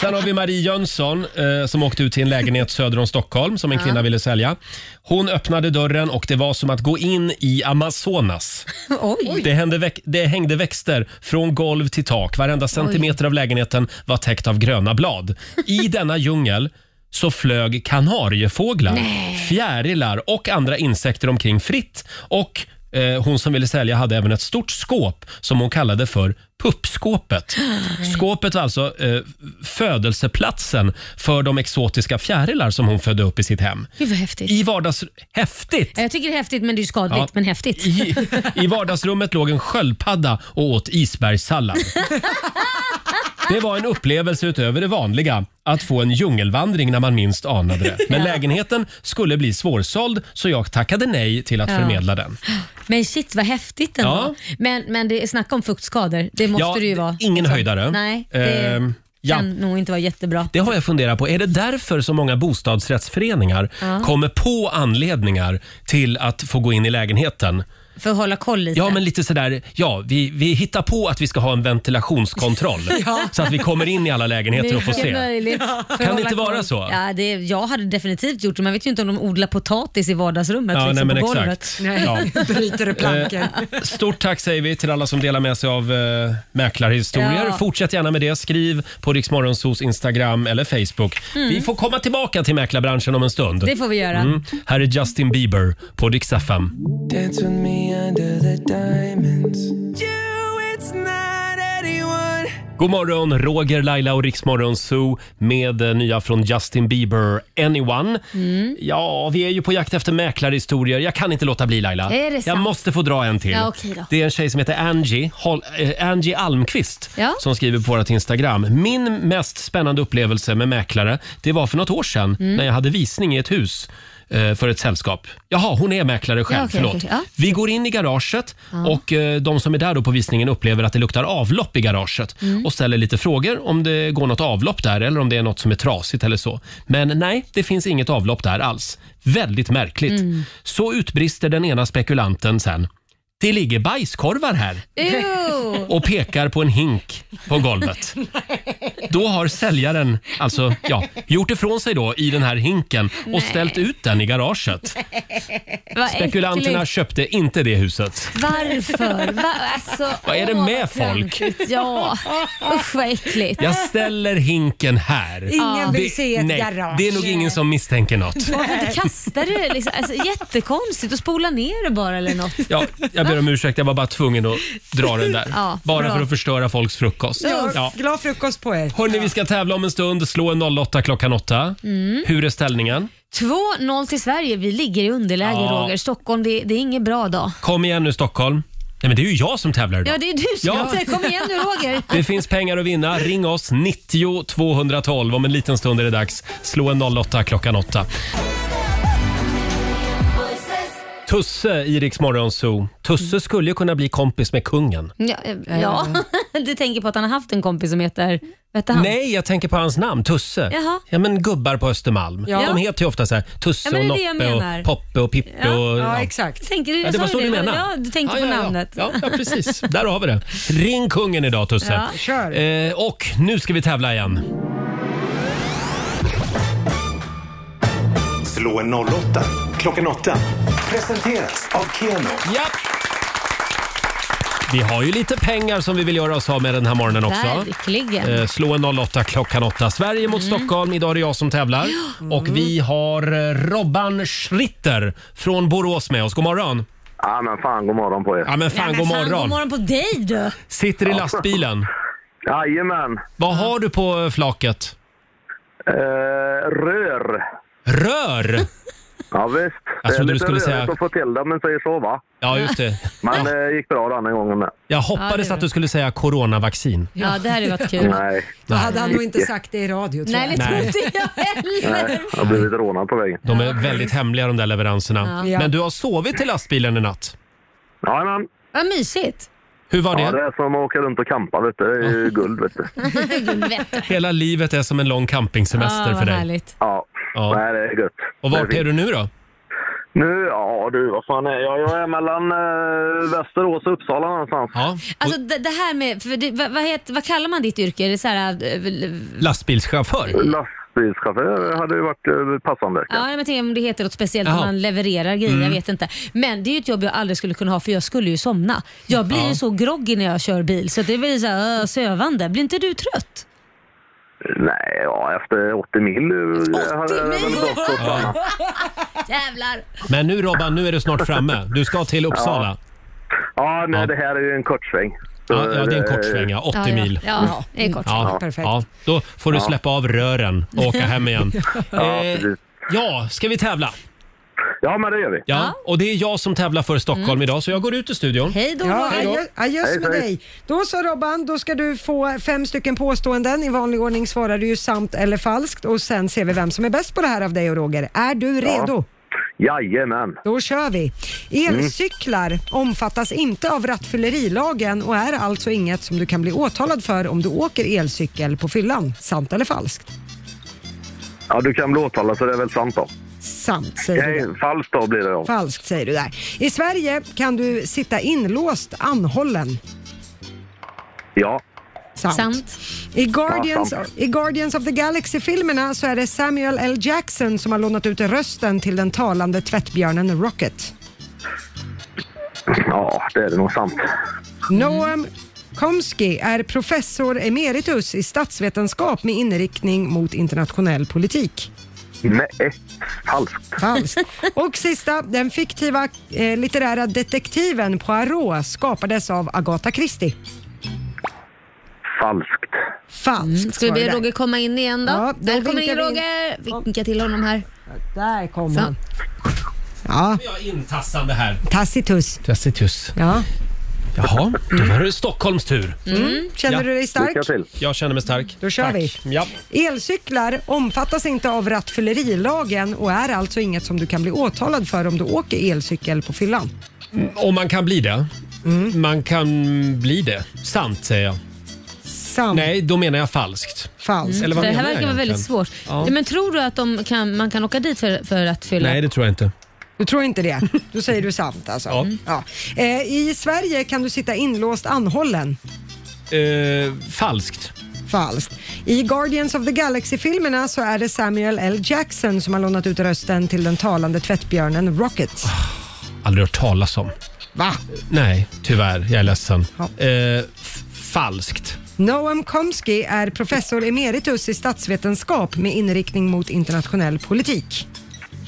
[SPEAKER 1] Sen har vi Marie Jönsson eh, som åkte ut till en lägenhet söder om Stockholm som en kvinna ville sälja. Hon öppnade dörren och det var som att gå in i Amazonas.
[SPEAKER 6] Oj.
[SPEAKER 1] Det, hände väck- det hängde växter från golv till tak. Varenda centimeter av lägenheten var täckt av gröna blad. I denna djungel så flög kanariefåglar, fjärilar och andra insekter omkring fritt. Och eh, hon som ville sälja hade även ett stort skåp som hon kallade för Puppskåpet. Skåpet var alltså eh, födelseplatsen för de exotiska fjärilar som hon födde upp i sitt hem.
[SPEAKER 6] Gud vad häftigt.
[SPEAKER 1] I vardags... Häftigt!
[SPEAKER 6] Jag tycker det är häftigt men det är ju skadligt
[SPEAKER 1] Ja.
[SPEAKER 6] men häftigt.
[SPEAKER 1] I, I vardagsrummet låg en sköldpadda och åt isbergssallad. Det var en upplevelse utöver det vanliga att få en djungelvandring när man minst anade det. Men lägenheten skulle bli svårsåld så jag tackade nej till att
[SPEAKER 6] Ja.
[SPEAKER 1] förmedla den.
[SPEAKER 6] Men shit vad häftigt ändå.
[SPEAKER 1] Ja.
[SPEAKER 6] Men, men det är snack om fuktskador, det måste
[SPEAKER 1] Ja,
[SPEAKER 6] det ju vara. Liksom.
[SPEAKER 1] Ingen höjdare.
[SPEAKER 6] Nej, det
[SPEAKER 1] Ehm, ja.
[SPEAKER 6] kan nog inte vara jättebra.
[SPEAKER 1] Det har jag funderat på. Är det därför så många bostadsrättsföreningar kommer på anledningar till att få gå in i lägenheten?
[SPEAKER 6] För att hålla koll lite.
[SPEAKER 1] Ja, men lite sådär, ja, vi, vi hittar på att vi ska ha en ventilationskontroll så att vi kommer in i alla lägenheter och får
[SPEAKER 6] Mycket
[SPEAKER 1] se.
[SPEAKER 6] möjligt. För att
[SPEAKER 1] Kan det
[SPEAKER 6] hålla
[SPEAKER 1] inte vara
[SPEAKER 6] koll.
[SPEAKER 1] så?
[SPEAKER 6] Ja, det, jag hade definitivt gjort det. Man vet ju inte om de odlar potatis i vardagsrummet
[SPEAKER 1] Ja, nej,
[SPEAKER 6] liksom,
[SPEAKER 1] men
[SPEAKER 6] på golvet.
[SPEAKER 1] exakt.
[SPEAKER 3] Nej,
[SPEAKER 1] Ja.
[SPEAKER 3] bryter du planken.
[SPEAKER 1] Stort tack säger vi till alla som delar med sig av eh, mäklarhistorier.
[SPEAKER 6] Ja.
[SPEAKER 1] Fortsätt gärna med det. Skriv på Riksmorgonsos Instagram eller Facebook. Vi får komma tillbaka till mäklarbranschen om en stund.
[SPEAKER 6] Mm. Det får vi göra.
[SPEAKER 1] Mm. Här är Justin Bieber på Dix FM. God morgon, Roger, Laila och Riksmorgon Zoo med eh, nya från Justin Bieber, Anyone.
[SPEAKER 6] Mm.
[SPEAKER 1] Ja, vi är ju på jakt efter mäklarhistorier. Jag kan inte låta bli Laila.
[SPEAKER 6] Är det
[SPEAKER 1] Jag
[SPEAKER 6] sant?
[SPEAKER 1] måste få dra en till.
[SPEAKER 6] Ja, okej då.
[SPEAKER 1] Det är en tjej som heter Angie, Hol- eh, Angie Almqvist
[SPEAKER 6] Ja.
[SPEAKER 1] som skriver på vårt Instagram. Min mest spännande upplevelse med mäklare, det var för något år sedan
[SPEAKER 6] Mm.
[SPEAKER 1] när jag hade visning i ett hus eh, för ett sällskap. Jaha, hon är mäklare själv.
[SPEAKER 6] Ja, okej,
[SPEAKER 1] förlåt.
[SPEAKER 6] okej, ja.
[SPEAKER 1] Vi går in i garaget och eh, de som är där då på visningen upplever att det luktar avlopp i garaget
[SPEAKER 6] Mm.
[SPEAKER 1] och ställer lite frågor om det går något avlopp där eller om det är något som är trasigt eller så. Men nej, det finns inget avlopp där alls. Väldigt märkligt.
[SPEAKER 6] Mm.
[SPEAKER 1] Så utbrister den ena spekulanten sen. Det ligger bajskorvar här
[SPEAKER 6] Ew.
[SPEAKER 1] och pekar på en hink på golvet. Då har säljaren alltså, ja, gjort ifrån sig då i den här hinken och ställt ut den i garaget.
[SPEAKER 6] Vad
[SPEAKER 1] Spekulanterna
[SPEAKER 6] äckligt.
[SPEAKER 1] köpte inte det huset.
[SPEAKER 6] Varför? Va? Alltså,
[SPEAKER 1] Vad är det
[SPEAKER 6] åh,
[SPEAKER 1] med folk?
[SPEAKER 6] töntigt. Ja, usch vad äckligt.
[SPEAKER 1] Jag ställer hinken här.
[SPEAKER 3] Ingen vill se ett
[SPEAKER 1] nej,
[SPEAKER 3] garage.
[SPEAKER 1] det är nog ingen som misstänker något.
[SPEAKER 6] Varför inte kasta det? Liksom? Alltså, jättekonstigt. Och spola ner det bara eller något.
[SPEAKER 1] Ja, jag ber om ursäkt, jag var bara tvungen att dra den där.
[SPEAKER 6] Ja,
[SPEAKER 1] bara
[SPEAKER 6] bra.
[SPEAKER 1] för att förstöra folks frukost. Ja.
[SPEAKER 3] Ja. Glad frukost på er.
[SPEAKER 1] Hörni, vi ska tävla om en stund. Slå en 08 klockan 8. Hur är ställningen?
[SPEAKER 6] 2-0 till Sverige. Vi ligger i underläge,
[SPEAKER 1] Ja.
[SPEAKER 6] Roger. Stockholm, det, det är ingen bra dag.
[SPEAKER 1] Kom igen nu Stockholm. Nej, men det är ju jag som tävlar idag.
[SPEAKER 6] Ja, det är du som
[SPEAKER 1] Ja.
[SPEAKER 6] säger. Kom igen nu, Roger.
[SPEAKER 1] Det finns pengar att vinna. Ring oss 90 212. Om en liten stund är det dags. Slå en 08 klockan 8. Tusse i Rix Morgon Zoo.
[SPEAKER 6] Mm.
[SPEAKER 1] Tusse skulle ju kunna bli kompis med kungen.
[SPEAKER 6] Ja, eh, ja. du tänker på att han har haft en kompis som heter... Vet han?
[SPEAKER 1] Nej, jag tänker på hans namn, Tusse.
[SPEAKER 6] Jaha.
[SPEAKER 1] Ja, men gubbar på Östermalm.
[SPEAKER 3] Ja.
[SPEAKER 1] De heter ju ofta så här Tusse
[SPEAKER 6] Ja, men
[SPEAKER 1] och
[SPEAKER 6] det är det jag
[SPEAKER 1] Noppe
[SPEAKER 6] menar.
[SPEAKER 1] och Poppe och Pippe och...
[SPEAKER 3] Ja,
[SPEAKER 1] ja.
[SPEAKER 3] exakt.
[SPEAKER 6] Tänker, du,
[SPEAKER 1] Ja, det var
[SPEAKER 6] sa
[SPEAKER 1] så
[SPEAKER 6] ju
[SPEAKER 1] du menade?
[SPEAKER 6] Ja, du tänkte
[SPEAKER 1] Ja,
[SPEAKER 6] på
[SPEAKER 1] ja, ja.
[SPEAKER 6] namnet.
[SPEAKER 1] Ja, ja, precis. Där har vi det. Ring kungen idag, Tusse.
[SPEAKER 6] Ja.
[SPEAKER 3] Kör.
[SPEAKER 1] Eh, och nu ska vi tävla igen.
[SPEAKER 5] Slå en 08 klockan 8. Presenteras av Keno.
[SPEAKER 1] Ja. Vi har ju lite pengar som vi vill göra oss av med den här morgonen också.
[SPEAKER 6] Verkligen. Mm.
[SPEAKER 1] Eh, slå en 08 klockan 8. Sverige mot Stockholm. Idag är det jag som tävlar. Och vi har eh, Robban Schritter från Borås med oss. God morgon!
[SPEAKER 9] Ja men fan, god morgon på er.
[SPEAKER 1] Ja men
[SPEAKER 6] Nej,
[SPEAKER 1] fan,
[SPEAKER 6] men
[SPEAKER 1] god,
[SPEAKER 6] fan,
[SPEAKER 1] morgon.
[SPEAKER 6] God morgon på dig du.
[SPEAKER 1] Sitter i lastbilen.
[SPEAKER 9] Jajamän.
[SPEAKER 1] Vad har du på eh, flaket?
[SPEAKER 9] Eh, rör.
[SPEAKER 1] Rör!
[SPEAKER 9] Ja visst.
[SPEAKER 1] Jag
[SPEAKER 9] det är
[SPEAKER 1] trodde du
[SPEAKER 9] lite
[SPEAKER 1] skulle
[SPEAKER 9] rörigt
[SPEAKER 1] säga-
[SPEAKER 9] att få till det, men säger så va.
[SPEAKER 1] Ja, just det.
[SPEAKER 9] Men det gick bra den gången med.
[SPEAKER 1] Jag
[SPEAKER 6] Ja, det
[SPEAKER 1] hoppades
[SPEAKER 6] är
[SPEAKER 1] att du skulle säga coronavaccin.
[SPEAKER 6] Ja, det här hade varit kul.
[SPEAKER 9] Nej,
[SPEAKER 3] Då hade han nog inte sagt det i radio tror
[SPEAKER 6] Nej,
[SPEAKER 3] jag.
[SPEAKER 6] det tror
[SPEAKER 1] Nej.
[SPEAKER 6] inte jag heller.
[SPEAKER 9] nej. Jag har blivit rånad på vägen.
[SPEAKER 1] De är väldigt hemliga de där leveranserna.
[SPEAKER 3] Ja.
[SPEAKER 1] Men du har sovit i lastbilen i natt.
[SPEAKER 9] Jajamän.
[SPEAKER 6] Vad mysigt.
[SPEAKER 1] Hur var
[SPEAKER 9] Ja, det
[SPEAKER 1] det?
[SPEAKER 9] är som att åka runt och campa vet du. Det är ju guld vet du.
[SPEAKER 6] Gud, vet du.
[SPEAKER 1] Hela livet är som en lång campingsemester
[SPEAKER 6] Ah,
[SPEAKER 1] för
[SPEAKER 6] vad
[SPEAKER 1] dig.
[SPEAKER 6] härligt.
[SPEAKER 9] Ja.
[SPEAKER 1] Ja.
[SPEAKER 9] Nej, det är gött.
[SPEAKER 1] Och
[SPEAKER 9] Det
[SPEAKER 1] vart är
[SPEAKER 9] fint.
[SPEAKER 1] du nu då?
[SPEAKER 9] Nu, ja du, vad fan är jag? Jag är mellan eh, Västerås och Uppsala någonstans.
[SPEAKER 1] Ja.
[SPEAKER 6] Alltså det, det här med, för det, vad, vad, heter, vad kallar man ditt yrke? Är det så här, eh, väl-
[SPEAKER 1] Lastbilschaufför?
[SPEAKER 9] Lastbilschaufför hade ju varit eh, passande.
[SPEAKER 6] Ja, men jag tänker om det heter något speciellt när
[SPEAKER 1] Jaha. Mm.
[SPEAKER 6] man levererar grejer, jag vet inte. Men det är ju ett jobb jag aldrig skulle kunna ha för jag skulle ju somna. Jag blir ju så groggy när jag kör bil så det blir så här, äh, sövande. Blir inte du trött?
[SPEAKER 9] Nej, ja, efter 80 mil. eh, 80
[SPEAKER 6] Jävlar!
[SPEAKER 1] Men nu Robban, nu är du snart framme. Du ska till Uppsala.
[SPEAKER 9] Ja, nej,
[SPEAKER 1] Ja.
[SPEAKER 9] det här är ju en kortsväng. Så eh,
[SPEAKER 1] Ja, ja det är en kort sväng, ja. 80
[SPEAKER 6] ja,
[SPEAKER 1] mil. Mm.
[SPEAKER 6] Ja, ja, det är kort.
[SPEAKER 1] Ja,
[SPEAKER 3] Perfekt.
[SPEAKER 1] ja, då får du släppa av rören och åka hem igen.
[SPEAKER 9] Ja,
[SPEAKER 1] Eh,
[SPEAKER 9] precis.
[SPEAKER 1] ja, ska vi tävla?
[SPEAKER 9] Ja, men det gör vi.
[SPEAKER 1] Ja, och det är jag som tävlar för Stockholm idag, så jag går ut ur studion.
[SPEAKER 6] Hej då
[SPEAKER 3] Ja,
[SPEAKER 6] Roger.
[SPEAKER 3] adjö- adjöss
[SPEAKER 9] Hej,
[SPEAKER 3] med
[SPEAKER 9] hej.
[SPEAKER 3] dig. Då så Robban, då ska du få fem stycken påståenden. I vanlig ordning svarar du ju sant eller falskt och sen ser vi vem som är bäst på det här av dig och Roger. Är du redo?
[SPEAKER 9] Jajamän.
[SPEAKER 3] Då kör vi. Elcyklar omfattas inte av rattfyllerilagen och är alltså inget som du kan bli åtalad för om du åker elcykel på fyllan. Sant eller falskt?
[SPEAKER 9] Ja, du kan bli åtalad så det är väl sant då.
[SPEAKER 3] Sant säger du.
[SPEAKER 9] Nej, falskt då blir det då.
[SPEAKER 3] Falskt säger du där. I Sverige kan du sitta inlåst anhållen.
[SPEAKER 9] Ja.
[SPEAKER 3] Sant.
[SPEAKER 6] Sant.
[SPEAKER 3] I, Guardians,
[SPEAKER 9] Ja, sant.
[SPEAKER 3] I Guardians of the Galaxy-filmerna så är det Samuel L. Jackson som har lånat ut rösten till den talande tvättbjörnen Rocket.
[SPEAKER 9] ja, det är det nog sant.
[SPEAKER 3] Noam Chomsky är professor emeritus i statsvetenskap med inriktning mot internationell politik.
[SPEAKER 9] Nej, falskt.
[SPEAKER 3] Falskt. Och sista, den fiktiva eh, litterära detektiven Poirot skapades av Agatha Christie.
[SPEAKER 9] Falskt.
[SPEAKER 3] Falskt.
[SPEAKER 6] Mm. Ska vi
[SPEAKER 3] var det
[SPEAKER 6] be
[SPEAKER 3] där.
[SPEAKER 6] Roger komma in igen då?
[SPEAKER 3] Ja, då
[SPEAKER 6] där kommer in
[SPEAKER 3] vinkar vi in.
[SPEAKER 6] Roger. Vinka till honom här.
[SPEAKER 3] Där kom
[SPEAKER 6] Så.
[SPEAKER 3] han. Ja,
[SPEAKER 1] Jag är intassande här.
[SPEAKER 3] Tacitus.
[SPEAKER 1] Tacitus.
[SPEAKER 3] Ja.
[SPEAKER 1] Jaha, då var det Stockholms tur.
[SPEAKER 3] Känner
[SPEAKER 1] Ja.
[SPEAKER 3] du dig stark?
[SPEAKER 9] Lycka till.
[SPEAKER 1] Jag känner mig stark.
[SPEAKER 3] Mm. Då kör
[SPEAKER 1] Tack. Ja.
[SPEAKER 3] Elcyklar omfattas inte av rattfyllerilagen och är alltså inget som du kan bli åtalad för om du åker elcykel på fyllan.
[SPEAKER 1] Om man kan bli det. Man kan bli det. Sant säger jag.
[SPEAKER 3] Sant.
[SPEAKER 1] Nej, Mm. då menar jag falskt.
[SPEAKER 3] Falskt.
[SPEAKER 1] Eller vad
[SPEAKER 6] det här
[SPEAKER 1] menar
[SPEAKER 6] verkar
[SPEAKER 1] jag
[SPEAKER 6] vara väldigt
[SPEAKER 1] egentligen?
[SPEAKER 6] svårt. Men tror du att de kan, man kan åka dit för, för att fylla?
[SPEAKER 1] Nej, det tror jag inte.
[SPEAKER 3] Du tror inte det? Då säger du sant alltså.
[SPEAKER 1] Ja.
[SPEAKER 3] Ja. Eh, I Sverige kan du sitta inlåst anhållen.
[SPEAKER 1] Eh, falskt.
[SPEAKER 3] Falskt. I Guardians of the Galaxy-filmerna så är det Samuel L. Jackson som har lånat ut rösten till den talande tvättbjörnen Rocket.
[SPEAKER 1] Aldrig hört talas om.
[SPEAKER 3] Va?
[SPEAKER 1] Nej, tyvärr. Jag är ledsen.
[SPEAKER 3] Ja.
[SPEAKER 1] Eh, f- falskt.
[SPEAKER 3] Noam Chomsky är professor emeritus i statsvetenskap med inriktning mot internationell politik.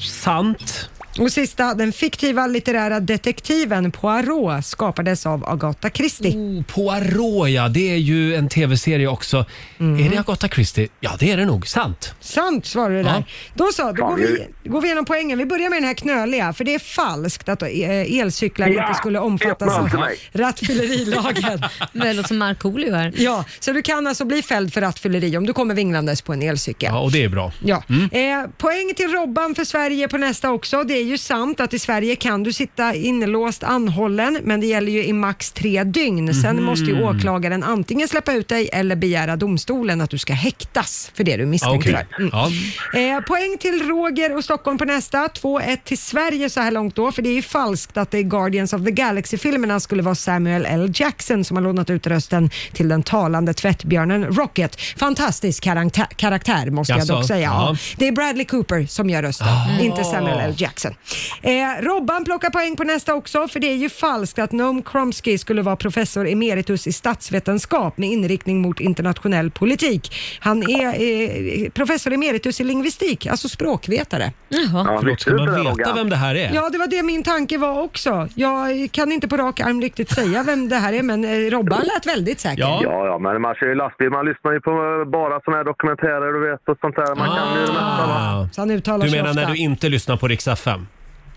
[SPEAKER 1] Sant.
[SPEAKER 3] Och sista, den fiktiva litterära detektiven Poirot skapades av Agatha Christie.
[SPEAKER 9] Mm.
[SPEAKER 1] Oh, Poirot, ja. Det är ju en tv-serie också. Är det Agatha Christie? Ja, det är det nog. Sant.
[SPEAKER 3] Sant svarar du
[SPEAKER 1] Ja.
[SPEAKER 3] där. Då så, då går
[SPEAKER 9] Fan,
[SPEAKER 3] vi, går vi igenom poängen. Vi börjar med den här knöliga, för det är falskt att eh, elcyklar
[SPEAKER 9] Ja,
[SPEAKER 3] inte skulle omfattas
[SPEAKER 9] öppna
[SPEAKER 3] av
[SPEAKER 9] till mig.
[SPEAKER 3] rattfyllerilagen.
[SPEAKER 6] Men Det låter som Markoolio här.
[SPEAKER 3] ja, så du kan alltså bli fälld för rattfylleri om du kommer vinglandes på en elcykel.
[SPEAKER 1] Ja, och det är bra.
[SPEAKER 3] Ja.
[SPEAKER 1] Mm.
[SPEAKER 3] Eh, poäng till Robban för Sverige på nästa också. Det är ju sant att i Sverige kan du sitta inlåst anhållen, men det gäller ju i max tre dygn. Sen
[SPEAKER 1] Mhm.
[SPEAKER 3] måste ju åklagaren antingen släppa ut dig eller begära domstolen att du ska häktas för det du
[SPEAKER 1] Ja,
[SPEAKER 3] misstänker.
[SPEAKER 1] Okej.
[SPEAKER 3] för. Mm.
[SPEAKER 1] Ja.
[SPEAKER 3] Eh, poäng till Roger och Stockholm på nästa. 2-1 till Sverige så här långt då, för det är ju falskt att det i Guardians of the Galaxy-filmerna skulle vara Samuel L. Jackson som har lånat ut rösten till den talande tvättbjörnen Rocket. Fantastisk karaktär, karaktär måste
[SPEAKER 1] Jaså?
[SPEAKER 3] jag dock säga.
[SPEAKER 1] Ja.
[SPEAKER 3] Ja. Det är Bradley Cooper som gör rösten,
[SPEAKER 1] Ah.
[SPEAKER 3] inte Samuel L. Jackson. Eh, Robban plockar poäng på nästa också, för det är ju falskt att Noam Chomsky skulle vara professor emeritus i statsvetenskap med inriktning mot internationell politik. Han är eh, professor emeritus i lingvistik, alltså språkvetare.
[SPEAKER 6] Jaha.
[SPEAKER 9] Ja,
[SPEAKER 1] Förlåt,
[SPEAKER 9] visste
[SPEAKER 1] ska
[SPEAKER 9] du inte det,
[SPEAKER 1] man veta
[SPEAKER 9] Roger?
[SPEAKER 1] vem det här är?
[SPEAKER 3] Ja, det var det min tanke var också. Jag kan inte på rak arm riktigt säga vem det här är, men eh, Robban lät väldigt säker.
[SPEAKER 1] Ja.
[SPEAKER 9] Ja, ja, men man kör ju lastbil. Man lyssnar ju på bara såna här dokumentärer, du vet, och sånt där. Man kan ju det mesta, va?
[SPEAKER 1] Ah.
[SPEAKER 3] Så han uttalar
[SPEAKER 1] Du
[SPEAKER 3] sig
[SPEAKER 1] menar
[SPEAKER 3] ofta.
[SPEAKER 1] när du inte lyssnar på Rix FM?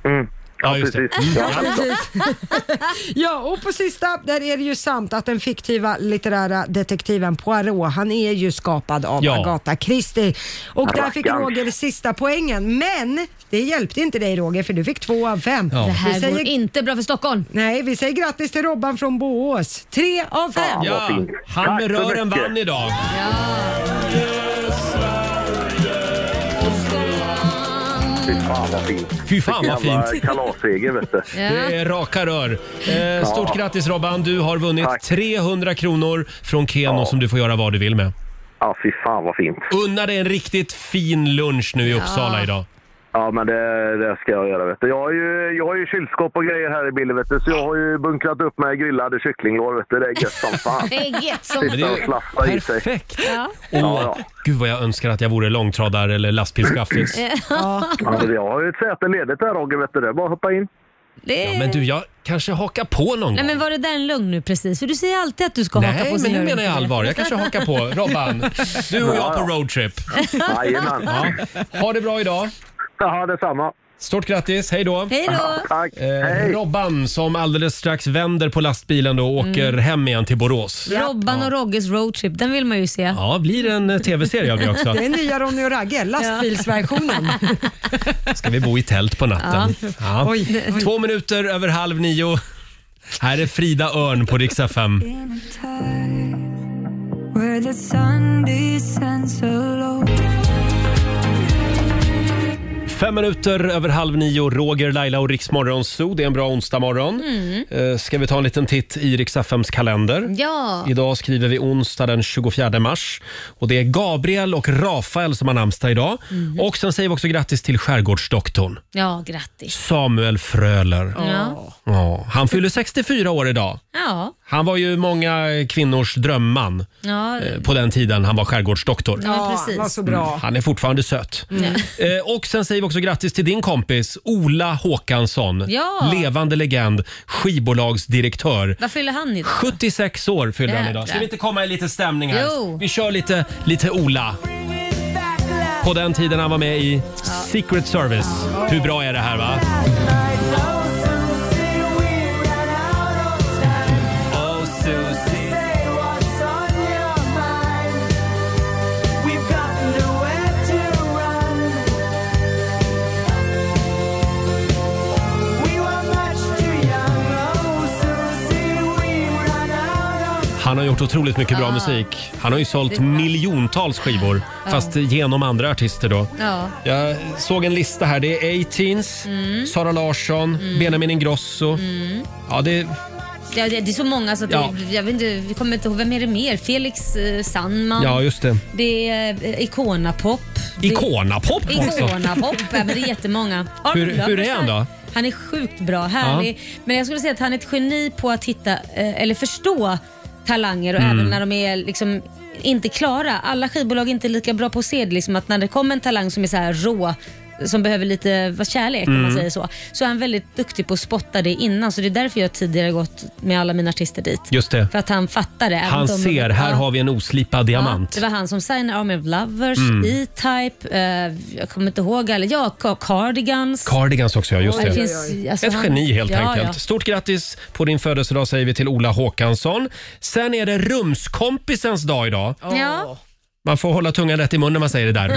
[SPEAKER 9] Mm.
[SPEAKER 1] Ah. Ja, just det. Mm.
[SPEAKER 9] Precis. Ja,
[SPEAKER 3] Precis. ja, och på sista, där är det ju sant att den fiktiva litterära detektiven Poirot, han är ju skapad av
[SPEAKER 1] Ja.
[SPEAKER 3] Agatha Christie. Och där fick
[SPEAKER 9] Rackarns.
[SPEAKER 3] Roger sista poängen, men det hjälpte inte dig Roger, för du fick två av fem.
[SPEAKER 1] Ja.
[SPEAKER 6] Det
[SPEAKER 3] Vi
[SPEAKER 6] här går
[SPEAKER 3] säger,
[SPEAKER 6] inte bra för Stockholm.
[SPEAKER 3] nej, vi säger grattis till Robban från Boås. Tre av fem.
[SPEAKER 9] Ja. Vad
[SPEAKER 1] Ja,
[SPEAKER 9] fint.
[SPEAKER 1] han med
[SPEAKER 9] Tack så
[SPEAKER 1] rören
[SPEAKER 9] mycket.
[SPEAKER 1] vann idag.
[SPEAKER 9] Fy fan vad fint.
[SPEAKER 1] Fy fan vad
[SPEAKER 9] Vilken jävla
[SPEAKER 1] fint.
[SPEAKER 9] Kalasseger vet du.
[SPEAKER 1] Det är raka rör. Eh, stort grattis Robban, du har vunnit
[SPEAKER 9] Tack.
[SPEAKER 1] 300 kronor från Keno som du får göra vad du vill med.
[SPEAKER 9] Ja, fy fan vad fint.
[SPEAKER 1] Unna dig en riktigt fin lunch nu i Uppsala idag.
[SPEAKER 9] Ja, men det, det ska jag göra vet du. Jag har ju, jag har ju kylskåp och grejer här i bilen vet du. Så jag har ju bunkrat upp med grillade kycklinglår vet du. Det är gött som fan.
[SPEAKER 6] Det är gött som
[SPEAKER 1] Men
[SPEAKER 9] Sitta och
[SPEAKER 1] ju
[SPEAKER 9] slafsa i sig.
[SPEAKER 1] perfekt!
[SPEAKER 6] Ja.
[SPEAKER 1] Åh,
[SPEAKER 9] Ja, ja.
[SPEAKER 1] Gud vad jag önskar att jag vore långtradare eller lastbilschaffis.
[SPEAKER 9] Ja, men jag har ju ett säte ledigt där Roger vet du. Det är bara att hoppa in.
[SPEAKER 6] Det
[SPEAKER 1] Ja, men du, jag kanske hakar på någon
[SPEAKER 6] Nej
[SPEAKER 1] gång.
[SPEAKER 6] men var det där en lögn nu precis? För du säger alltid att du ska haka
[SPEAKER 1] Nej,
[SPEAKER 6] på
[SPEAKER 1] men
[SPEAKER 6] sin
[SPEAKER 1] nu
[SPEAKER 6] lögn.
[SPEAKER 1] menar jag allvar. Jag kanske hakar på. Robban, du och jag på roadtrip.
[SPEAKER 9] Jajamän.
[SPEAKER 1] Ja. Ha det bra idag.
[SPEAKER 9] Ja, detsamma.
[SPEAKER 1] Stort grattis, hej då.
[SPEAKER 6] Hej då!
[SPEAKER 9] Tack.
[SPEAKER 1] Eh,
[SPEAKER 9] Hej.
[SPEAKER 1] Robban som alldeles strax vänder på lastbilen då och åker hem igen till Borås.
[SPEAKER 6] Robban och Rogges roadtrip, den vill man ju se.
[SPEAKER 1] Ja, blir det en eh, tv-serie av det också.
[SPEAKER 3] Det är nya Ronny och Ragge, lastbilsversionen.
[SPEAKER 1] Ska vi bo i tält på natten? Ja.
[SPEAKER 3] Oj, oj.
[SPEAKER 1] Två minuter över halv nio. Här är Frida Örn på riksdag 5.
[SPEAKER 4] Where the sun descends alone.
[SPEAKER 1] Fem minuter över halv nio, Roger, Laila och Riksmorgon Zoo. Det är en bra onsdagmorgon. Mm. Ska vi ta en liten titt i Riks-FMs kalender?
[SPEAKER 6] Ja,
[SPEAKER 1] Idag skriver vi onsdag den 24 mars. Och Det är Gabriel och Rafael som har namnsdag idag.
[SPEAKER 6] Mhm.
[SPEAKER 1] Och Sen säger vi också grattis till skärgårdsdoktorn
[SPEAKER 6] ja grattis.
[SPEAKER 1] Samuel Fröler.
[SPEAKER 6] Ja.
[SPEAKER 1] Ja, han fyller 64 år idag.
[SPEAKER 6] Ja.
[SPEAKER 1] Han var ju många kvinnors drömman
[SPEAKER 6] Ja.
[SPEAKER 1] eh, alltså- på den tiden han var skärgårdsdoktor.
[SPEAKER 6] Ja, Mm.
[SPEAKER 3] Ja,
[SPEAKER 6] precis.
[SPEAKER 3] var så bra.
[SPEAKER 1] Han är fortfarande söt. Eh, och sen säger vi också grattis till din kompis Ola Håkansson.
[SPEAKER 6] Ja.
[SPEAKER 1] Levande legend, skivbolagsdirektör.
[SPEAKER 6] Vad fyller han idag?
[SPEAKER 1] 76 år fyller han
[SPEAKER 6] Jäklar.
[SPEAKER 1] idag. Ska vi inte komma i lite stämning här?
[SPEAKER 6] Jo.
[SPEAKER 1] Vi kör lite, lite Ola. På den tiden han var med i Secret Service. Hur bra är det här va? Oh, Susie. Han har gjort otroligt mycket bra musik. Han har ju sålt miljontals skivor, fast genom andra artister då.
[SPEAKER 6] Ja.
[SPEAKER 1] Jag såg en lista här. Det är 18s, Sara Larsson, Benjamin Ingrosso. Ja, det,
[SPEAKER 6] Ja, det, det är så många så att
[SPEAKER 1] Ja.
[SPEAKER 6] det, jag vet inte, vi kommer inte ihåg, vem är det mer? Felix eh, Sandman,
[SPEAKER 1] ja, just det.
[SPEAKER 6] det är eh, Icona-pop. Det-
[SPEAKER 1] Iconapop också!
[SPEAKER 6] Icona-pop, ja, men det är jättemånga. Arnold
[SPEAKER 1] Hur- hur är han då?
[SPEAKER 6] Han är sjukt bra, härlig. Men jag skulle säga att han är ett geni på att hitta, eh, eller förstå talanger och
[SPEAKER 1] Mm.
[SPEAKER 6] även när de är liksom inte klara. Alla skivbolag är inte lika bra på att se det, liksom att när det kommer en talang som är så här rå som behöver lite vad kärlek om man
[SPEAKER 1] Mm.
[SPEAKER 6] säger så. Så är han väldigt duktig på att spotta det innan så det är därför jag tidigare gått med alla mina artister dit.
[SPEAKER 1] Just det.
[SPEAKER 6] För att han fattar det. även
[SPEAKER 1] Han
[SPEAKER 6] om de-
[SPEAKER 1] ser, här
[SPEAKER 6] Ja.
[SPEAKER 1] har vi en oslipad
[SPEAKER 6] Ja,
[SPEAKER 1] diamant.
[SPEAKER 6] det var han som signade Army of Lovers,
[SPEAKER 1] Mm.
[SPEAKER 6] E-Type, eh, jag kommer inte ihåg alla, ja, Ca- Cardigans.
[SPEAKER 1] Cardigans också, ja. Just
[SPEAKER 6] Det
[SPEAKER 1] det.
[SPEAKER 6] finns- alltså,
[SPEAKER 1] Ett
[SPEAKER 6] han-
[SPEAKER 1] geni helt
[SPEAKER 6] ja,
[SPEAKER 1] enkelt.
[SPEAKER 6] Ja.
[SPEAKER 1] Stort grattis på din födelsedag säger vi till Ola Håkansson. Sen är det rumskompisens dag idag.
[SPEAKER 6] Ja.
[SPEAKER 1] Man får hålla tungan rätt i mun när man säger det där.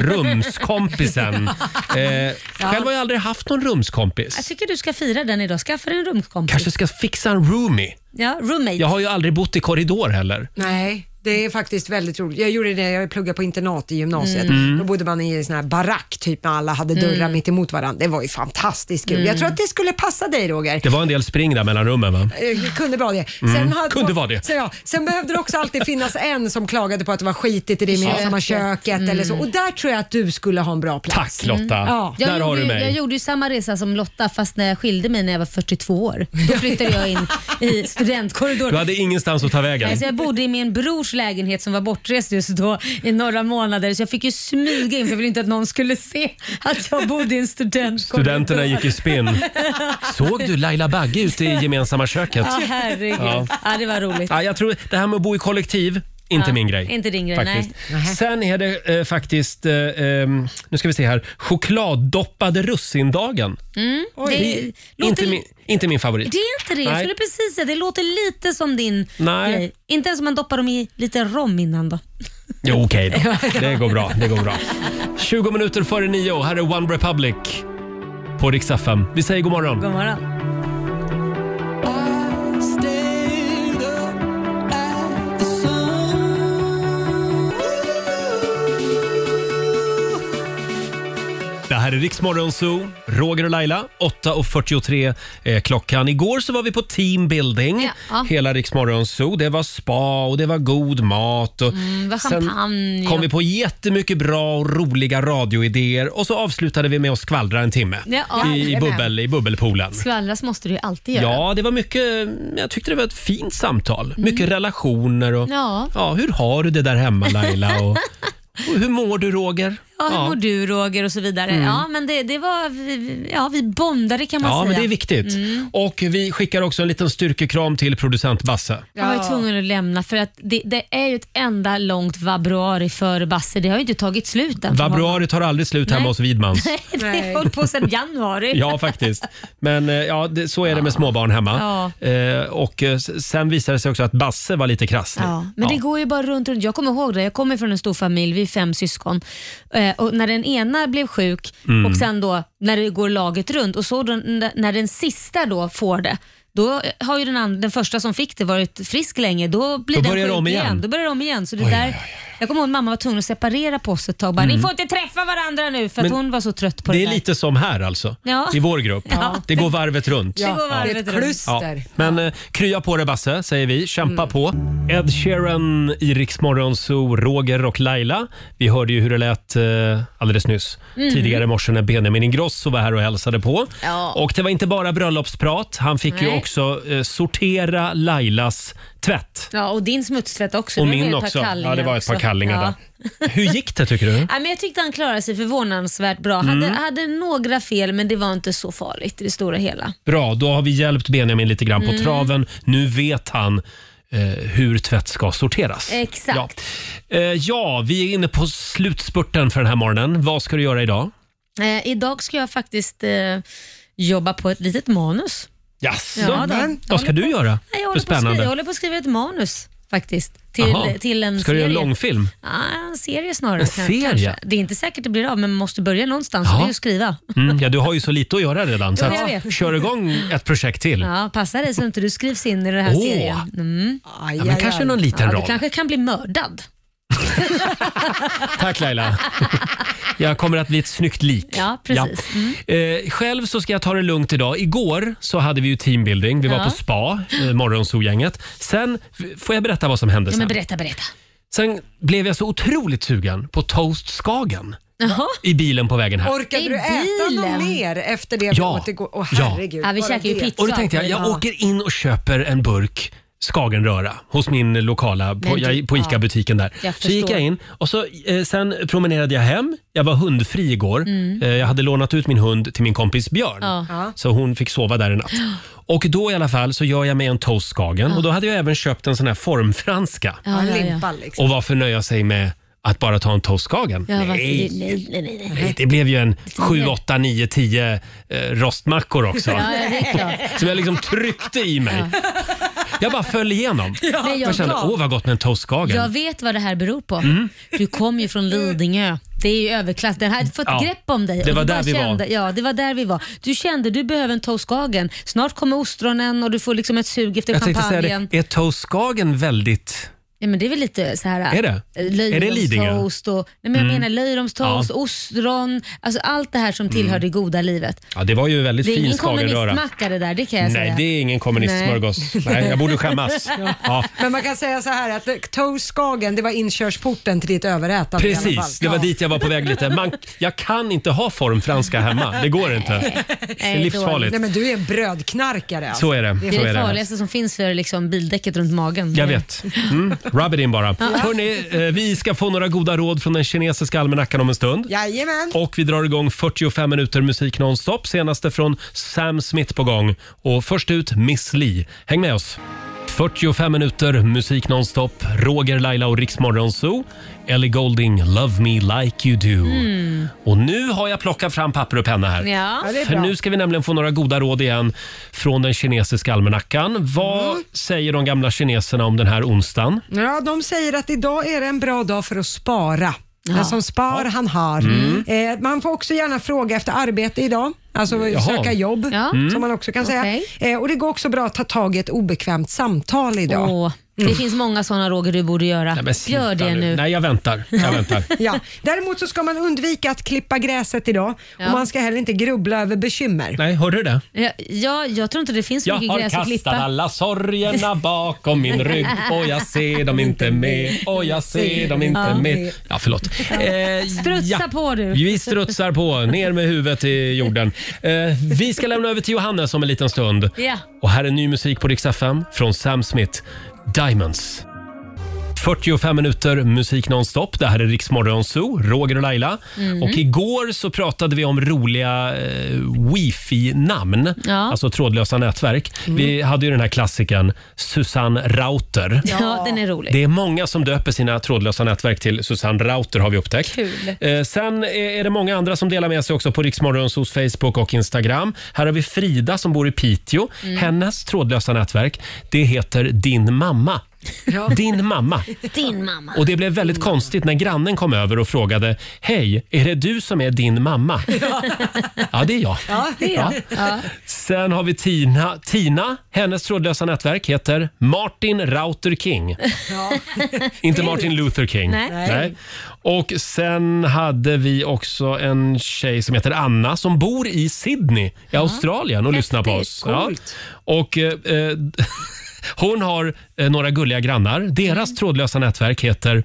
[SPEAKER 1] Rumskompisen. Eh, Själv har jag aldrig haft någon
[SPEAKER 6] Jag
[SPEAKER 1] rumskompis.
[SPEAKER 6] tycker du ska fira den idag. Skaffa dig en rumskompis.
[SPEAKER 1] Kanske ska fixa en roomie.
[SPEAKER 6] Ja, roommate.
[SPEAKER 1] Jag har ju aldrig bott i korridor heller.
[SPEAKER 3] Nej, det är faktiskt väldigt roligt. Jag gjorde det, jag pluggade på internat i gymnasiet.
[SPEAKER 1] Mm.
[SPEAKER 3] Då bodde man i en sån här barack typ, när alla hade dörrar mitt emot varandra. Det var ju fantastiskt kul.
[SPEAKER 1] Mm.
[SPEAKER 3] Jag tror att det skulle passa dig Roger.
[SPEAKER 1] Det var en del spring där mellan rummen va?
[SPEAKER 3] Eh, kunde vara det. Sen hade-
[SPEAKER 1] Mm. Kunde vara det.
[SPEAKER 3] Så ja, sen behövde det också alltid finnas en som klagade på att det var skitigt i det gemensamma köket
[SPEAKER 1] Mm.
[SPEAKER 3] eller så. Och där tror jag att du skulle ha en bra plats.
[SPEAKER 1] Tack Lotta,
[SPEAKER 3] Ja.
[SPEAKER 6] Mm. Jag
[SPEAKER 1] där
[SPEAKER 6] gjorde,
[SPEAKER 1] har du
[SPEAKER 6] ju- Jag
[SPEAKER 1] mig.
[SPEAKER 6] gjorde ju samma resa som Lotta fast när jag skilde mig när jag var 42 år. Då flyttade jag in i
[SPEAKER 1] Du
[SPEAKER 6] studentkorridoren.
[SPEAKER 1] hade ingenstans att ta vägen.
[SPEAKER 6] Nej, så jag bodde i min brors lägenhet som var bortrest just då i några månader så jag fick ju smyga in för jag ville inte att någon skulle se att jag bodde i en studentkorridor.
[SPEAKER 1] Studenterna gick i spinn. Såg du Laila Bagge ute i gemensamma köket?
[SPEAKER 6] Ja, herregud.
[SPEAKER 1] Ja.
[SPEAKER 6] Ja. det var roligt.
[SPEAKER 1] Ja, jag tror det här med att bo i kollektiv, inte
[SPEAKER 6] Ja,
[SPEAKER 1] min grej.
[SPEAKER 6] inte din grej,
[SPEAKER 1] faktiskt. Sen är det eh, faktiskt, eh, ehm, nu ska vi se här, chokladdoppade russindagen.
[SPEAKER 6] Mm. Det, låter,
[SPEAKER 1] Inte min, inte min favorit.
[SPEAKER 6] det är inte det. Jag
[SPEAKER 1] Nej.
[SPEAKER 6] skulle precis säga det. låter lite som din
[SPEAKER 1] Nej.
[SPEAKER 6] grej. Inte ens om man doppar dem i lite rom innan då.
[SPEAKER 1] Jo, okej då. Det går bra. Det går bra. 20 minuter före nio, här är One Republic på Rix FM. Vi säger god morgon.
[SPEAKER 6] God morgon.
[SPEAKER 1] Det här här är Riksmorgon Zoo, Roger och Laila. 8.43 är klockan. Igår så var vi på teambuilding,
[SPEAKER 6] Ja, ja.
[SPEAKER 1] hela Riksmorgon Zoo. Det var spa och det var god mat. Och
[SPEAKER 6] det var Mm, champagne
[SPEAKER 1] Sen kom
[SPEAKER 6] och-
[SPEAKER 1] vi på jättemycket bra och roliga radioidéer och så avslutade vi med att skvallra en timme
[SPEAKER 6] Ja, ja.
[SPEAKER 1] i, bubbel, i bubbelpoolen.
[SPEAKER 6] Skvallras måste du ju alltid göra. Mm.
[SPEAKER 1] Ja, det var mycket, jag tyckte det var ett fint samtal. Mycket relationer och
[SPEAKER 6] Ja.
[SPEAKER 1] Ja, hur har du det där hemma Laila? Och, och hur mår du Roger?
[SPEAKER 6] Ja, hur mår du Roger och så vidare. Ja, men det, det var, vi- ja, vi bondade kan man
[SPEAKER 1] Mm. Ja,
[SPEAKER 6] säga. Mm.
[SPEAKER 1] men det är viktigt. Och vi skickar också en liten styrkekram till producent Basse.
[SPEAKER 6] Jag var ju tvungen att lämna för att det, det är ju ett enda långt vabruari för Basse. Det har ju inte tagit slut än. för honom.
[SPEAKER 1] Vabruari tar aldrig slut hemma
[SPEAKER 6] Nej.
[SPEAKER 1] hos Widmans.
[SPEAKER 6] Det har hållit på sedan januari.
[SPEAKER 1] Ja, faktiskt. Men eh, ja, det, så är det med småbarn hemma. Eh, och eh, s- sen visade det sig också att Basse var lite krasslig.
[SPEAKER 6] Ja, men det går ju bara runt och runt. Jag kommer ihåg det, jag kommer från en stor familj, vi är fem syskon. Eh, och när den ena blev sjuk
[SPEAKER 1] Mm.
[SPEAKER 6] och sen då när det går laget runt och så då, n- när den sista då får det, då har ju den, and- den första som fick det varit frisk länge. Då, blir
[SPEAKER 1] Då
[SPEAKER 6] den
[SPEAKER 1] börjar det
[SPEAKER 6] sjuk
[SPEAKER 1] om igen.
[SPEAKER 6] Då börjar det om igen. Så det där, Jag kommer ihåg att mamma var tvungen att separera på oss ett tag. Bara, Ni får inte träffa varandra nu för att
[SPEAKER 1] Mm. Men
[SPEAKER 6] hon var så trött på det,
[SPEAKER 1] Det är
[SPEAKER 6] där.
[SPEAKER 1] lite som här alltså,
[SPEAKER 6] Ja.
[SPEAKER 1] i vår grupp.
[SPEAKER 6] Ja.
[SPEAKER 1] Det går varvet runt.
[SPEAKER 6] det går varvet
[SPEAKER 3] Det är ett
[SPEAKER 6] runt.
[SPEAKER 1] Ja.
[SPEAKER 3] kluster.
[SPEAKER 1] Men eh, krya på dig Basse, säger vi. Kämpa
[SPEAKER 6] Mm.
[SPEAKER 1] på. Ed Sheeran, i Rix Morgon Zoo, Roger och Laila. Vi hörde ju hur det lät eh, alldeles nyss.
[SPEAKER 6] Mm.
[SPEAKER 1] Tidigare i morse när Benjamin Ingrosso var här och hälsade på.
[SPEAKER 8] Ja.
[SPEAKER 1] Och det var inte bara bröllopsprat. Han fick ju
[SPEAKER 6] Nej.
[SPEAKER 1] också eh, sortera Lailas tvätt.
[SPEAKER 6] Ja, och din smutstvätt också.
[SPEAKER 1] Och
[SPEAKER 6] Det var
[SPEAKER 1] min
[SPEAKER 6] ju ett par
[SPEAKER 1] också. Ja,
[SPEAKER 6] kallingar
[SPEAKER 1] det var ett par
[SPEAKER 6] också.
[SPEAKER 1] kallingar
[SPEAKER 6] Ja.
[SPEAKER 1] där. Hur gick det tycker du?
[SPEAKER 6] Ja, men jag tyckte han klarade sig förvånansvärt bra. Hade,
[SPEAKER 1] Mm.
[SPEAKER 6] hade några fel, men det var inte så farligt i det stora hela.
[SPEAKER 1] Bra, då har vi hjälpt Benjamin lite grann
[SPEAKER 6] Mm.
[SPEAKER 1] på traven. Nu vet han eh, hur tvätt ska sorteras.
[SPEAKER 6] Exakt.
[SPEAKER 1] Ja. Eh, ja, vi är inne på slutspurten för den här morgonen. Vad ska du göra idag?
[SPEAKER 6] Eh, idag ska jag faktiskt eh, jobba på ett litet manus.
[SPEAKER 1] Jaså?
[SPEAKER 6] Ja, då.
[SPEAKER 1] Vad ska du göra
[SPEAKER 6] Nej,
[SPEAKER 1] för
[SPEAKER 6] jag, håller på att skriva,
[SPEAKER 1] spännande?
[SPEAKER 6] jag håller på att skriva ett manus faktiskt.
[SPEAKER 1] Jaha.
[SPEAKER 6] Till, till en
[SPEAKER 1] ska du
[SPEAKER 6] serie.
[SPEAKER 1] göra en långfilm?
[SPEAKER 6] Ja, en serie snarare.
[SPEAKER 1] En
[SPEAKER 6] kan-
[SPEAKER 1] serie?
[SPEAKER 6] Kanske. Det är inte säkert det blir av, men man måste börja någonstans.
[SPEAKER 1] Ja.
[SPEAKER 6] Ja. Det är ju att skriva.
[SPEAKER 1] Mm, ja, du har ju så lite att göra redan. Så
[SPEAKER 6] Jo, jag
[SPEAKER 1] att,
[SPEAKER 6] vet.
[SPEAKER 1] kör igång ett projekt till.
[SPEAKER 6] Ja, passa dig så inte du skrivs in i den här
[SPEAKER 1] Åh.
[SPEAKER 6] serien. Mm.
[SPEAKER 3] Aj,
[SPEAKER 1] Ja, men
[SPEAKER 3] aj,
[SPEAKER 1] kanske
[SPEAKER 3] aj.
[SPEAKER 1] någon liten
[SPEAKER 6] Ja, du
[SPEAKER 1] roll.
[SPEAKER 6] kanske kan bli mördad.
[SPEAKER 1] Tack Laila. Jag kommer att bli ett snyggt lik.
[SPEAKER 6] Ja, precis. Mm.
[SPEAKER 1] Eh, själv så ska jag ta det lugnt idag. Igår så hade vi ju teambuilding. Vi var
[SPEAKER 6] Ja.
[SPEAKER 1] på spa, eh, morgonsogänget. Sen, f- får jag berätta vad som hände
[SPEAKER 6] Ja, men
[SPEAKER 1] sen?
[SPEAKER 6] berätta, berätta.
[SPEAKER 1] Sen blev jag så otroligt sugen på toast Skagen
[SPEAKER 6] Jaha.
[SPEAKER 1] i bilen på vägen här.
[SPEAKER 3] Orkade
[SPEAKER 6] I
[SPEAKER 3] du äta
[SPEAKER 6] bilen?
[SPEAKER 3] något mer efter det vi
[SPEAKER 1] Ja.
[SPEAKER 3] åt igår? Åh
[SPEAKER 1] Ja.
[SPEAKER 3] herregud.
[SPEAKER 6] Ja, vi
[SPEAKER 3] bara
[SPEAKER 6] käkar ju
[SPEAKER 3] det.
[SPEAKER 6] pizza.
[SPEAKER 1] Och då tänkte jag, jag
[SPEAKER 6] Ja.
[SPEAKER 1] åker in och köper en burk Skagenröra hos min lokala, på,
[SPEAKER 6] Men du-
[SPEAKER 1] jag, på ICA-butiken där.
[SPEAKER 6] Jag
[SPEAKER 1] Så gick
[SPEAKER 6] förstår.
[SPEAKER 1] jag in och så, eh, sen promenerade jag hem. Jag var hundfri igår. Eh, jag hade lånat ut min hund till min kompis Björn.
[SPEAKER 6] Mm. Ja.
[SPEAKER 1] Så hon fick sova där en natt. Och då i alla fall så gör jag mig en toast Skagen och då hade jag även köpt en sån här formfranska
[SPEAKER 3] Ja,
[SPEAKER 6] Ja, ja, ja.
[SPEAKER 3] limpa liksom.
[SPEAKER 1] och varför nöja sig med att bara ta en toast Skagen?
[SPEAKER 6] Ja, varför-
[SPEAKER 1] Nej.
[SPEAKER 6] nej, nej, nej, nej.
[SPEAKER 1] Nej, Det blev ju en
[SPEAKER 6] mer.
[SPEAKER 1] 7, 8, 9, 10 eh, rostmackor också.
[SPEAKER 6] Ja, ja, det är klart.
[SPEAKER 1] Som jag liksom tryckte i mig. Jag bara föll igenom.
[SPEAKER 6] Men
[SPEAKER 1] Jag
[SPEAKER 6] jag,
[SPEAKER 1] kände, åh vad gott med en toastskagen.
[SPEAKER 6] jag vet vad det här beror på.
[SPEAKER 1] Mm.
[SPEAKER 6] Du kom ju från Lidingö. Det är ju överklass. Den hade fått
[SPEAKER 1] Ja,
[SPEAKER 6] grepp om dig.
[SPEAKER 1] det
[SPEAKER 6] Och
[SPEAKER 1] var
[SPEAKER 6] du
[SPEAKER 1] där
[SPEAKER 6] bara
[SPEAKER 1] vi var.
[SPEAKER 6] kände, Ja, det var där vi var. Du kände du behöver en toastkagen. Snart kommer ostronen och du får liksom ett sug efter
[SPEAKER 1] Jag tänkte säga
[SPEAKER 6] champagnen.
[SPEAKER 1] det, är toastskagen väldigt...
[SPEAKER 6] Ja, men det är väl lite så här...
[SPEAKER 1] Är det?
[SPEAKER 6] eh,
[SPEAKER 1] Är det Lidingö? Mm.
[SPEAKER 6] Löjromstoast och... Nej, men jag menar löjromstoast, ostron, alltså allt det här som tillhör det goda livet.
[SPEAKER 1] Ja, det var ju en väldigt
[SPEAKER 6] Det är
[SPEAKER 1] Mm. fin
[SPEAKER 6] ingen
[SPEAKER 1] skagenröra.
[SPEAKER 6] kommunistmacka det där, det kan jag
[SPEAKER 1] Nej,
[SPEAKER 6] säga.
[SPEAKER 1] det är ingen kommunistsmörgås. Nej. jag borde skämmas. Ja.
[SPEAKER 3] Men man kan säga så här att eh, Toast Skagen, det var inkörsporten till ditt överätande i alla fall.
[SPEAKER 1] Precis, det var
[SPEAKER 3] Ja.
[SPEAKER 1] dit jag var på väg lite. Man, jag kan inte ha formfranska hemma. Det går inte. Det är
[SPEAKER 6] Nej,
[SPEAKER 1] livsfarligt.
[SPEAKER 3] Nej men du är en brödknarkare alltså.
[SPEAKER 1] Så är det.
[SPEAKER 6] Det
[SPEAKER 1] Så
[SPEAKER 6] är
[SPEAKER 1] är
[SPEAKER 6] det
[SPEAKER 1] det.
[SPEAKER 6] farligaste som finns för liksom bildäcket runt magen.
[SPEAKER 1] Jag vet. Mm. Rub it in bara. Hörrni, eh, vi ska få några goda råd från den kinesiska almanackan om en stund.
[SPEAKER 3] Jajamän.
[SPEAKER 1] Och vi drar igång 45 minuter musik nonstop. Senaste från Sam Smith på gång. Och först ut Miss Li. Häng med oss. 45 minuter musik nonstop. Roger, Laila och Riksmorgon Zoo. Ellie Golding, Love Me Like You Do. Och nu har jag plockat fram papper och penna här.
[SPEAKER 6] Hmm. Ja.
[SPEAKER 3] Ja, det är
[SPEAKER 1] För
[SPEAKER 3] bra.
[SPEAKER 1] nu ska vi nämligen få några goda råd igen från den kinesiska almanackan. Vad
[SPEAKER 6] Mm.
[SPEAKER 1] säger de gamla kineserna om den här onsdagen?
[SPEAKER 3] Ja, de säger att idag är det en bra dag för att spara. Den som spar, han har.
[SPEAKER 1] Mm.
[SPEAKER 3] Eh, man får också gärna fråga efter arbete idag, alltså söka jobb,
[SPEAKER 6] Ja.
[SPEAKER 1] Mm.
[SPEAKER 3] som man också kan säga.
[SPEAKER 6] Okej.
[SPEAKER 3] Eh, och Det går också bra att ta tag i ett obekvämt samtal idag.
[SPEAKER 6] Åh. Det finns många sådana Roger du borde göra.
[SPEAKER 1] Nej, men
[SPEAKER 6] Gör
[SPEAKER 1] sluta
[SPEAKER 6] det nu.
[SPEAKER 1] Nej, jag väntar. Jag väntar.
[SPEAKER 3] Ja. Däremot så ska man undvika att klippa gräset idag
[SPEAKER 6] Ja.
[SPEAKER 3] och man ska heller inte grubbla över bekymmer.
[SPEAKER 1] Nej, hörde du det?
[SPEAKER 6] Ja, ja, jag tror inte det finns så
[SPEAKER 1] Jag
[SPEAKER 6] mycket
[SPEAKER 1] har
[SPEAKER 6] gräs att
[SPEAKER 1] kastat
[SPEAKER 6] klippa.
[SPEAKER 1] alla sorgerna bakom min rygg och jag ser dem inte med och jag ser dem inte
[SPEAKER 6] Ja.
[SPEAKER 1] med. Ja, förlåt. Eh,
[SPEAKER 6] Strutsa
[SPEAKER 1] ja.
[SPEAKER 6] på du.
[SPEAKER 1] Vi strutsar på, ner med huvudet i jorden. Eh, vi ska lämna över till Johannes om en liten stund.
[SPEAKER 6] Ja.
[SPEAKER 1] Och här är ny musik på Rix FM från Sam Smith, Diamonds. 45 minuter musik nonstop. Det här är Rix Morgon Zoo, Roger och Laila.
[SPEAKER 6] Mm.
[SPEAKER 1] Och igår så pratade vi om roliga eh, wifi-namn,
[SPEAKER 6] Ja.
[SPEAKER 1] alltså trådlösa nätverk.
[SPEAKER 6] Mm.
[SPEAKER 1] Vi hade ju den här klassikern Susanne Rauter.
[SPEAKER 6] Ja, den är rolig.
[SPEAKER 1] Det är många som döper sina trådlösa nätverk till Susanne Rauter har vi upptäckt.
[SPEAKER 6] Kul.
[SPEAKER 1] Eh, sen är är det många andra som delar med sig också på Riksmorgons hos Facebook och Instagram. Här har vi Frida som bor i Piteå.
[SPEAKER 6] Mm.
[SPEAKER 1] Hennes trådlösa nätverk, det heter Din mamma. Din mamma.
[SPEAKER 6] Din mamma. Mm.
[SPEAKER 1] Och det blev väldigt konstigt när grannen kom över och frågade Hej, är det du som är din mamma? Ja, det är jag.
[SPEAKER 6] det är jag. Ja.
[SPEAKER 1] Sen har vi Tina. Tina, hennes trådlösa nätverk heter Martin Rauter King. Inte Martin Luther King.
[SPEAKER 6] Nej.
[SPEAKER 1] Och sen hade vi också en tjej som heter Anna som bor i Sydney i Australien och lyssnar på oss.
[SPEAKER 3] Coolt.
[SPEAKER 1] Och eh, eh, hon har eh, några gulliga grannar. Deras
[SPEAKER 6] Mm.
[SPEAKER 1] trådlösa nätverk heter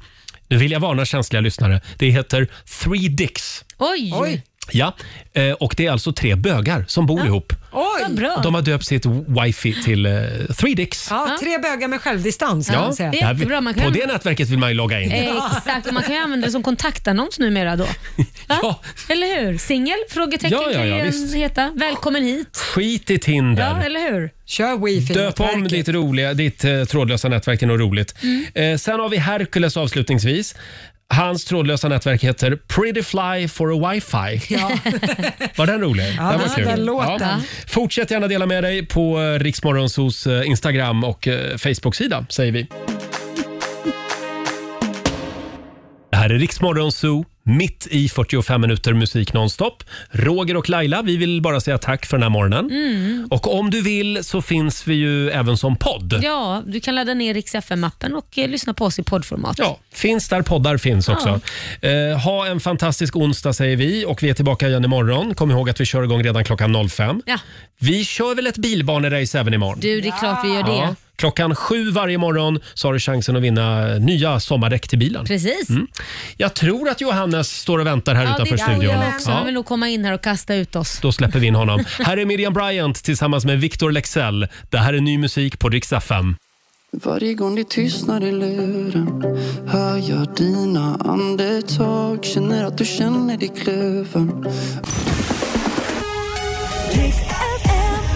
[SPEAKER 1] nu vill jag varna känsliga lyssnare. Det heter Three Dicks.
[SPEAKER 6] Oj,
[SPEAKER 3] Oj.
[SPEAKER 1] Ja, eh, och det är alltså tre bögar som bor ihop.
[SPEAKER 6] vad
[SPEAKER 3] Oj!
[SPEAKER 6] bra.
[SPEAKER 1] De har döpt sitt wifi till eh, Three Dicks.
[SPEAKER 3] Ja, tre bögar med självdistans kan man säga.
[SPEAKER 6] det är
[SPEAKER 1] här-
[SPEAKER 6] jättebra. Man kan- Eh.
[SPEAKER 1] På det nätverket vill man ju logga in.
[SPEAKER 6] Exakt, och man kan ju använda det som kontaktannons numera då. Va?
[SPEAKER 1] Ja.
[SPEAKER 6] Eller hur? Singel? Frågetecken
[SPEAKER 1] Ja, ja,
[SPEAKER 6] kan
[SPEAKER 1] ja,
[SPEAKER 6] ju en
[SPEAKER 1] visst.
[SPEAKER 6] heta. Välkommen hit.
[SPEAKER 1] Skit i Tinder.
[SPEAKER 6] Ja, eller hur?
[SPEAKER 3] Kör wifi.
[SPEAKER 1] Döp om ditt, roliga, ditt eh, trådlösa nätverk till något roligt.
[SPEAKER 3] Mm.
[SPEAKER 1] Eh, sen har vi Hercules avslutningsvis. Hans trådlösa nätverk heter Pretty Fly for a Wi-Fi.
[SPEAKER 3] Ja.
[SPEAKER 1] Var den rolig? Ja, den var
[SPEAKER 3] den låten.
[SPEAKER 1] Fortsätt gärna dela med dig på eh, Riksmorgonsos eh, Instagram och eh, Facebook-sida, säger vi. Det här är Riksmorgonso, mitt i 45 minuter musik nonstop. Roger och Laila, vi vill bara säga tack för den här morgonen.
[SPEAKER 3] Mm.
[SPEAKER 1] Och om du vill så finns vi ju även som podd. Ja.
[SPEAKER 6] Ja, du kan ladda ner Rix FM-appen och eh, lyssna på oss i poddformat.
[SPEAKER 1] finns där poddar finns också. Eh, ha en fantastisk onsdag säger vi och vi är tillbaka igen imorgon. Kom ihåg att vi kör igång redan klockan 05.
[SPEAKER 6] Ja.
[SPEAKER 1] Vi kör väl ett bilbanerace även imorgon?
[SPEAKER 6] Du, det är klart vi gör det.
[SPEAKER 1] Ja. Klockan sju varje morgon så har du chansen att vinna nya sommardäck till bilen.
[SPEAKER 6] Precis.
[SPEAKER 1] Jag tror att Johannes står och väntar här
[SPEAKER 6] Ja, det
[SPEAKER 1] Mm. utanför
[SPEAKER 6] tror
[SPEAKER 1] studion.
[SPEAKER 6] jag också. Han vill nog komma in här och kasta ut oss.
[SPEAKER 1] Då släpper vi in honom. Här är Miriam Bryant tillsammans med Victor Lexell. Det här är ny musik på Rix FM.
[SPEAKER 2] Varje gång det tystnar i luren hör jag dina andetag Känner att du känner dig kluven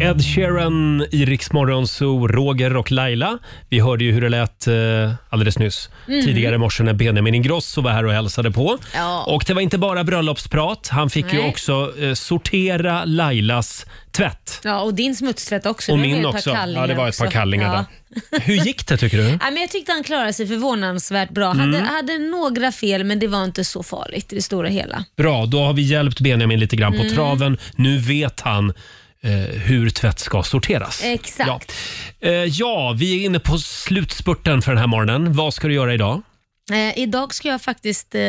[SPEAKER 1] Ed Sheeran i Rix Morgon Zoo, Roger och Laila. Vi hörde ju hur det lät eh, alldeles nyss. Tidigare i morse när Benjamin Ingrosso var här och hälsade på.
[SPEAKER 6] Mhm. Ja.
[SPEAKER 1] Och det var inte bara bröllopsprat. Han fick ju
[SPEAKER 6] Nej.
[SPEAKER 1] också eh, sortera Lailas tvätt.
[SPEAKER 6] Ja, och din smutstvätt också.
[SPEAKER 1] Och
[SPEAKER 6] Det var
[SPEAKER 1] min
[SPEAKER 6] ett par
[SPEAKER 1] också.
[SPEAKER 6] kallingar
[SPEAKER 1] Ja, det var ett par
[SPEAKER 6] också.
[SPEAKER 1] kallingar
[SPEAKER 6] Ja.
[SPEAKER 1] där. Hur gick det tycker du?
[SPEAKER 6] Ja, men jag tyckte han klarade sig förvånansvärt bra.
[SPEAKER 1] Mm.
[SPEAKER 6] Hade, hade några fel, men det var inte så farligt i det stora hela.
[SPEAKER 1] Bra, då har vi hjälpt Benjamin lite grann på
[SPEAKER 6] Mm.
[SPEAKER 1] traven. Nu vet han eh, hur tvätt ska sorteras.
[SPEAKER 6] Exakt.
[SPEAKER 1] Ja. Eh, ja, vi är inne på slutspurten för den här morgonen. Vad ska du göra idag?
[SPEAKER 6] Eh, idag ska jag faktiskt eh,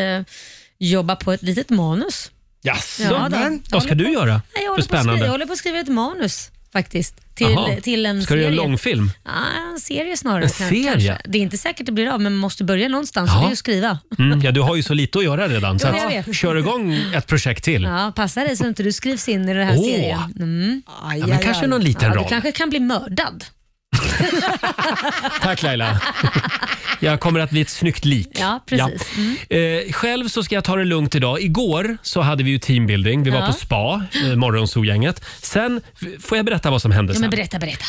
[SPEAKER 6] jobba på ett litet manus.
[SPEAKER 1] Jaså?
[SPEAKER 6] Ja, då.
[SPEAKER 1] Vad ska du göra
[SPEAKER 6] Nej,
[SPEAKER 1] för
[SPEAKER 6] jag, håller på att skriva,
[SPEAKER 1] spännande?
[SPEAKER 6] jag håller på att skriva ett manus faktiskt.
[SPEAKER 1] Jaha.
[SPEAKER 6] Till, till en
[SPEAKER 1] ska du
[SPEAKER 6] serie.
[SPEAKER 1] göra en långfilm?
[SPEAKER 6] Ja, en serie snarare.
[SPEAKER 1] En
[SPEAKER 6] kanske.
[SPEAKER 1] serie?
[SPEAKER 6] Det är inte säkert det blir av, men man måste börja någonstans.
[SPEAKER 1] Ja.
[SPEAKER 6] och Det är ju att skriva.
[SPEAKER 1] Mm, ja, du har ju så lite att göra redan. Så
[SPEAKER 6] Jo, jag
[SPEAKER 1] att,
[SPEAKER 6] vet.
[SPEAKER 1] kör igång ett projekt till. Ja.
[SPEAKER 6] Ja, passa dig så inte du skrivs in i den här
[SPEAKER 1] Åh.
[SPEAKER 6] serien. Mm.
[SPEAKER 3] Aj,
[SPEAKER 1] men
[SPEAKER 3] aj,
[SPEAKER 1] kanske
[SPEAKER 3] aj.
[SPEAKER 1] någon liten
[SPEAKER 6] Ja, du
[SPEAKER 1] roll.
[SPEAKER 6] kanske kan bli mördad.
[SPEAKER 1] Tack Laila. Jag kommer att bli ett snyggt lik.
[SPEAKER 6] Ja, precis. Mm.
[SPEAKER 1] Eh, själv så ska jag ta det lugnt idag. Igår så hade vi ju teambuilding. Vi var
[SPEAKER 6] Ja.
[SPEAKER 1] på spa, eh, morgonsolgänget. Sen, f- får jag berätta vad som hände
[SPEAKER 6] Ja,
[SPEAKER 1] sen?
[SPEAKER 6] men berätta, berätta.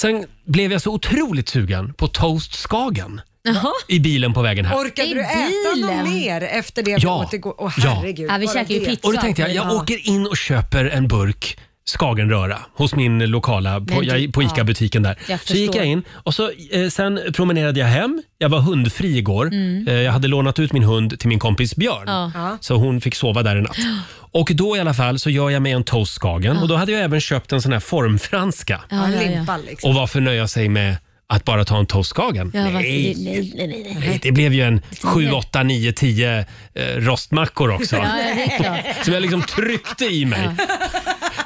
[SPEAKER 1] Sen blev jag så otroligt sugen på toast Skagen
[SPEAKER 6] Jaha.
[SPEAKER 1] i bilen på vägen här.
[SPEAKER 3] Orkade
[SPEAKER 6] I
[SPEAKER 3] du äta
[SPEAKER 6] bilen?
[SPEAKER 3] något mer efter det?
[SPEAKER 1] Ja.
[SPEAKER 3] Återgå- Åh
[SPEAKER 1] Ja.
[SPEAKER 3] herregud.
[SPEAKER 6] Ja, vi
[SPEAKER 3] bara
[SPEAKER 6] käkar ju
[SPEAKER 3] det.
[SPEAKER 6] pizza.
[SPEAKER 1] Och då tänkte jag, jag
[SPEAKER 6] Ja.
[SPEAKER 1] åker in och köper en burk skagenröra hos min lokala, på,
[SPEAKER 6] Men du-
[SPEAKER 1] jag, på ICA-butiken där.
[SPEAKER 6] Jag
[SPEAKER 1] så gick
[SPEAKER 6] förstår.
[SPEAKER 1] jag in och så, eh, sen promenerade jag hem. Jag var hundfri igår. Eh, jag hade lånat ut min hund till min kompis Björn.
[SPEAKER 6] Mm. Ja.
[SPEAKER 1] Så hon fick sova där en natt. Och då i alla fall så gör jag mig en toast skagen och då hade jag även köpt en sån här formfranska
[SPEAKER 6] Ja, ja, ja.
[SPEAKER 3] Limpa liksom.
[SPEAKER 1] och varför nöja sig med att bara ta en toast skagen?
[SPEAKER 6] Ja, varför-
[SPEAKER 1] nej.
[SPEAKER 6] nej, nej, nej.
[SPEAKER 1] nej, det blev ju en 7, 8, 9, 10 eh, rostmackor också.
[SPEAKER 6] Ja, ja, det är klart.
[SPEAKER 1] Som jag liksom tryckte i mig.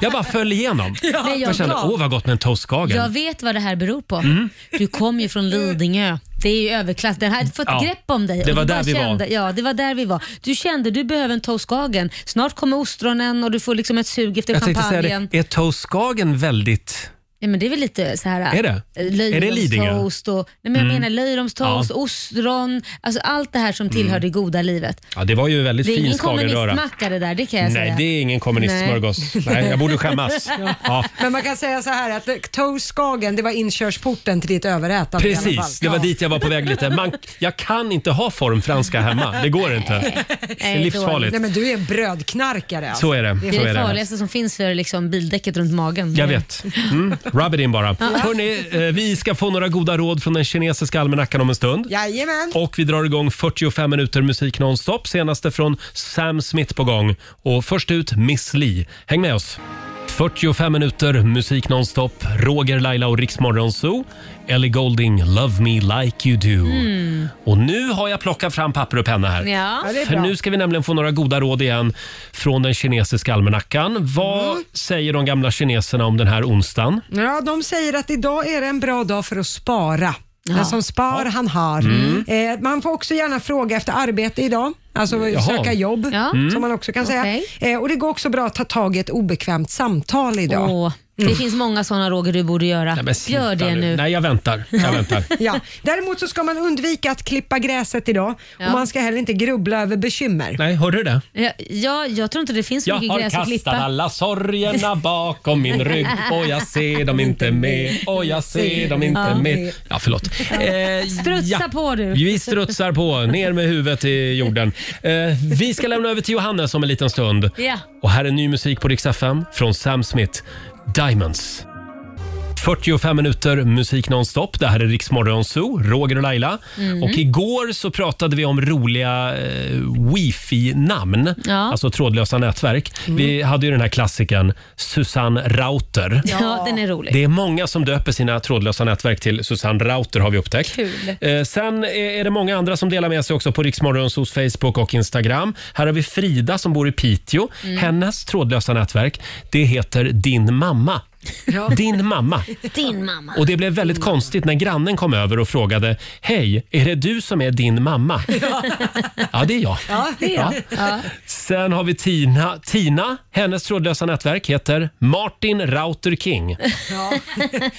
[SPEAKER 1] Jag bara föll igenom.
[SPEAKER 6] Men
[SPEAKER 1] Jag
[SPEAKER 6] jag,
[SPEAKER 1] kände, åh vad gott med en toastkagen.
[SPEAKER 6] jag vet vad det här beror på.
[SPEAKER 1] Mm.
[SPEAKER 6] Du kom ju från Lidingö. Det är ju överklass. Den hade fått
[SPEAKER 1] Ja,
[SPEAKER 6] grepp om dig. och
[SPEAKER 1] det var
[SPEAKER 6] du
[SPEAKER 1] där
[SPEAKER 6] bara
[SPEAKER 1] vi var.
[SPEAKER 6] kände, Ja, det var där vi var. Du kände du behöver en toastkagen. Snart kommer ostronen och du får liksom ett sug efter
[SPEAKER 1] Jag tänkte säga
[SPEAKER 6] champagnen.
[SPEAKER 1] det, är toastkagen väldigt...
[SPEAKER 6] Ja, men det är väl lite så här...
[SPEAKER 1] Är det?
[SPEAKER 6] eh,
[SPEAKER 1] Är det Lidingö? Mm.
[SPEAKER 6] Löjromstoast och... Nej, men jag menar löjromstoast, ostron, alltså allt det här som tillhör det goda livet.
[SPEAKER 1] Ja, det var ju en väldigt
[SPEAKER 6] Det är
[SPEAKER 1] Mm. fin
[SPEAKER 6] ingen
[SPEAKER 1] skagenröra.
[SPEAKER 6] kommunistmacka det där, det kan jag
[SPEAKER 1] Nej,
[SPEAKER 6] säga.
[SPEAKER 1] det är ingen kommunistsmörgås. Nej. jag borde skämmas. Ja.
[SPEAKER 3] Men man kan säga så här att toast skagen, det var inkörsporten till ditt överätande i alla fall.
[SPEAKER 1] Precis, det var dit jag var på väg lite. Man, jag kan inte ha formfranska hemma. Det går inte. Det är
[SPEAKER 6] dåligt.
[SPEAKER 1] livsfarligt.
[SPEAKER 3] Nej men du är en brödknarkare. Alltså.
[SPEAKER 1] Så är det.
[SPEAKER 6] Det
[SPEAKER 1] Så
[SPEAKER 6] är
[SPEAKER 1] är
[SPEAKER 6] det
[SPEAKER 1] det.
[SPEAKER 6] farligaste som finns för liksom bildäcket runt magen.
[SPEAKER 1] Jag vet. Mm. Rub it in bara. Hörrni, eh, vi ska få några goda råd från den kinesiska almanackan om en stund.
[SPEAKER 3] Jajamän.
[SPEAKER 1] Och vi drar igång 45 minuter musik nonstop. Senaste från Sam Smith på gång. Och först ut Miss Li. Häng med oss. 45 minuter musik nonstop. Roger, Laila och Riksmorgon Zoo. Ellie Golding, Love Me Like You Do. Och nu har jag plockat fram papper och penna här.
[SPEAKER 6] Mm. Ja.
[SPEAKER 3] Ja, det är
[SPEAKER 1] För
[SPEAKER 3] bra.
[SPEAKER 1] nu ska vi nämligen få några goda råd igen från den kinesiska almanackan. Vad
[SPEAKER 6] Mm.
[SPEAKER 1] säger de gamla kineserna om den här onsdagen?
[SPEAKER 3] Ja, de säger att idag är det en bra dag för att spara. Den som spar, han har.
[SPEAKER 6] Mm.
[SPEAKER 3] Eh, man får också gärna fråga efter arbete idag, alltså
[SPEAKER 1] Jaha.
[SPEAKER 3] söka jobb,
[SPEAKER 6] Ja. Mm.
[SPEAKER 3] som man också kan säga.
[SPEAKER 6] Okej.
[SPEAKER 3] Eh, och Det går också bra att ta tag i ett obekvämt samtal idag.
[SPEAKER 6] Åh, det finns många sådana Roger du borde göra.
[SPEAKER 1] Nej, men sluta
[SPEAKER 6] Gör det nu.
[SPEAKER 1] Nej, jag väntar. Jag väntar.
[SPEAKER 3] Ja. Däremot så ska man undvika att klippa gräset idag
[SPEAKER 6] Ja.
[SPEAKER 3] och man ska heller inte grubbla över bekymmer.
[SPEAKER 1] Nej, hörde du det?
[SPEAKER 6] Ja, ja, jag tror inte det finns så
[SPEAKER 1] Jag
[SPEAKER 6] mycket
[SPEAKER 1] har
[SPEAKER 6] gräs att
[SPEAKER 1] kastat
[SPEAKER 6] klippa.
[SPEAKER 1] alla sorgerna bakom min rygg och jag ser dem inte med och jag ser dem inte med. Ja, förlåt. Eh,
[SPEAKER 6] Strutsa på du.
[SPEAKER 1] Vi strutsar på, ner med huvudet i jorden. Eh, vi ska lämna över till Johannes om en liten stund.
[SPEAKER 6] Ja.
[SPEAKER 1] Och här är ny musik på Rix FM från Sam Smith, Diamonds. 45 minuter musik nonstop. Det här är Rix Morgon Zoo, Roger och Laila.
[SPEAKER 6] Mm.
[SPEAKER 1] Och igår så pratade vi om roliga eh, wifi-namn,
[SPEAKER 6] Ja.
[SPEAKER 1] alltså trådlösa nätverk. Vi hade ju den här klassikern Susanne Rauter.
[SPEAKER 6] Ja, den är rolig.
[SPEAKER 1] Det är många som döper sina trådlösa nätverk till Susanne Rauter har vi upptäckt.
[SPEAKER 6] Kul.
[SPEAKER 1] Eh, sen är- är det många andra som delar med sig också på Riksmorgonsos Facebook och Instagram. Här har vi Frida som bor i Piteå. Hennes trådlösa nätverk, det heter Din mamma. Din mamma. Mm.
[SPEAKER 6] Din mamma.
[SPEAKER 1] Och det blev väldigt konstigt när grannen kom över och frågade Hej, är det du som är din mamma? Ja, det är jag. Ja. Sen har vi Tina. Tina, hennes trådlösa nätverk heter Martin Rauter King.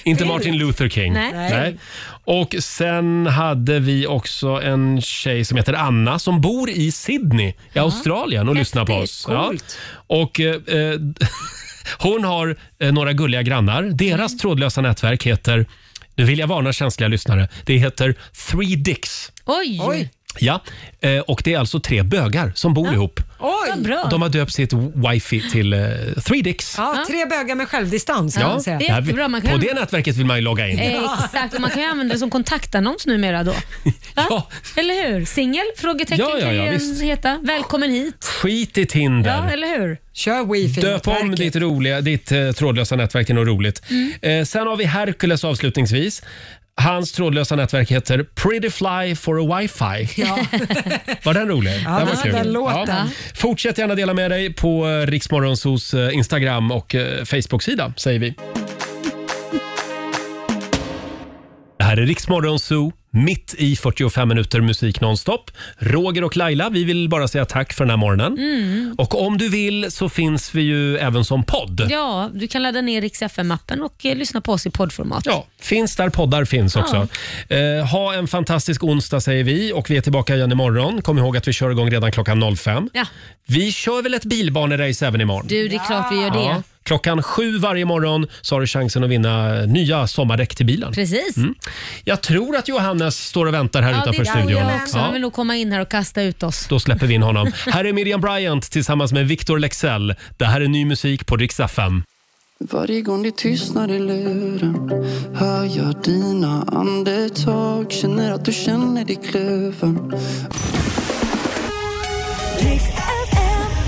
[SPEAKER 1] Inte Martin Luther King.
[SPEAKER 6] Nej.
[SPEAKER 1] Och sen hade vi också en tjej som heter Anna som bor i Sydney i Australien och lyssnar på oss.
[SPEAKER 3] Coolt.
[SPEAKER 1] Och eh, eh, hon har eh, några gulliga grannar. Deras
[SPEAKER 3] Mm.
[SPEAKER 1] trådlösa nätverk heter, nu vill jag varna känsliga lyssnare, det heter Three Dicks.
[SPEAKER 6] Oj,
[SPEAKER 3] Oj.
[SPEAKER 1] Ja, eh, och det är alltså tre bögar som bor ihop.
[SPEAKER 6] vad
[SPEAKER 3] Oj!
[SPEAKER 6] bra.
[SPEAKER 1] De har döpt sitt wifi till eh, Three Dicks.
[SPEAKER 3] Ja, tre bögar med självdistans kan man Eh. säga.
[SPEAKER 6] det är jättebra. Man kan-
[SPEAKER 1] På det nätverket vill man ju logga in.
[SPEAKER 6] Exakt, och man kan ju använda det som kontaktannons numera då. Va?
[SPEAKER 1] Ja.
[SPEAKER 6] Eller hur? Singel? Frågetecken
[SPEAKER 1] Ja, ja,
[SPEAKER 6] kan ju
[SPEAKER 1] ja,
[SPEAKER 6] en
[SPEAKER 1] visst.
[SPEAKER 6] heta. Välkommen hit.
[SPEAKER 1] Skit i Tinder.
[SPEAKER 6] Ja, eller hur?
[SPEAKER 3] Kör wifi.
[SPEAKER 1] Döp om
[SPEAKER 3] nätverket.
[SPEAKER 1] ditt, roliga, ditt eh, trådlösa nätverk till något roligt.
[SPEAKER 3] Mm.
[SPEAKER 1] Eh, sen har vi Hercules avslutningsvis. Hans trådlösa nätverk heter Pretty Fly for a Wi-Fi.
[SPEAKER 3] Ja.
[SPEAKER 1] Var den rolig?
[SPEAKER 3] Ja, den- den låten.
[SPEAKER 1] Fortsätt gärna dela med dig på eh, Riksmorgonsos eh, Instagram och eh, Facebook-sida, säger vi. Det här är Riksmorgonso, mitt i 45 minuter musik nonstop. Roger och Laila, vi vill bara säga tack för den här morgonen.
[SPEAKER 3] Mm.
[SPEAKER 1] Och om du vill så finns vi ju även som podd.
[SPEAKER 6] Ja, du kan ladda ner Rix FM-appen och eh, lyssna på oss i poddformat.
[SPEAKER 1] Ja, finns där poddar finns också. Eh, ha en fantastisk onsdag säger vi och vi är tillbaka igen imorgon. Kom ihåg att vi kör igång redan klockan 05.
[SPEAKER 6] Ja.
[SPEAKER 1] Vi kör väl ett bilbanerace även imorgon?
[SPEAKER 6] Du, det är klart vi gör det.
[SPEAKER 1] Ja. Klockan sju varje morgon så har du chansen att vinna nya sommardäck till bilen.
[SPEAKER 6] Precis.
[SPEAKER 1] Jag tror att Johannes står och väntar här
[SPEAKER 6] Ja, det
[SPEAKER 1] utanför
[SPEAKER 6] tror
[SPEAKER 1] studion.
[SPEAKER 6] jag också. Han vill nog komma in här och kasta ut oss.
[SPEAKER 1] Då släpper vi in honom. Här är Miriam Bryant tillsammans med Victor Lexell. Det här är ny musik på Rix FM.
[SPEAKER 2] Varje gång det tystnar i luren hör jag dina andetag Känner att du känner dig kluven